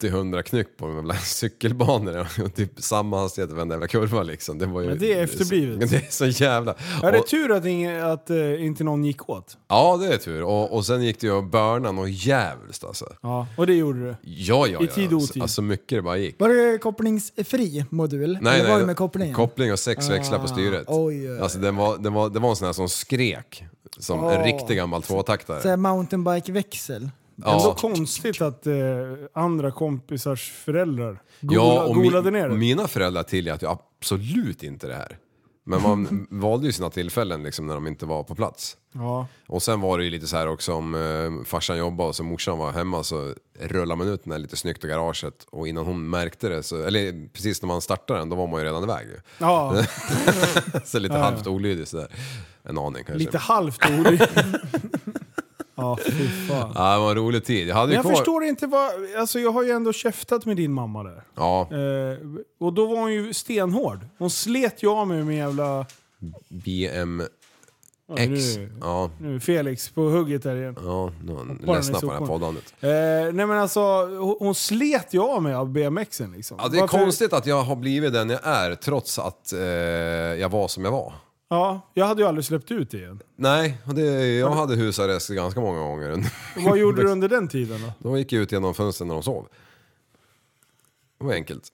[SPEAKER 7] 80-100 knyck på de jävla cykelbanorna och typ samma hastighet över en jävla kurva liksom. Det var ju...
[SPEAKER 5] Men det är efterblivet.
[SPEAKER 7] Men Det är så jävla...
[SPEAKER 5] Ja, det är
[SPEAKER 7] Och-
[SPEAKER 5] tur att, ingen, att eh, inte någon gick åt.
[SPEAKER 7] Ja, det är tur. Och, och sen gick det ju att burna något djävulskt alltså.
[SPEAKER 5] Ja, och det gjorde du.
[SPEAKER 7] Ja, ja,
[SPEAKER 5] I
[SPEAKER 7] ja.
[SPEAKER 5] tid och otid.
[SPEAKER 7] Alltså mycket det bara gick.
[SPEAKER 6] Var det kopplingsfri modul? Eller var det med kopplingen?
[SPEAKER 7] Koppling och sex växlar
[SPEAKER 5] Ah,
[SPEAKER 7] på styret.
[SPEAKER 6] oj, oj.
[SPEAKER 7] Alltså den var, den var, det var en sån här som skrek. Som en
[SPEAKER 5] Ah.
[SPEAKER 6] Åh.
[SPEAKER 7] riktig gammal tvåtaktare.
[SPEAKER 6] Såhär mountainbike-växel.
[SPEAKER 5] Ändå
[SPEAKER 7] ja.
[SPEAKER 5] konstigt att eh, andra kompisars föräldrar gola,
[SPEAKER 7] ja, och
[SPEAKER 5] golade ner
[SPEAKER 7] mi-
[SPEAKER 5] det.
[SPEAKER 7] mina föräldrar tillät ju absolut inte det här. Men man valde ju sina tillfällen liksom när de inte var på plats.
[SPEAKER 5] Ja.
[SPEAKER 7] Och sen var det ju lite så här också om eh, farsan jobbade och så morsan var hemma så rullade man ut den här lite snyggt i garaget och innan hon märkte det, så, eller precis när man startade den, då var man ju redan iväg ju.
[SPEAKER 5] ja,
[SPEAKER 7] Så lite halvt olydig sådär. En aning kanske.
[SPEAKER 5] lite halvt ord. ja, fy fan.
[SPEAKER 7] Ja, det var en rolig tid. Jag hade
[SPEAKER 5] Men
[SPEAKER 7] ju
[SPEAKER 5] jag
[SPEAKER 7] kvar...
[SPEAKER 5] förstår inte vad... Alltså jag har ju ändå käftat med din mamma där.
[SPEAKER 7] Ja,
[SPEAKER 5] Eh, och då var hon ju stenhård. Hon slet ju av mig med jävla...
[SPEAKER 7] BMX.
[SPEAKER 5] Oj, nu,
[SPEAKER 7] Ja,
[SPEAKER 5] nu är Felix på hugget där igen.
[SPEAKER 7] ja, nu är
[SPEAKER 5] den i
[SPEAKER 7] ledsna på det här
[SPEAKER 5] soporna.
[SPEAKER 7] poddandet.
[SPEAKER 5] Eh, nej men alltså, hon- hon slet ju av mig av BMXen liksom.
[SPEAKER 7] Ja, det är
[SPEAKER 5] Varför-
[SPEAKER 7] konstigt att jag har blivit den jag är trots att eh, jag var som jag var.
[SPEAKER 5] Ja, jag hade ju aldrig släppt ut det igen.
[SPEAKER 7] Nej, och det, jag hade husarrest ganska många gånger. under-
[SPEAKER 5] Vad gjorde du under den tiden då?
[SPEAKER 7] De gick ut genom fönstren när de sov. Det var enkelt.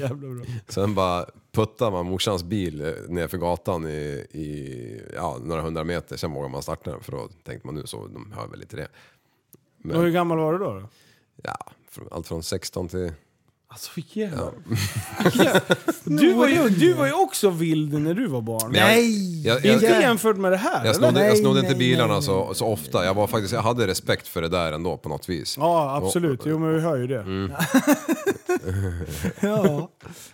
[SPEAKER 5] Jävla bra.
[SPEAKER 7] Sen bara puttade man morsans bil eh, nerför gatan i, i ja, några hundra meter. Sen vågade man starta den för då tänkte man nu så de hör väl lite det.
[SPEAKER 5] Och hur gammal var du då? då?
[SPEAKER 7] Ja, från- allt från 16 till...
[SPEAKER 5] Alltså jävlar. Ja. Du, var ju, du var ju också vild när du var barn.
[SPEAKER 7] Men jag-
[SPEAKER 6] Nej!
[SPEAKER 7] Jag, jag,
[SPEAKER 5] Inte
[SPEAKER 7] jag,
[SPEAKER 5] jämfört med det här.
[SPEAKER 7] jag
[SPEAKER 5] eller?
[SPEAKER 7] snodde, jag
[SPEAKER 6] Nej,
[SPEAKER 7] snodde inte
[SPEAKER 6] nej,
[SPEAKER 7] bilarna alltså.
[SPEAKER 6] nej,
[SPEAKER 7] så, så ofta. Jag, var faktiskt, jag hade respekt för det där ändå på något vis.
[SPEAKER 5] Ja, absolut. Jo, men vi hör ju det.
[SPEAKER 7] Mm.
[SPEAKER 6] Ja.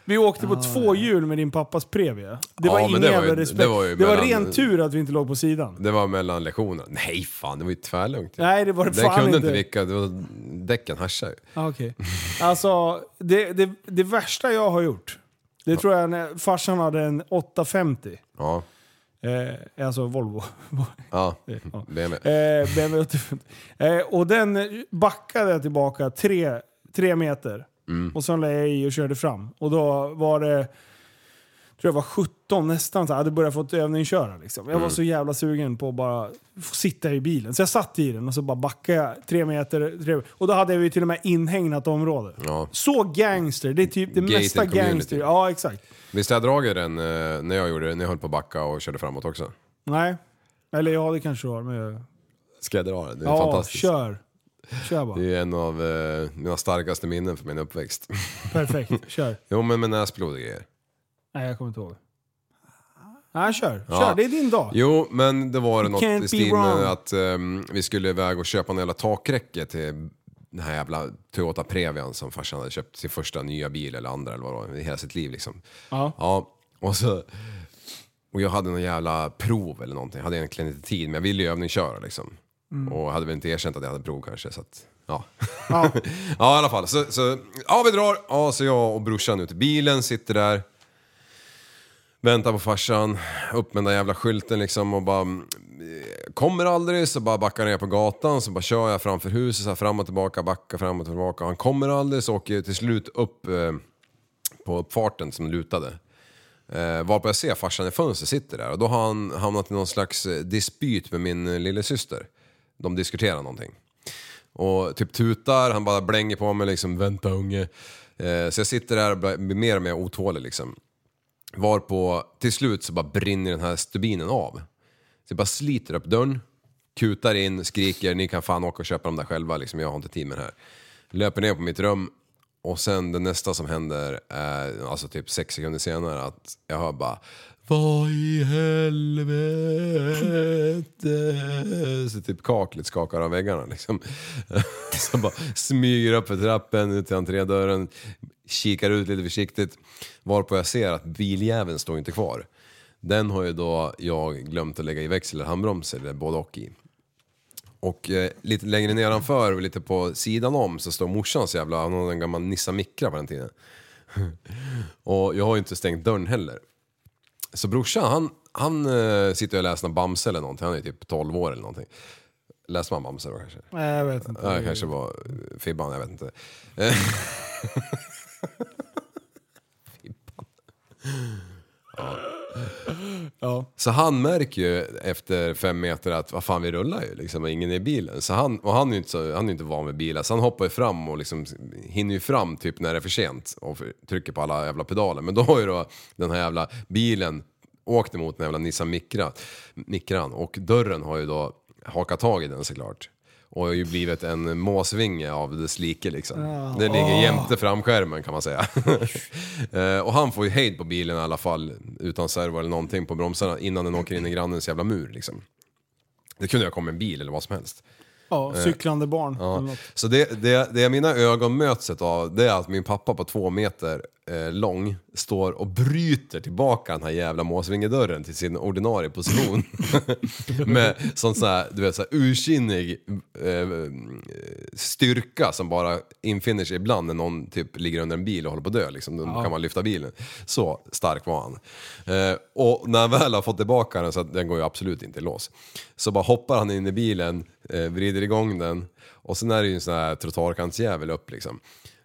[SPEAKER 5] Vi åkte
[SPEAKER 6] Ah,
[SPEAKER 5] på två hjul med din pappas Previa. Det
[SPEAKER 7] Ja,
[SPEAKER 5] var
[SPEAKER 7] men
[SPEAKER 5] ingen
[SPEAKER 7] det var ju-
[SPEAKER 5] jävla respekt.
[SPEAKER 7] det
[SPEAKER 5] Det
[SPEAKER 7] var
[SPEAKER 5] var,
[SPEAKER 7] ju mellan-
[SPEAKER 5] ren tur att vi inte låg på sidan.
[SPEAKER 7] Det var mellan lektionerna. Nej fan, det var ju tvärlugnt.
[SPEAKER 5] Nej, det var det
[SPEAKER 7] det
[SPEAKER 5] fan
[SPEAKER 7] kunde inte,
[SPEAKER 5] inte.
[SPEAKER 7] vicka, det var, däcken haschade ju.
[SPEAKER 5] Ah, Okej. Alltså, det, det, det värsta jag har gjort, det tror jag när farsan hade en 850.
[SPEAKER 7] Ja,
[SPEAKER 5] Eh, alltså Volvo.
[SPEAKER 7] ja.
[SPEAKER 5] Ja.
[SPEAKER 7] BMW.
[SPEAKER 5] Eh, BMW 850. Eh, och den backade jag tillbaka tre, tre meter.
[SPEAKER 7] Mm.
[SPEAKER 5] Och sen la jag i och körde fram. Och då var det, tror jag var 17 nästan, så jag hade börjat få ett övningsköra. Liksom. Jag var
[SPEAKER 7] Mm.
[SPEAKER 5] så jävla sugen på att bara få sitta i bilen. Så jag satt i den och så bara backade jag tre meter. Tre, och då hade vi till och med inhägnat område.
[SPEAKER 7] Ja.
[SPEAKER 5] Så gangster, det är typ det
[SPEAKER 7] Gated
[SPEAKER 5] mesta
[SPEAKER 7] community.
[SPEAKER 5] gangster. Ja, exakt.
[SPEAKER 7] Visst har jag dragit den eh, när jag gjorde det, när jag höll på att backa och körde framåt också?
[SPEAKER 5] Nej. Eller ja, det kanske var. Men jag,
[SPEAKER 7] Ska jag dra den? Det är
[SPEAKER 5] ja,
[SPEAKER 7] fantastiskt.
[SPEAKER 5] kör. Kör bara.
[SPEAKER 7] Det är en av eh, mina starkaste minnen för min uppväxt.
[SPEAKER 5] Perfekt, kör.
[SPEAKER 7] jo men med näsblod och grejer.
[SPEAKER 5] Nej, jag kommer inte ihåg. Ah. Nej, kör.
[SPEAKER 7] Ja.
[SPEAKER 5] Kör, det är din dag.
[SPEAKER 7] Jo, men det var något
[SPEAKER 5] can't
[SPEAKER 7] i
[SPEAKER 5] be
[SPEAKER 7] stil
[SPEAKER 5] wrong.
[SPEAKER 7] med att ehm, vi skulle iväg och köpa en jävla takräcke till den här jävla Toyota Previan som farsan hade köpt sin första nya bil eller andra eller vad det var, i hela sitt liv liksom.
[SPEAKER 5] Ja.
[SPEAKER 7] och så... Och jag hade någon jävla prov eller någonting, jag hade egentligen inte tid men jag ville ju övningsköra liksom.
[SPEAKER 5] Mm.
[SPEAKER 7] Och hade väl inte erkänt att jag hade prov kanske så att, ja. Ja, i alla fall. Så, så, ja vi drar. Ja, så jag och brorsan ute i bilen, sitter där. Väntar på farsan, upp med den där jävla skylten liksom och bara... mm, Kommer aldrig, så bara backar jag ner på gatan, så bara kör jag framför huset så här fram och tillbaka, backa fram och tillbaka. Han kommer aldrig, så åker jag till slut upp eh, på uppfarten som lutade. Eh, varpå jag ser farsan i fönstret sitter där och då har han hamnat i någon slags eh, dispyt med min eh, lillasyster. De diskuterar någonting. Och typ tutar, han bara blänger på mig liksom, vänta unge. Eh, så jag sitter där och blir mer och mer otålig liksom. Varpå till slut så bara brinner den här stubinen av. Så jag bara sliter upp dörren, kutar in, skriker ni kan fan åka och köpa dem där själva, liksom, jag har inte tid med det här. Löper ner på mitt rum Och sen det nästa som händer, är, alltså typ sex sekunder senare, att jag hör bara Vad i helvete? Så typ kaklet skakar av väggarna liksom. Så bara smyger upp för trappen, ut till entrédörren, kikar ut lite försiktigt. Varpå jag ser att biljäveln står inte kvar. Den har ju då jag glömt att lägga i växel eller handbroms eller både och i. Och eh, lite längre nedanför och lite på sidan om så står morsans jävla, hon hade en gammal Nissan Micra på den tiden. och jag har ju inte stängt dörren heller. Så brorsan han, han eh, sitter och läser någon Bamse eller någonting, han är ju typ 12 år eller någonting. Läser man Bamse då kanske?
[SPEAKER 5] Nej, jag vet inte.
[SPEAKER 7] Ja, det kanske var eh, Fibban, jag vet inte. Eh, Fibban. Ja. Så han märker ju efter fem meter att vad fan vi rullar ju liksom och ingen är i bilen. Så han, och han är ju inte, så, han är ju inte van vid bilar så han hoppar ju fram och liksom hinner ju fram typ när det är för sent och för- trycker på alla jävla pedaler. Men då har ju då den här jävla bilen åkt emot den jävla Nissan Micra, Micran och dörren har ju då hakat tag i den såklart. Och har ju blivit en måsvinge av dess like liksom. Det ligger jämte framskärmen kan man säga. Eh, och han får ju hejd på bilen i alla fall utan servo eller någonting på bromsarna innan den åker in i grannens jävla mur liksom. Det kunde ju ha kommit en bil eller vad som helst.
[SPEAKER 5] Ja,
[SPEAKER 7] Eh.
[SPEAKER 5] cyklande barn. eller något.
[SPEAKER 7] Så det, det, det mina ögon möts av det är att min pappa på två meter eh, lång står och bryter tillbaka den här jävla måsvingedörren till sin ordinarie position. Med sån så här, du vet, så här ursinnig eh, styrka som bara infinner sig ibland när någon typ ligger under en bil och håller på att dö. Liksom. Då kan man lyfta bilen. Så stark var han. Eh, och när han väl har fått tillbaka den, så att den går ju absolut inte i lås, så bara hoppar han in i bilen, eh, vrider igång den och sen är det ju en sån här trottoarkantsjävel upp liksom.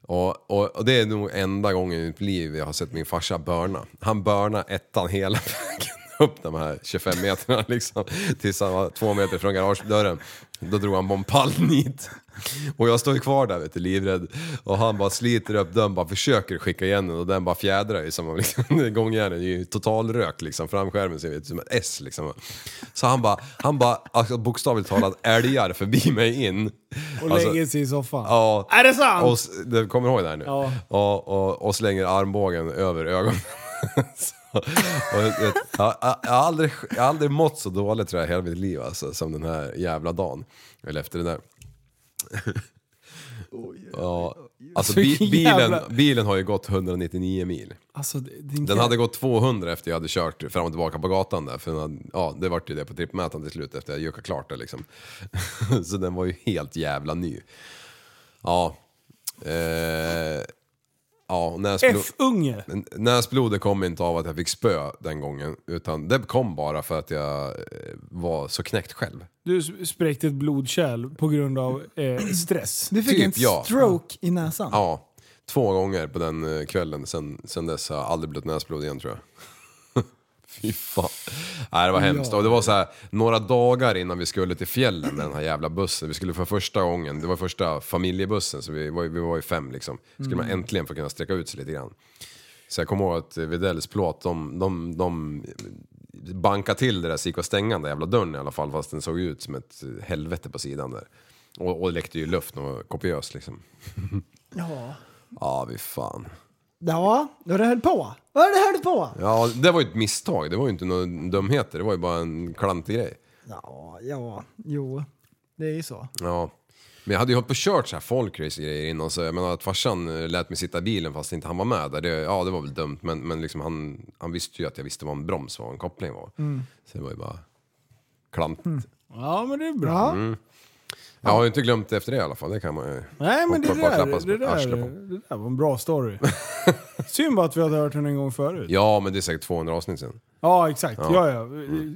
[SPEAKER 7] Och, och, och det är nog enda gången i mitt liv jag har sett min farsa börna. Han börna ettan hela vägen upp de här 25 meterna liksom. Tills han var två meter från garagedörren. Då drog han bompallen hit. Och jag står ju kvar där vet du, livrädd. Och han bara sliter upp dörren, bara försöker skicka igen den och den bara fjädrar ju. Som om liksom, gångjärnen är ju total rök liksom. Framskärmen ser ut som ett S liksom. Så han bara, han bara alltså, bokstavligt talat älgar förbi mig in.
[SPEAKER 5] Och
[SPEAKER 7] Alltså,
[SPEAKER 5] lägger sig i soffan.
[SPEAKER 7] Ja.
[SPEAKER 5] Är det sant?
[SPEAKER 7] Och, s- du kommer ihåg det här nu?
[SPEAKER 5] Ja.
[SPEAKER 7] Och, och, och slänger armbågen över ögonen. Så- och, jag, vet, jag, jag, jag, har aldrig, jag har aldrig mått så dåligt tror jag hela mitt liv alltså, som den här jävla dagen. Eller efter det där. ja, alltså bi,
[SPEAKER 5] Vilken
[SPEAKER 7] bilen,
[SPEAKER 5] jävla-
[SPEAKER 7] bilen har ju gått 199 mil.
[SPEAKER 5] Alltså, det- din
[SPEAKER 7] Den
[SPEAKER 5] kar-
[SPEAKER 7] hade gått 200 efter jag hade kört fram och tillbaka på gatan där. För den hade, ja, det vart ju det på trippmätaren till slut efter jag juckat klart det liksom. så den var ju helt jävla ny. Ja. Eh, ja, näsblod,
[SPEAKER 5] F-unge.
[SPEAKER 7] näsblodet kom inte av att jag fick spö den gången. Utan det kom bara för att jag eh, var så knäckt själv.
[SPEAKER 5] Du s- spräckte ett blodkärl på grund av eh, stress.
[SPEAKER 6] Du fick
[SPEAKER 7] Typ,
[SPEAKER 6] en
[SPEAKER 7] ja.
[SPEAKER 6] stroke i näsan.
[SPEAKER 7] Ja, två gånger på den eh, kvällen. Sen, sen dess har jag aldrig blött näsblod igen tror jag. Fy fan. Nej, det var hemskt. Och det var så här, några dagar innan vi skulle till fjällen med den här jävla bussen. Vi skulle för första gången, det var första familjebussen, så vi var, ju- vi var ju fem liksom. Skulle man äntligen få kunna sträcka ut sig lite grann. Så jag kommer ihåg att eh, Widells plåt, de, de, de bankade till det där så gick att stänga den där jävla dörren i alla fall. Fast den såg ut som ett eh, helvete på sidan där. Och, och läckte ju luft och kopiös liksom.
[SPEAKER 6] Ja.
[SPEAKER 7] Ja, vi fan.
[SPEAKER 6] Ja, då det höll på. Vad det höll på?
[SPEAKER 7] Ja, det var ju ett misstag. Det var ju inte några dumheter. Det var ju bara en klantig grej.
[SPEAKER 6] Ja, ja, jo. Det är ju så.
[SPEAKER 7] Ja. Men jag hade ju hållit på och kört så här folkrace-grejer innan så jag menar att farsan eh, lät mig sitta i bilen fast inte han var med där. Det, ja, det var väl dumt men, men liksom han, han visste ju att jag visste vad en broms var och en koppling var.
[SPEAKER 5] Mm.
[SPEAKER 7] Så det var ju bara klantigt.
[SPEAKER 5] Ja, men det är bra.
[SPEAKER 6] Ja,
[SPEAKER 7] Mm. Jag har ju inte glömt det efter det i alla fall. Det kan man ju.
[SPEAKER 5] Nej, men det
[SPEAKER 7] Hoppa på att
[SPEAKER 5] där,
[SPEAKER 7] klappas
[SPEAKER 5] det,
[SPEAKER 7] på
[SPEAKER 5] där,
[SPEAKER 7] arslet på.
[SPEAKER 5] det där var en bra story. Synd bara att vi hade hört den en gång förut.
[SPEAKER 7] Ja, men det är säkert 200 avsnitt sen.
[SPEAKER 5] Ja, exakt. Ja. Ja,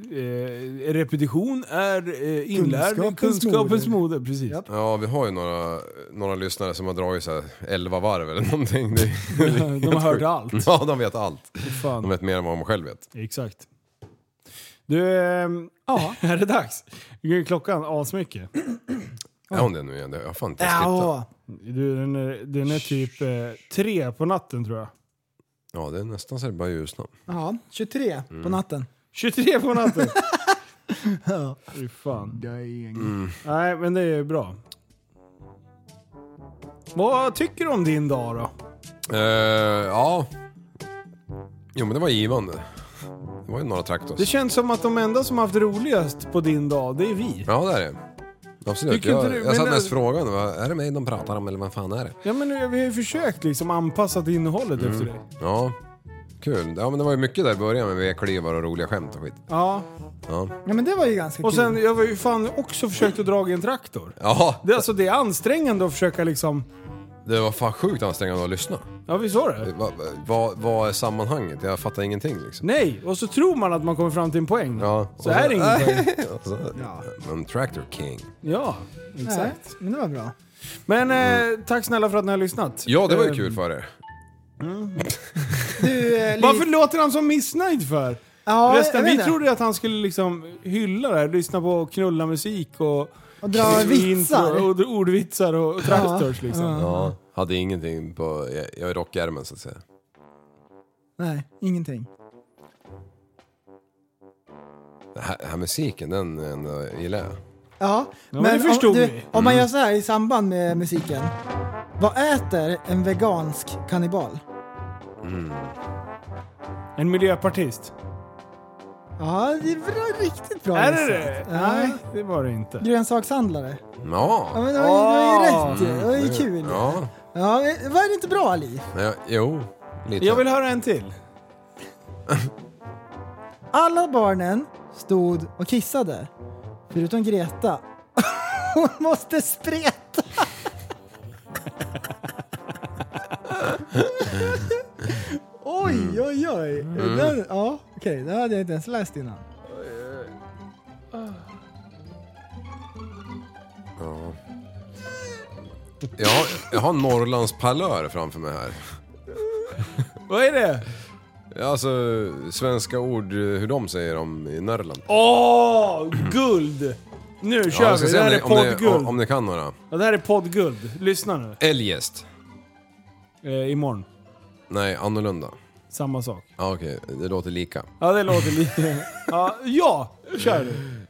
[SPEAKER 5] Eh, repetition är eh, inlärd kunskapens,
[SPEAKER 6] Kunskapens
[SPEAKER 5] moder. Precis.
[SPEAKER 6] Japp.
[SPEAKER 7] Ja, vi har ju några, några lyssnare som har dragit så här 11 varv eller någonting. Det är-
[SPEAKER 5] De har hört allt.
[SPEAKER 7] Ja, de vet allt.
[SPEAKER 5] Fan.
[SPEAKER 7] De vet mer än vad de själv vet.
[SPEAKER 5] Exakt. Du, ehm, ja. är det dags? Klockan asmycket.
[SPEAKER 7] Är hon det nu igen? Jag har fan inte ens tittat.
[SPEAKER 6] ja.
[SPEAKER 5] Du, den, är, den är typ eh, tre på natten tror jag.
[SPEAKER 7] Ja, det är nästan så det börjar ljusna.
[SPEAKER 6] ja 23
[SPEAKER 7] Mm.
[SPEAKER 6] på natten.
[SPEAKER 5] 23 på natten! Fy fan. Nej, men det är bra. Vad tycker du om din dag då?
[SPEAKER 7] Eh, ja. Jo men det var givande. Det var ju några
[SPEAKER 5] Det
[SPEAKER 7] traktos.
[SPEAKER 5] känns som att de enda som haft roligast på din dag, det är vi.
[SPEAKER 7] Ja det är det. Absolut.
[SPEAKER 5] Tycker inte
[SPEAKER 7] Jag,
[SPEAKER 5] du-
[SPEAKER 7] jag
[SPEAKER 5] men
[SPEAKER 7] satt
[SPEAKER 5] det-
[SPEAKER 7] mest frågan, vad- är det mig de pratar om eller vad fan är det?
[SPEAKER 5] Ja men vi har ju försökt liksom anpassa till innehållet efter dig.
[SPEAKER 7] Ja, kul. Ja men det var ju mycket där i början med vedklyvar och roliga skämt och skit.
[SPEAKER 5] Ja.
[SPEAKER 7] Ja.
[SPEAKER 6] Ja men det var ju ganska
[SPEAKER 5] Och
[SPEAKER 6] kul.
[SPEAKER 5] sen, jag har ju fan också försökt att dra i en traktor.
[SPEAKER 7] Ja,
[SPEAKER 5] Det, är alltså, det är ansträngande att försöka liksom...
[SPEAKER 7] det var fan sjukt ansträngande att lyssna.
[SPEAKER 5] Ja visst var det?
[SPEAKER 7] Vad va, va är sammanhanget? Jag fattar ingenting liksom.
[SPEAKER 5] Nej, och så tror man att man kommer fram till en poäng.
[SPEAKER 7] Ja.
[SPEAKER 5] Så är det ingen poäng.
[SPEAKER 7] Och så- Men Tractor King.
[SPEAKER 5] Ja,
[SPEAKER 6] Nej,
[SPEAKER 5] exakt.
[SPEAKER 6] men det var bra.
[SPEAKER 5] Men eh, tack snälla för att ni har lyssnat.
[SPEAKER 7] Mm. Ja, det var ju
[SPEAKER 5] Eh,
[SPEAKER 7] kul för er.
[SPEAKER 6] Du, eh, Li-
[SPEAKER 5] Varför låter han så missnöjd för?
[SPEAKER 6] Ja, jag
[SPEAKER 5] Förresten,
[SPEAKER 6] vet
[SPEAKER 5] vi
[SPEAKER 6] inte.
[SPEAKER 5] trodde att han skulle liksom hylla det här, lyssna på knulla musik och...
[SPEAKER 6] Och dra vitsar.
[SPEAKER 5] intro Och ordvitsar och tractors liksom.
[SPEAKER 7] Ja, hade ingenting på... Jag, jag är rockärmen så att säga.
[SPEAKER 6] Nej, ingenting.
[SPEAKER 7] Den här, den här musiken, den, den gillar jag.
[SPEAKER 6] Ja,
[SPEAKER 5] men det förstod Mm.
[SPEAKER 6] om, du,
[SPEAKER 5] vi.
[SPEAKER 6] om man gör så här i samband med musiken. Vad äter en vegansk kannibal?
[SPEAKER 5] En miljöpartist.
[SPEAKER 6] Ja, det var riktigt bra
[SPEAKER 5] Är det
[SPEAKER 6] gissat.
[SPEAKER 5] det?
[SPEAKER 6] Nej.
[SPEAKER 5] Nej, det var det inte.
[SPEAKER 6] Grönsakshandlare. Ja,
[SPEAKER 7] Ja,
[SPEAKER 6] men det var ju, det var
[SPEAKER 5] Åh.
[SPEAKER 6] ju rätt ju. Det var ju kul. Ja.
[SPEAKER 7] ja
[SPEAKER 6] men var det inte bra Ali?
[SPEAKER 7] men jag, jo. Lite.
[SPEAKER 5] Jag vill höra en till.
[SPEAKER 6] Alla barnen stod och kissade. Förutom Greta. Hon måste spreta. oj,
[SPEAKER 5] Mm.
[SPEAKER 6] oj, oj. Den, ja, okej, det hade jag inte ens läst innan.
[SPEAKER 7] Ja. Jag har, jag har Norrlandspalör framför mig här.
[SPEAKER 5] Vad är det?
[SPEAKER 7] Alltså svenska ord, hur de säger om i Norrland.
[SPEAKER 5] Åh, guld! Nu kör
[SPEAKER 7] jag ska
[SPEAKER 5] vi,
[SPEAKER 7] se
[SPEAKER 5] det
[SPEAKER 7] om
[SPEAKER 5] här är
[SPEAKER 7] ni- om ni-
[SPEAKER 5] poddguld.
[SPEAKER 7] om- Om ni kan några.
[SPEAKER 5] Ja, det här är poddguld. Lyssna nu.
[SPEAKER 7] Eljest.
[SPEAKER 5] Eh, imorgon.
[SPEAKER 7] Nej, annorlunda.
[SPEAKER 5] Samma sak.
[SPEAKER 7] Ja, okej. Det låter lika.
[SPEAKER 5] Ja, det låter lite... Ja, ja kör du.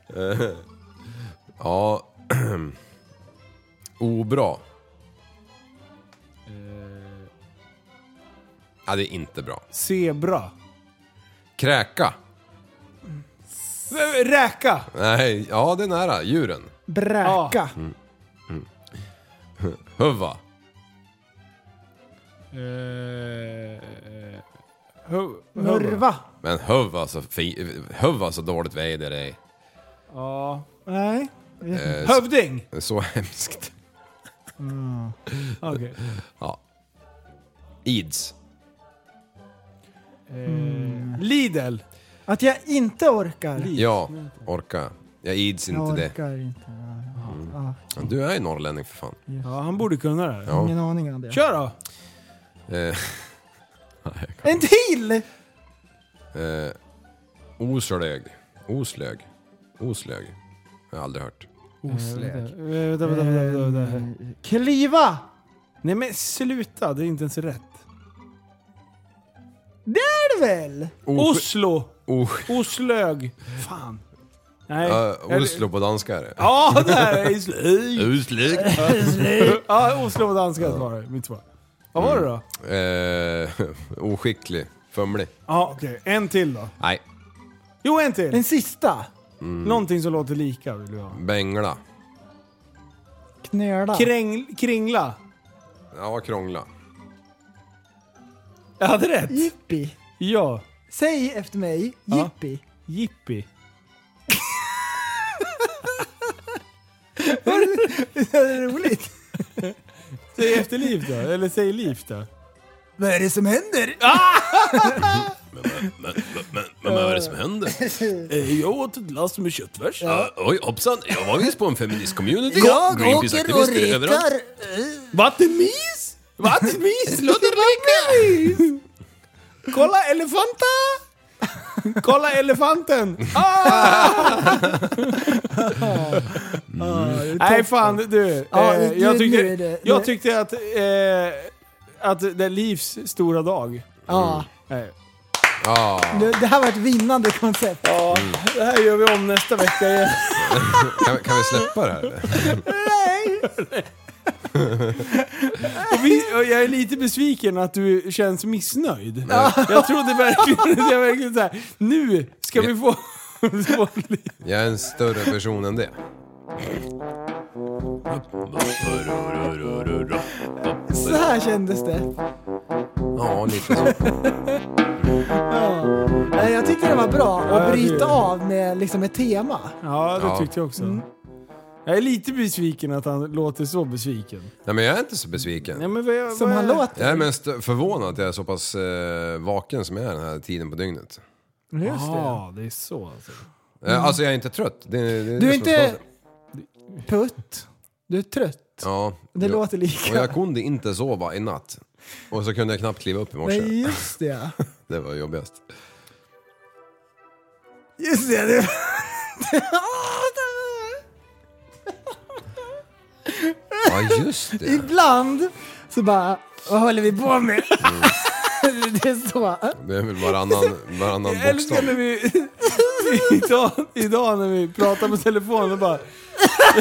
[SPEAKER 7] Ja... Obra. Ja, det är inte bra.
[SPEAKER 5] Zebra.
[SPEAKER 7] Kräka.
[SPEAKER 5] Eh, Räka.
[SPEAKER 7] Nej, ja det är nära. Djuren.
[SPEAKER 6] Bräka.
[SPEAKER 7] Huva.
[SPEAKER 5] Eh, hu- huvud.
[SPEAKER 6] Murva.
[SPEAKER 7] Men huva så, fi- huva så dåligt väder det
[SPEAKER 5] Ja.
[SPEAKER 6] Nej.
[SPEAKER 7] är. Eh, så,
[SPEAKER 5] Hövding.
[SPEAKER 7] så hemskt.
[SPEAKER 5] Okej.
[SPEAKER 7] Ja. Ids.
[SPEAKER 5] Lidl.
[SPEAKER 6] Att jag inte orkar.
[SPEAKER 7] Ja, orka. Jag ids inte
[SPEAKER 6] Jag
[SPEAKER 7] det.
[SPEAKER 6] orkar inte. Ja,
[SPEAKER 7] Du är ju norrlänning för fan.
[SPEAKER 5] Ja, han borde kunna det här.
[SPEAKER 6] ja,
[SPEAKER 7] Ja.
[SPEAKER 6] ingen aning om det.
[SPEAKER 5] Kör då!
[SPEAKER 7] Eh,
[SPEAKER 6] En till!
[SPEAKER 7] eh, oslög. Oslög. Oslög. Jag har aldrig hört.
[SPEAKER 5] Oslög. Vänta, vänta, vänta, vänta.
[SPEAKER 6] Kliva!
[SPEAKER 5] Eh, Nej men sluta, det är inte ens rätt.
[SPEAKER 6] Det är det väl?
[SPEAKER 7] Os-
[SPEAKER 5] Oslo!
[SPEAKER 7] Os-
[SPEAKER 5] Oslög! Fan. Nej.
[SPEAKER 7] eh, Oslo på danska är det.
[SPEAKER 5] Ja, det här är Oslo.
[SPEAKER 7] Oslög.
[SPEAKER 5] Ja, Oslo på danska var det. Mitt svar. Mm. Vad var det då?
[SPEAKER 7] Eh, oskicklig. Fumlig.
[SPEAKER 5] Ja, okej. En till då. Mm.
[SPEAKER 7] Nej.
[SPEAKER 5] Jo, en till.
[SPEAKER 6] Den sista.
[SPEAKER 5] Någonting som låter lika vill jag ha.
[SPEAKER 7] Bängla.
[SPEAKER 6] Knöla.
[SPEAKER 5] Kräng, kringla.
[SPEAKER 7] Ja, krångla.
[SPEAKER 5] Jag hade rätt.
[SPEAKER 6] Jippi.
[SPEAKER 5] Ja.
[SPEAKER 6] Säg efter mig,
[SPEAKER 5] Ja.
[SPEAKER 6] jippi.
[SPEAKER 5] Jippi.
[SPEAKER 6] Det är roligt.
[SPEAKER 5] Säg efterliv då. Eller säg liv då.
[SPEAKER 6] Vad är det som händer?
[SPEAKER 7] Men vad är det som händer?
[SPEAKER 5] Eh, Jag åt ett lass med köttfärs.
[SPEAKER 7] Oj, hoppsan. Jag var visst på en feminist-community.
[SPEAKER 5] Vattenmis? Vattenmis låter lika! Kolla elefanta! Kolla elefanten! Ah! Nej fan du,
[SPEAKER 6] Ah. Ja,
[SPEAKER 5] eh,
[SPEAKER 6] nu-
[SPEAKER 5] jag,
[SPEAKER 6] nu är det-
[SPEAKER 5] tyckte,
[SPEAKER 6] nu-
[SPEAKER 5] jag tyckte att, eh, att det är livs stora dag.
[SPEAKER 6] Ja,
[SPEAKER 5] Nej.
[SPEAKER 7] Ja,
[SPEAKER 6] det, det här var ett vinnande koncept.
[SPEAKER 5] Ja, det här gör vi om nästa vecka igen.
[SPEAKER 7] kan, kan vi släppa det här?
[SPEAKER 5] Och vi, och jag är lite besviken att du känns missnöjd. Jag trodde verkligen, jag verkligen så här, nu ska vi få... få li-
[SPEAKER 7] Jag är en större person än det.
[SPEAKER 6] Så här kändes det.
[SPEAKER 7] Ja, lite så.
[SPEAKER 6] Ja. Nej, Jag tyckte det var bra
[SPEAKER 5] jag
[SPEAKER 6] att
[SPEAKER 5] tycker
[SPEAKER 6] bryta
[SPEAKER 5] det.
[SPEAKER 6] av med liksom ett tema.
[SPEAKER 5] ja, det
[SPEAKER 7] Ja.
[SPEAKER 5] tyckte jag också.
[SPEAKER 6] Mm.
[SPEAKER 5] Jag är lite besviken att han låter så besviken.
[SPEAKER 7] Nej, men jag är inte så
[SPEAKER 5] Nej,
[SPEAKER 7] besviken.
[SPEAKER 5] men vad jag,
[SPEAKER 6] Som
[SPEAKER 5] vad
[SPEAKER 6] han
[SPEAKER 5] jag-
[SPEAKER 6] låter.
[SPEAKER 7] Jag är mest förvånad att jag är så pass eh, vaken som jag är den här tiden på dygnet.
[SPEAKER 6] Just det.
[SPEAKER 5] Ja, det är så alltså.
[SPEAKER 7] Eh, Alltså jag är inte trött. Det, det, det
[SPEAKER 6] Mm. Du är
[SPEAKER 7] som
[SPEAKER 6] inte
[SPEAKER 7] konstigt.
[SPEAKER 6] putt. Du är trött.
[SPEAKER 7] Ja.
[SPEAKER 6] Det
[SPEAKER 7] jag,
[SPEAKER 6] låter
[SPEAKER 7] Och jag
[SPEAKER 6] lika.
[SPEAKER 7] kunde inte sova i natt. Och så kunde jag knappt kliva upp i morse.
[SPEAKER 6] Nej, just det.
[SPEAKER 7] Det var jobbigast.
[SPEAKER 6] Just det. det.
[SPEAKER 7] Ja, just det.
[SPEAKER 6] Ibland så bara, vad håller vi på med? det är så.
[SPEAKER 7] Det är väl varannan, varannan
[SPEAKER 5] Jag älskar när
[SPEAKER 7] bokstav.
[SPEAKER 5] vi... idag, idag när vi pratar på telefon och bara...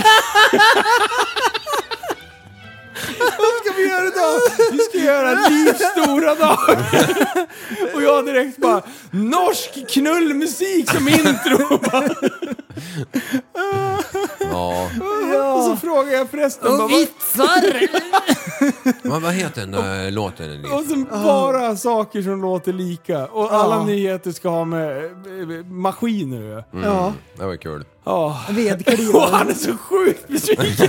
[SPEAKER 5] Vad ska vi göra idag? Vi ska göra livs stora dag! och jag direkt bara... Norsk knullmusik som intro!
[SPEAKER 7] Ja.
[SPEAKER 5] och så frågar jag prästen bara... Vad,
[SPEAKER 6] Vitsar!
[SPEAKER 7] Men vad heter den där låten?
[SPEAKER 5] och sen bara saker som låter lika. Och alla
[SPEAKER 6] Ja.
[SPEAKER 5] nyheter ska ha med eh, maskiner att göra.
[SPEAKER 6] Ja,
[SPEAKER 7] Det var kul.
[SPEAKER 5] Ja. Och
[SPEAKER 6] vedklivare.
[SPEAKER 5] han är så sjukt besviken!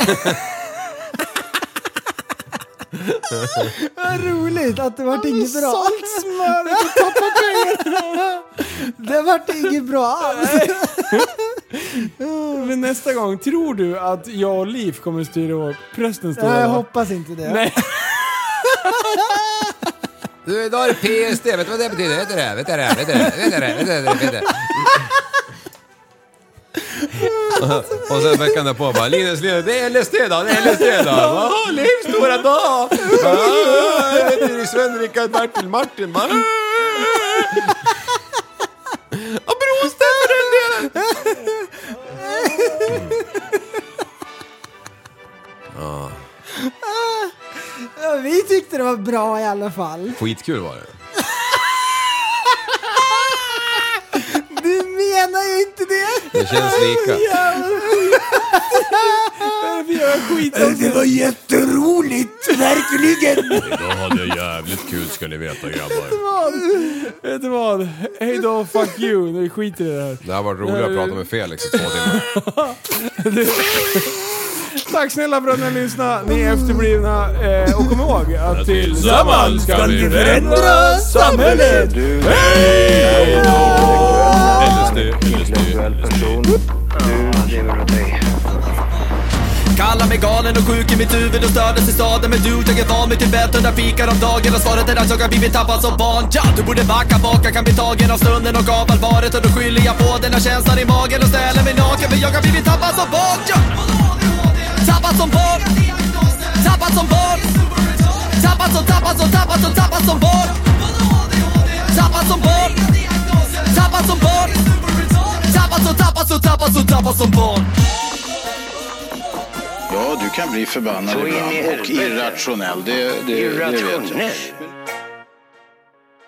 [SPEAKER 6] Vad roligt att det vart inget bra.
[SPEAKER 5] Sålt smör!
[SPEAKER 6] Det vart inget bra alls.
[SPEAKER 5] Men nästa gång, tror du att jag och Liv kommer styra upp prästens stora
[SPEAKER 6] Jag
[SPEAKER 5] dag?
[SPEAKER 6] hoppas inte det.
[SPEAKER 5] Nej,
[SPEAKER 7] Du, idag är det PSD. Vet du vad det betyder? Vet du det? Vet du det? Vet du det? Vet du det? Vet du det? Vet du det? Mm. Och sen veckan därpå bara Linus, Linus, det är LSD då, det är LSD då. Åh, Livs stora dag! Ah, Jag heter Sven, Rickard, Bertil, Martin. va? Och Brostedt för den delen!
[SPEAKER 6] Ja, Vi tyckte det var bra i alla fall.
[SPEAKER 7] Skitkul var det.
[SPEAKER 6] Du menar ju inte det.
[SPEAKER 7] Det känns lika.
[SPEAKER 6] Det var jätteroligt, verkligen.
[SPEAKER 7] Idag hade jag jävligt kul ska ni veta grabbar.
[SPEAKER 5] vet du vad? Hej då, fuck you. Nu skiter i det här.
[SPEAKER 7] Det här var roligt att prata med Felix i två timmar.
[SPEAKER 5] Tack snälla för att ni har lyssnat. Ni är efterblivna. Eh, och kom ihåg att
[SPEAKER 7] Tillsammans ska vi
[SPEAKER 5] förändra samhället!
[SPEAKER 1] Du är en intellektuell, men intellektuell person. Du lever åt dig.
[SPEAKER 2] Kallar mig galen och sjuk i mitt huvud och stördes i staden Men du, jag är van vid Tibet under fikar om dagen Och svaret är att jag har blivit tappad som barn ja, Du borde backa bak, jag kan bli tagen av stunden och av allvaret Och då skyller jag på den här känslan i magen och ställer mig naken För jag har blivit tappad som barn ja. Tappad som barn Tappad som barn Tappad som, tappad som, tappad som, tappad som barn Tappad som barn Tappad som barn Tappad som, tappad som, tappad som, tappad som barn
[SPEAKER 3] Ja, du kan bli förbannad
[SPEAKER 1] Så in i
[SPEAKER 3] ibland och
[SPEAKER 1] helvete.
[SPEAKER 3] irrationell. Det, det, det vet jag.
[SPEAKER 1] Irrationell.